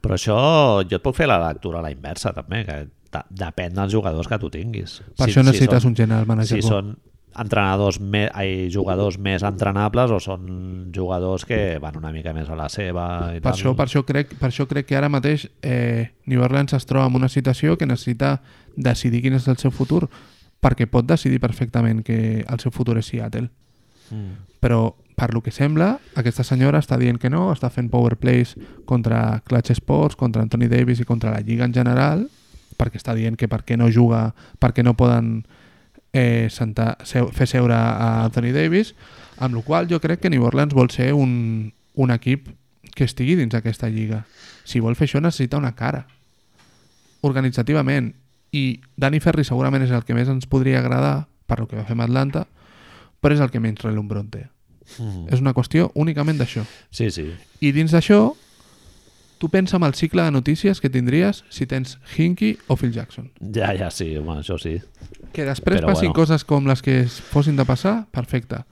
Speaker 1: Però això jo et puc fer la lectura a la inversa, també, que de- depèn dels jugadors que tu tinguis.
Speaker 2: Per
Speaker 1: Si-
Speaker 2: això
Speaker 1: si
Speaker 2: necessites
Speaker 1: són-
Speaker 2: un general manager
Speaker 1: si
Speaker 2: bo.
Speaker 1: són entrenadors me, ai, jugadors més entrenables o són jugadors que van una mica més a la seva i tal.
Speaker 2: Per això, per, això crec, per això crec que ara mateix eh, New Orleans es troba en una situació que necessita decidir quin és el seu futur, perquè pot decidir perfectament que el seu futur és Seattle.
Speaker 1: Mm.
Speaker 2: Però, per lo que sembla, aquesta senyora està dient que no, està fent powerplays contra Clutch Sports, contra Anthony Davis i contra la Lliga en general, perquè està dient que per què no juga, per què no poden eh, sentar, seu, fer seure a Anthony Davis, amb la qual jo crec que New Orleans vol ser un, un equip que estigui dins aquesta lliga. Si vol fer això necessita una cara, organitzativament. I Dani Ferri segurament és el que més ens podria agradar per lo que va fer amb Atlanta, però és el que menys relumbrón té.
Speaker 1: Mm.
Speaker 2: És una qüestió únicament d'això.
Speaker 1: Sí, sí.
Speaker 2: I dins d'això, tu pensa en el cicle de notícies que tindries si tens Hinky o Phil Jackson.
Speaker 1: Ja, ja, sí, home, això sí.
Speaker 2: Que després
Speaker 1: Però
Speaker 2: Però passin
Speaker 1: bueno.
Speaker 2: bueno. coses com les que es fossin de passar, perfecte.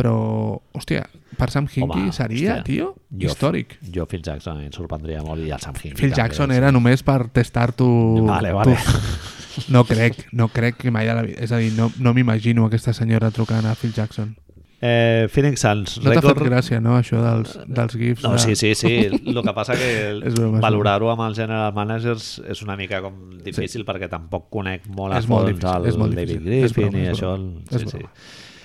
Speaker 2: Però, hòstia, per Sam Hinky
Speaker 1: Home,
Speaker 2: Home,
Speaker 1: hòstia,
Speaker 2: seria, hòstia, tio,
Speaker 1: jo-
Speaker 2: històric.
Speaker 1: Jo Phil Jackson em sorprendria molt i el Sam Hinkie.
Speaker 2: Phil
Speaker 1: també,
Speaker 2: Jackson
Speaker 1: sí.
Speaker 2: era només per testar tu...
Speaker 1: Vale, vale.
Speaker 2: Tu... No crec, no crec que mai de la vida... És a dir, no, no m'imagino aquesta senyora trucant a Phil Jackson.
Speaker 1: Eh, Phoenix Suns,
Speaker 2: No t'ha fet
Speaker 1: rècord...
Speaker 2: gràcia, no, això dels, dels
Speaker 1: Eh,
Speaker 2: gifs?
Speaker 1: No,
Speaker 2: de-
Speaker 1: sí, sí, sí. El que passa que el-
Speaker 2: És broma, és
Speaker 1: valorar-ho amb els general managers és una mica com difícil sí. perquè tampoc conec molt a
Speaker 2: És molt
Speaker 1: fons
Speaker 2: difícil,
Speaker 1: el
Speaker 2: és molt
Speaker 1: David
Speaker 2: difícil. És
Speaker 1: Griffin
Speaker 2: broma,
Speaker 1: i
Speaker 2: és
Speaker 1: això...
Speaker 2: broma,
Speaker 1: El...
Speaker 2: és
Speaker 1: Sí, sí.
Speaker 2: broma.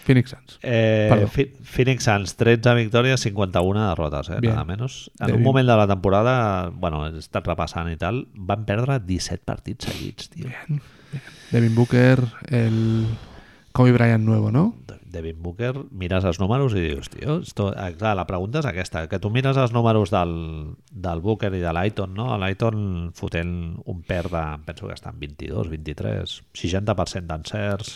Speaker 2: Phoenix Suns.
Speaker 1: Eh,
Speaker 2: Perdó.
Speaker 1: Fi- Phoenix Suns, 13 victòries, 51 derrotes, eh?
Speaker 2: Bien.
Speaker 1: nada menos. En
Speaker 2: Débil.
Speaker 1: un moment de la temporada, bueno, he estat repassant i tal, van perdre 17 partits seguits, tio.
Speaker 2: Devin Booker, el Kobe Bryant nuevo, ¿no?
Speaker 1: De- Devin Booker, mires els números i dius, tio, esto... ah, clar, la pregunta és aquesta, que tu mires els números del, del Booker i de l'Aiton, no? L'Aiton fotent un per de, penso que estan 22, 23, 60% d'encerts,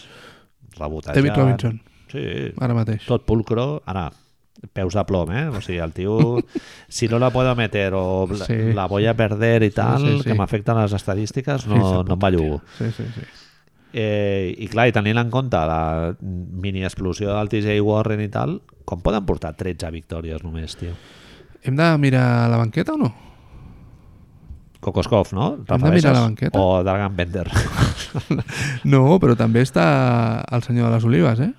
Speaker 1: rebotejant...
Speaker 2: David Robinson.
Speaker 1: Sí,
Speaker 2: Ara mateix.
Speaker 1: tot pulcro, ara peus de plom, eh? O sigui, el tio, si no la puedo meter o la,
Speaker 2: Sí.
Speaker 1: sí. la voy a perder i tal, sí, sí, sí. que m'afecten les estadístiques, no,
Speaker 2: Fills de
Speaker 1: no em va llugo.
Speaker 2: Sí, sí, sí.
Speaker 1: Eh, I clar, i tenint en compte la mini explosió del TJ Warren i tal, com poden portar 13 victòries només, tio?
Speaker 2: Hem de mirar la banqueta o no?
Speaker 1: Kokoskov, no?
Speaker 2: Hem de mirar la banqueta.
Speaker 1: O Dragan Bender.
Speaker 2: No, pero también está al señor de las olivas, ¿eh?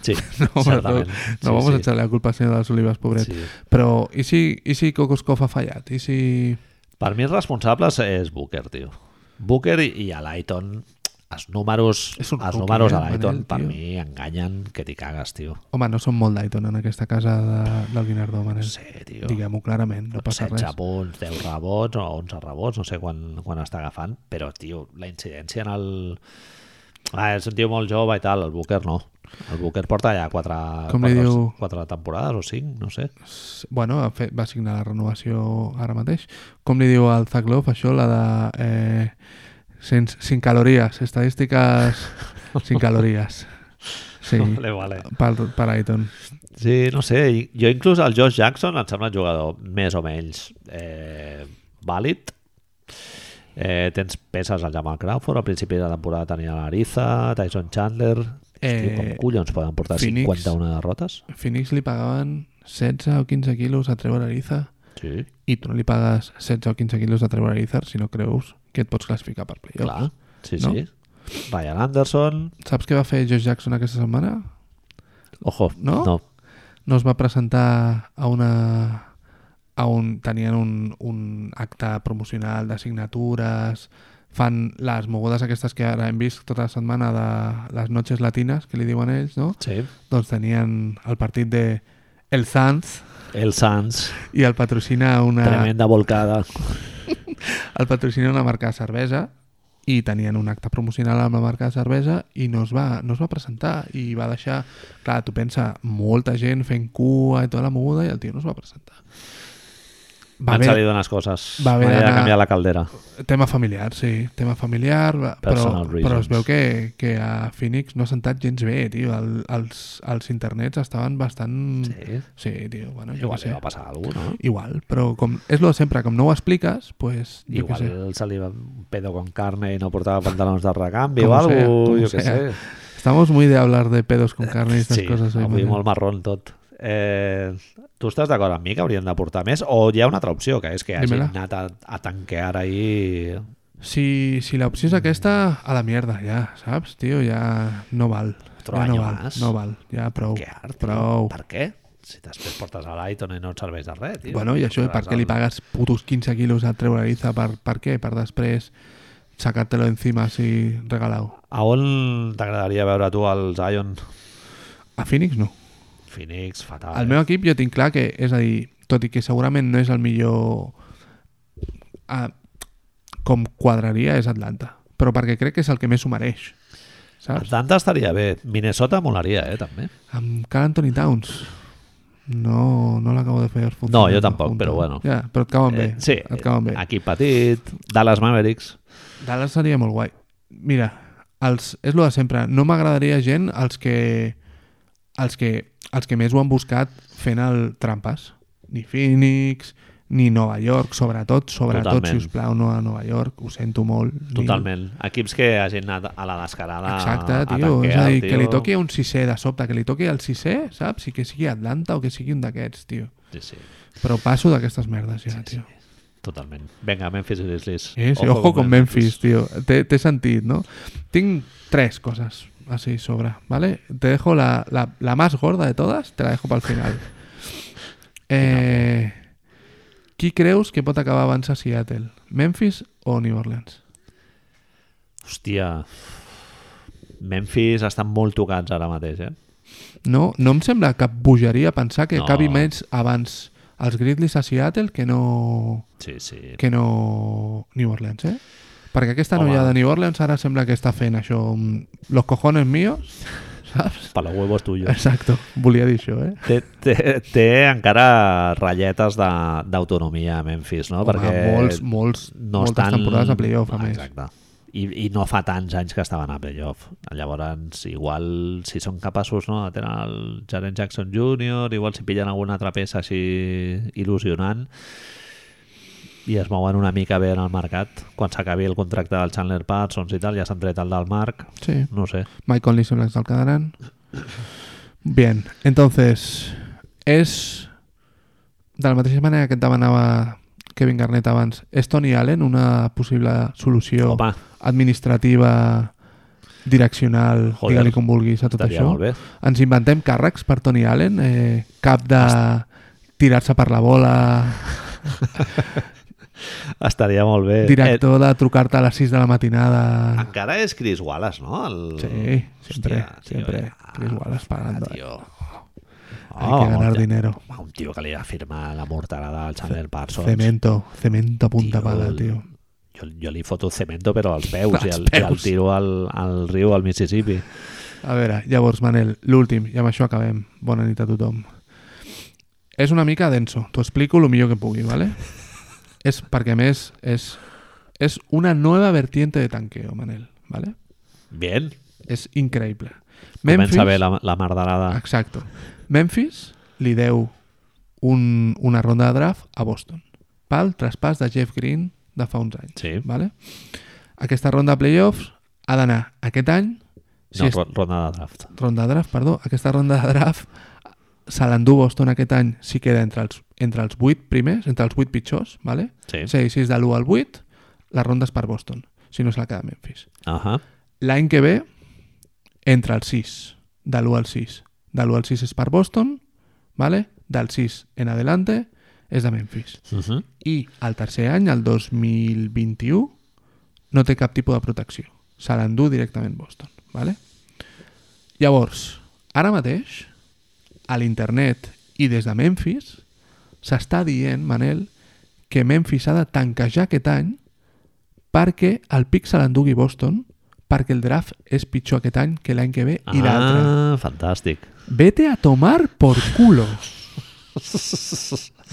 Speaker 1: Sí,
Speaker 2: No,
Speaker 1: certament.
Speaker 2: no,
Speaker 1: Sí,
Speaker 2: no vamos a
Speaker 1: sí.
Speaker 2: echarle la culpa al señor de las olivas, pobret.
Speaker 1: Sí.
Speaker 2: Pero, ¿y si, ¿y si Kokoskov ha fallado? ¿Y si...
Speaker 1: Per mi els responsables és Booker, tio. Booker i, i a l'Aiton els números,
Speaker 2: És
Speaker 1: els
Speaker 2: un rookie,
Speaker 1: números
Speaker 2: eh,
Speaker 1: de l'Aiton
Speaker 2: Manel,
Speaker 1: per
Speaker 2: tio.
Speaker 1: mi enganyen que t'hi cagues, tio.
Speaker 2: Home, no som molt Dayton en aquesta casa de, del Guinardó, Manel.
Speaker 1: No sé, tio.
Speaker 2: Diguem-ho clarament, no passa
Speaker 1: 16
Speaker 2: res.
Speaker 1: punts, 10 rebots o 11 rebots, no sé quan, quan està agafant, però, tio, la incidència en el... Ah, és un tio molt jove i tal, el Booker no. El Booker porta ja 4,
Speaker 2: Com li
Speaker 1: 4,
Speaker 2: diu?
Speaker 1: 4 temporades o 5, no sé.
Speaker 2: Bueno, ha fet, va signar la renovació ara mateix. Com li diu al Zaglov, això, la de... Eh, sin, sin calories, estadístiques sin calories. Sí,
Speaker 1: Vale, vale.
Speaker 2: per, per Aiton.
Speaker 1: Sí, no sé, i- jo inclús el Josh Jackson em sembla un jugador més o menys eh, vàlid. Eh, tens peces al Jamal Crawford, al principi de la temporada tenia l'Ariza, Tyson Chandler... Eh,
Speaker 2: Eh,
Speaker 1: com collons poden portar
Speaker 2: Phoenix.
Speaker 1: 51 derrotes?
Speaker 2: Phoenix li pagaven 16 o 15 quilos a Trevor Ariza
Speaker 1: Sí,
Speaker 2: i tu no li pagues 16 o 15 quilos a Trevor Ariza si no creus que et pots classificar per playoffs.
Speaker 1: clar. Sí,
Speaker 2: No?
Speaker 1: sí. Ryan Anderson,
Speaker 2: Saps què va fer Josh Jackson aquesta setmana?
Speaker 1: ojo,
Speaker 2: No?
Speaker 1: no? no.
Speaker 2: no es va presentar a una a un, tenien un, un acte promocional de signatures fan les mogudes aquestes que ara hem vist tota la setmana de les noches latines que li diuen ells, no?
Speaker 1: Sí.
Speaker 2: Doncs tenien el partit de El Sanz
Speaker 1: El Sanz,
Speaker 2: i el patrocina una,
Speaker 1: tremenda volcada.
Speaker 2: el patrocina una marca de cervesa i tenien un acte promocional amb la marca de cervesa i no es va, no es va presentar i va deixar, clar, tu pensa molta gent fent cua i tota la moguda i el tio no es va presentar va
Speaker 1: Van salir
Speaker 2: haver,
Speaker 1: unes coses.
Speaker 2: va
Speaker 1: Va
Speaker 2: haver
Speaker 1: haver de
Speaker 2: d'anar-
Speaker 1: canviar la caldera.
Speaker 2: tema familiar, sí tema familiar, va- però,
Speaker 1: Personal
Speaker 2: però es
Speaker 1: reasons.
Speaker 2: veu que, que a Phoenix no ha sentat gens bé, tio el, els, els internets estaven bastant
Speaker 1: Sí.
Speaker 2: sí tio, bueno, Mm. jo
Speaker 1: Igual
Speaker 2: què
Speaker 1: li
Speaker 2: sé
Speaker 1: va passar alguna cosa, no?
Speaker 2: igual, però com, és lo de sempre com no ho expliques, pues, jo què sé
Speaker 1: Igual se li va un pedo con carne i no portava pantalons de recanvi o
Speaker 2: Como sea,
Speaker 1: algo,
Speaker 2: como
Speaker 1: jo què
Speaker 2: sea.
Speaker 1: sé.
Speaker 2: Estamos muy de hablar de pedos con carne y estas
Speaker 1: Eh, Sí,
Speaker 2: cosas. hoy,
Speaker 1: avui
Speaker 2: Manel.
Speaker 1: molt marrón tot. Eh, tu estàs d'acord amb mi que haurien de portar més? O hi ha una altra opció, que és que hagin
Speaker 2: Dímela.
Speaker 1: anat a, a tanquear ahir...
Speaker 2: Si, si la opció és aquesta, a la mierda, ja, saps, tio? Ja no val.
Speaker 1: Otro
Speaker 2: ja no
Speaker 1: año
Speaker 2: val,
Speaker 1: más.
Speaker 2: no val, ja prou.
Speaker 1: Que art, tio.
Speaker 2: prou.
Speaker 1: Per què? Si després portes a l'Aiton i no et serveix de res, tio.
Speaker 2: Bueno, i això, per
Speaker 1: Portaràs
Speaker 2: què li
Speaker 1: el-
Speaker 2: pagues putos 15 quilos a Trevor Ariza? Per, per què? Per després sacártelo encima si regalau.
Speaker 1: A on t'agradaria veure tu el Zion?
Speaker 2: A Phoenix no.
Speaker 1: Phoenix, fatal.
Speaker 2: Al
Speaker 1: eh?
Speaker 2: meu equip jo tinc clar que, és a dir, tot i que segurament no és el millor a, com quadraria és Atlanta, però perquè crec que és el que més s'ho mereix. Saps?
Speaker 1: Atlanta estaria bé. Minnesota molaria, eh, també.
Speaker 2: Amb Carl Anthony Towns no, no l'acabo de fer
Speaker 1: No, jo tampoc, però bueno.
Speaker 2: Ja, però et cauen bé.
Speaker 1: Eh, sí,
Speaker 2: et cauen bé.
Speaker 1: equip petit, Dallas Mavericks.
Speaker 2: Dallas seria molt guai. Mira, els, és lo de sempre. No m'agradaria gent els que, els, que, els que més ho han buscat fent el trampes. Ni Phoenix, ni Nova York, sobretot, sobretot,
Speaker 1: Totalment.
Speaker 2: si us plau, no a Nova York, ho sento molt. Ni-
Speaker 1: Totalment. Equips que hagin anat a la descarada
Speaker 2: Exacte,
Speaker 1: a
Speaker 2: tio.
Speaker 1: tanquear,
Speaker 2: És a dir, que li
Speaker 1: tio.
Speaker 2: toqui un sisè de sobte, que li toqui el sisè, saps? I que sigui Atlanta o que sigui un d'aquests, tio.
Speaker 1: Sí, sí,
Speaker 2: Però passo d'aquestes merdes ja, tio.
Speaker 1: totalment. Vinga, Memphis Grizzlies.
Speaker 2: Eh, sí, ojo, con Memphis, tio. Té, té sentit, no? Tinc tres coses así sobra, ¿vale? Te dejo la, la, la más gorda de todas, te la dejo para el final. Eh, qui creus que pot acabar abans a Seattle? Memphis o New Orleans?
Speaker 1: Hòstia. Memphis estan molt tocats ara mateix, eh?
Speaker 2: No, no em sembla cap bogeria pensar que
Speaker 1: No.
Speaker 2: acabi més abans els Grizzlies a Seattle que no,
Speaker 1: Sí, sí.
Speaker 2: que no New Orleans, eh? Perquè aquesta
Speaker 1: Home.
Speaker 2: noia de New Orleans ara sembla que està fent això, mm, los cojones míos, saps?
Speaker 1: Per los huevos tuyos.
Speaker 2: Exacto, volia dir això, eh?
Speaker 1: Té, té, té encara ratlletes de- d'autonomia a Memphis, no?
Speaker 2: Home,
Speaker 1: Perquè
Speaker 2: molts, molts,
Speaker 1: no
Speaker 2: moltes
Speaker 1: estan... Ah,
Speaker 2: temporades a playoff, a més.
Speaker 1: Exacte. I, I no fa tants anys que estaven a playoff. Llavors, igual, si són capaços, no? Tenen el Jaren Jackson Jr., igual si pillen alguna altra peça així il·lusionant i es mouen una mica bé en el mercat. Quan s'acabi el contracte del Chandler Parsons i tal, ja s'han tret el del Marc.
Speaker 2: Sí,
Speaker 1: No ho sé.
Speaker 2: Mike Conley sembla que se'l quedaran. Bien, entonces, és de la mateixa manera que et demanava Kevin Garnett abans, és Tony Allen una possible solució
Speaker 1: Home,
Speaker 2: administrativa, direccional,
Speaker 1: Joder,
Speaker 2: digue-li com vulguis a tot
Speaker 1: estaria
Speaker 2: això?
Speaker 1: molt bé.
Speaker 2: Ens inventem càrrecs per Tony Allen, eh, cap de tirar-se per la bola,
Speaker 1: Estaria molt bé.
Speaker 2: director de trucar-te a les 6 de la
Speaker 1: Eh,
Speaker 2: matinada...
Speaker 1: encara és Chris Wallace, no? El...
Speaker 2: Sí, siempre,
Speaker 1: Hòstia, tio,
Speaker 2: siempre.
Speaker 1: ja. Ah,
Speaker 2: Chris Wallace pagando, eh.
Speaker 1: Tio. Oh,
Speaker 2: Hay que ganar
Speaker 1: hòstia.
Speaker 2: dinero.
Speaker 1: Home, Un tio que li va firmar la morterada al Chandler Parsons.
Speaker 2: Cemento, cemento a punta
Speaker 1: Tio,
Speaker 2: pala, tio.
Speaker 1: Jo, jo li foto cemento però als peus,
Speaker 2: Als
Speaker 1: i, el, i el
Speaker 2: peus.
Speaker 1: tiro al, al riu, al Mississippi.
Speaker 2: A veure, llavors, Manel, l'últim, i amb això acabem. Bona nit a tothom. És una mica denso, t'ho explico el millor que pugui, ¿vale? és perquè, a més, és, és una nova vertiente de tanqueo, Manel, ¿vale?
Speaker 1: Bien.
Speaker 2: És increïble.
Speaker 1: Memphis... Comença bé la, la mardarada.
Speaker 2: Exacto. Memphis li deu un, una ronda de draft a Boston pel traspàs de Jeff Green de fa uns anys.
Speaker 1: Sí.
Speaker 2: Vale? Aquesta ronda de playoffs ha d'anar aquest any.
Speaker 1: no,
Speaker 2: Si és
Speaker 1: ro- ronda de draft.
Speaker 2: ronda de draft, perdó. Aquesta ronda de draft se l'endú Boston aquest any si queda entre els, entre els 8 primers, entre els 8 pitjors, vale?
Speaker 1: Sí. sí.
Speaker 2: Sí, si és de l'1 al 8, la ronda és per Boston, si no se la queda Memphis.
Speaker 1: Uh -huh.
Speaker 2: L'any que ve, entre el 6, de l'1 al 6. De l'1 al 6 és per Boston, ¿vale? del 6 en adelante és de Memphis.
Speaker 1: Uh -huh.
Speaker 2: I el tercer any, el 2021, no té cap tipus de protecció. Se l'endú directament Boston. ¿vale? Llavors, ara mateix, a l'internet i des de Memphis, s'està dient, Manel, que Memphis ha de tanquejar aquest any perquè el pic se l'endugui Boston perquè el draft és pitjor aquest any que l'any que ve i l'altre.
Speaker 1: Ah, fantàstic.
Speaker 2: Vete a tomar por culo.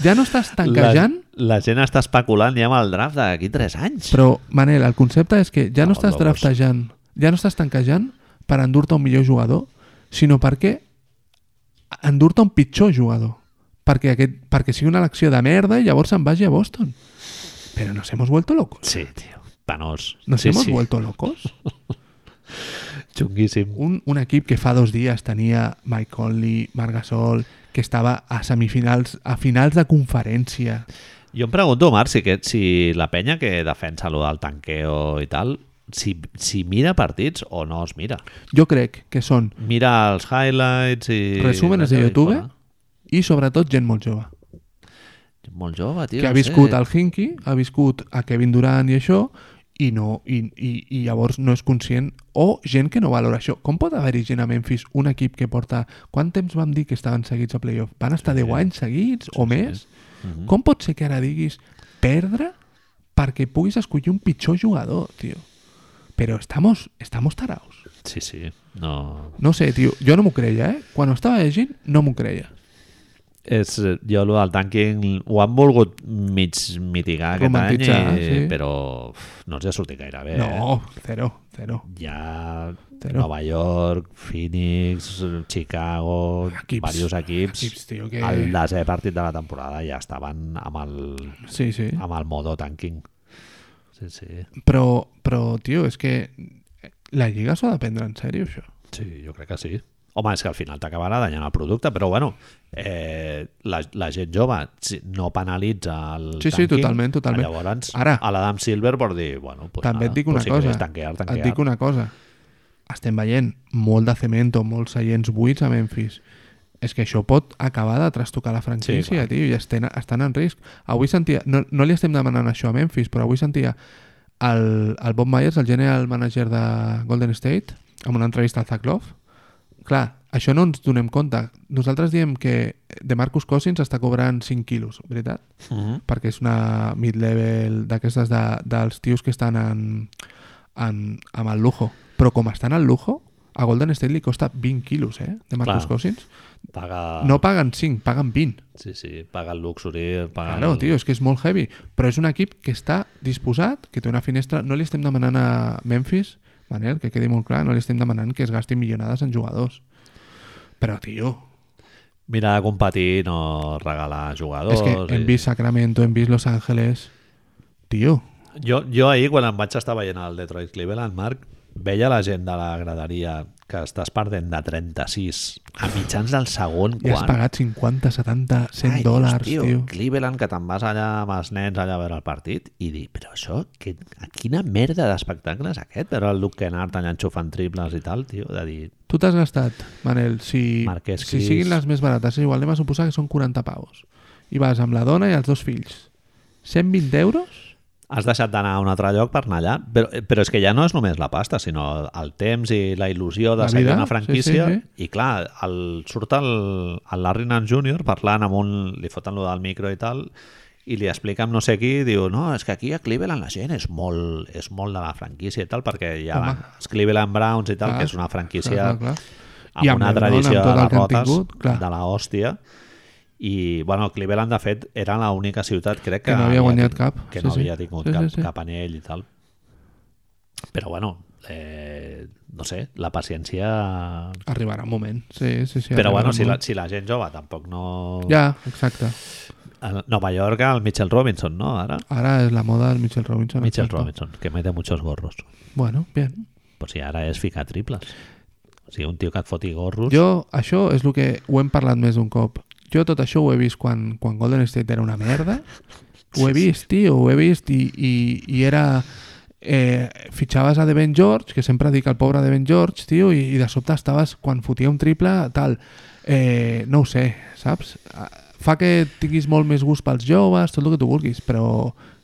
Speaker 2: Ja no estàs tanquejant
Speaker 1: La, la gent està especulant ja amb el draft d'aquí 3 anys.
Speaker 2: Però, Manel, el concepte és que ja no,
Speaker 1: No,
Speaker 2: estàs
Speaker 1: llavors.
Speaker 2: draftejant, ja no estàs tanquejant per endur-te un millor jugador, sinó perquè endur-te un pitjor jugador. Perquè, aquest, perquè sigui una elecció de merda i llavors se'n vagi a Boston. Però nos hemos vuelto locos.
Speaker 1: Sí, tio. Penós.
Speaker 2: Nos
Speaker 1: sí,
Speaker 2: hemos
Speaker 1: sí.
Speaker 2: vuelto locos.
Speaker 1: Xunguíssim.
Speaker 2: Un, un equip que fa dos dies tenia Mike Conley, Marc Gasol, que estava a semifinals, a finals de conferència.
Speaker 1: Jo em pregunto, Marc, si, aquest, si la penya que defensa lo del tanqueo i tal, si, si mira partits o no els mira.
Speaker 2: Jo crec que són
Speaker 1: Mira els highlights i... Eh,
Speaker 2: resúmenes de
Speaker 1: i
Speaker 2: YouTube
Speaker 1: fora.
Speaker 2: i sobretot gent molt jove.
Speaker 1: Molt jove, tio.
Speaker 2: que ha
Speaker 1: no
Speaker 2: viscut
Speaker 1: sé.
Speaker 2: al Hinky, ha viscut a Kevin Durant i això, i, no, i, i, i llavors no és conscient, o gent que no valora això. Com pot haver-hi gent a Memphis, un equip que porta... Quant temps vam dir que estaven seguits a playoff? Van estar 10 anys seguits o més?
Speaker 1: Mhm.
Speaker 2: Com pot ser que ara diguis perdre perquè puguis escollir un pitjor jugador, tio? Però estamos, estamos taraos.
Speaker 1: Sí, sí. No...
Speaker 2: No sé, tio, jo no m'ho creia, eh? Quan ho estava llegint, no m'ho creia.
Speaker 1: És, eh, jo el del tanking ho han volgut mig mitigar aquest any,
Speaker 2: Romantitzar,
Speaker 1: i,
Speaker 2: sí.
Speaker 1: però uf, no els ha sortit gaire bé. Eh?
Speaker 2: No, zero, zero.
Speaker 1: Ja
Speaker 2: Zero.
Speaker 1: Nova York, Phoenix, Chicago,
Speaker 2: Equips.
Speaker 1: diversos equips.
Speaker 2: Equips, tio, que-
Speaker 1: El desè partit de la temporada ja estaven amb el,
Speaker 2: Sí, sí.
Speaker 1: amb el modo tanking. Sí, sí.
Speaker 2: Però, però tio, és que la Lliga s'ha de prendre en sèrio, això.
Speaker 1: Sí, jo crec que sí. Home, és que al final t'acabarà danyant el producte, però bueno, eh, la, la gent jove si- no penalitza el
Speaker 2: Sí,
Speaker 1: tanking,
Speaker 2: sí, totalment, totalment.
Speaker 1: Llavors, Ara,
Speaker 2: Ara-
Speaker 1: a l'Adam Silver vol dir, bueno, pues
Speaker 2: També
Speaker 1: nada,
Speaker 2: et dic una
Speaker 1: pues si
Speaker 2: cosa.
Speaker 1: queréis Tanquear, tanquear.
Speaker 2: Et dic una cosa. Estem veient molt de cemento, molts seients buits a Memphis. És que això pot acabar de trastocar la
Speaker 1: Sí,
Speaker 2: franquícia,
Speaker 1: clar.
Speaker 2: sí, tio, i estan, estan en risc. Avui sentia... No, no li estem demanant això a Memphis, però avui sentia el, el Bob Myers, el general manager de Golden State, amb una entrevista al Zach Love. Clar, això no ens donem compte. Nosaltres diem que de Marcus Cousins està cobrant 5 quilos, veritat?
Speaker 1: Mhm.
Speaker 2: perquè és una mid-level d'aquestes de, dels tios que estan en, en, amb el lujo. Però com estan al lujo, a Golden State li costa 20 quilos, eh? De Marcus
Speaker 1: Clar.
Speaker 2: Cousins.
Speaker 1: Paga...
Speaker 2: No paguen 5, paguen 20.
Speaker 1: Sí, sí, paga el Luxury, paga
Speaker 2: Claro,
Speaker 1: el...
Speaker 2: tio, és que és molt heavy. Però és un equip que està disposat, que té una finestra... No li estem demanant a Memphis, Manel, que quedi molt clar, no li estem demanant que es gastin milionades en jugadors. Però, tio,
Speaker 1: Mira de competir, no regalar jugadors.
Speaker 2: és que hem
Speaker 1: i-
Speaker 2: vist Sacramento, hem vist Los Angeles... Tio,
Speaker 1: Jo, jo ahir, quan em vaig estar veient el Detroit Cleveland, Marc, veia la gent de la graderia que estàs perdent de 36 a mitjans del segon
Speaker 2: I has
Speaker 1: quart.
Speaker 2: pagat 50, 70, 100
Speaker 1: Ai,
Speaker 2: dòlars,
Speaker 1: tio,
Speaker 2: tio.
Speaker 1: Cleveland, que te'n vas allà amb els nens allà a veure el partit i dir, però això, que, quina merda d'espectacle és aquest? Però el Luke Kennard allà enxufant triples i tal, tio, de dir,
Speaker 2: Tu t'has gastat, Manel, si,
Speaker 1: Marquès
Speaker 2: si
Speaker 1: Cris.
Speaker 2: siguin les més barates, igual anem a suposar que són 40 paus. I vas amb la dona i els dos fills. 120 euros?
Speaker 1: has deixat d'anar a un altre lloc per anar allà, però, però és que ja no és només la pasta, sinó el temps i la il·lusió de
Speaker 2: La
Speaker 1: seguir
Speaker 2: vida,
Speaker 1: una
Speaker 2: sí,
Speaker 1: franquícia.
Speaker 2: sí,
Speaker 1: I clar, el, surt el, el Larry Nance Jr. parlant amb un... li foten lo del micro i tal, i li explica amb no sé qui, diu, no, és que aquí a Cleveland la gent és molt, és molt de la franquícia i tal, perquè hi ha
Speaker 2: Home.
Speaker 1: els Cleveland Browns i tal,
Speaker 2: Clar,
Speaker 1: que és una franquícia
Speaker 2: clar, clar, clar.
Speaker 1: amb,
Speaker 2: I
Speaker 1: amb
Speaker 2: amb
Speaker 1: una
Speaker 2: el nom, amb
Speaker 1: tradició de
Speaker 2: tot el que han
Speaker 1: derrotes
Speaker 2: tingut, clar.
Speaker 1: de la hòstia i bueno, Cleveland de fet era l'única ciutat crec que,
Speaker 2: Que no havia guanyat
Speaker 1: tingut-
Speaker 2: cap.
Speaker 1: que
Speaker 2: Sí,
Speaker 1: no
Speaker 2: sí.
Speaker 1: havia tingut
Speaker 2: Sí, sí,
Speaker 1: cap,
Speaker 2: sí.
Speaker 1: cap anell i tal però bueno eh, no sé, la paciència
Speaker 2: Arribarà un moment. Sí, sí, sí.
Speaker 1: però
Speaker 2: arribarà
Speaker 1: bueno,
Speaker 2: un
Speaker 1: si la,
Speaker 2: moment.
Speaker 1: si la gent jove tampoc no...
Speaker 2: Ja, exacte.
Speaker 1: A Nova York, el Mitchell Robinson, no? Ara?
Speaker 2: Ara és la moda del Mitchell Robinson.
Speaker 1: Mitchell
Speaker 2: exacte.
Speaker 1: Robinson, que mete muchos gorros.
Speaker 2: Bueno, bien.
Speaker 1: Pues si ara és ficar triples. O sigui, un tio que et foti gorros...
Speaker 2: Jo, això és el que ho hem parlat més d'un cop. Jo tot això ho he vist quan, quan Golden State era una merda. Ho he vist, tio, ho he vist i, i, i era... Eh, fitxaves a Devin George, que sempre dic el pobre Devin George, tio, i, i de sobte estaves, quan fotia un triple, tal... Eh, no ho sé, saps? Ah, Fa que tinguis molt més gust pels joves, tot el que tu vulguis, però,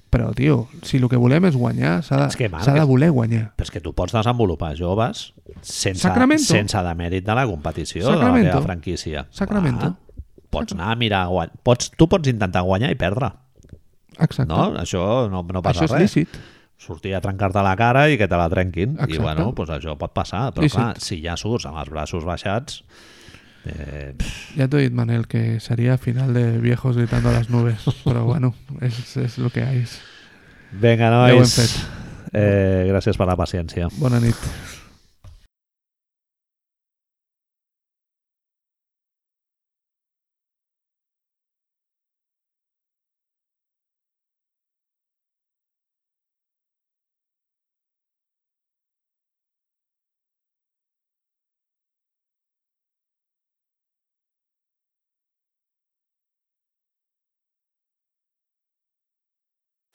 Speaker 2: però tio, si el que volem és guanyar, s'ha
Speaker 1: És que,
Speaker 2: de,
Speaker 1: Marc,
Speaker 2: s'ha de voler guanyar.
Speaker 1: Però és que tu pots desenvolupar joves sense,
Speaker 2: Sacramento.
Speaker 1: sense demèrit de la competició de la
Speaker 2: Sacramento.
Speaker 1: teva franquícia.
Speaker 2: Sacramento.
Speaker 1: Va, pots anar a mirar... guany- Pots, tu pots intentar guanyar i perdre.
Speaker 2: Exacte.
Speaker 1: No? Això no, no passa
Speaker 2: això és
Speaker 1: res.
Speaker 2: lícit.
Speaker 1: Sortir a trencar-te la cara i que te la trenquin. I
Speaker 2: Exacte.
Speaker 1: bueno, doncs això pot passar. Però
Speaker 2: Lícit.
Speaker 1: clar, si ja surts amb els braços baixats... Eh, pff,
Speaker 2: Ya te he dicho, Manel, que sería final de viejos gritando a las nubes. Pero bueno, es, es lo que hay.
Speaker 1: vinga,
Speaker 2: Ja ho hem
Speaker 1: nois.
Speaker 2: fet.
Speaker 1: Eh, gràcies per la paciència.
Speaker 2: Bona nit.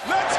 Speaker 3: Let's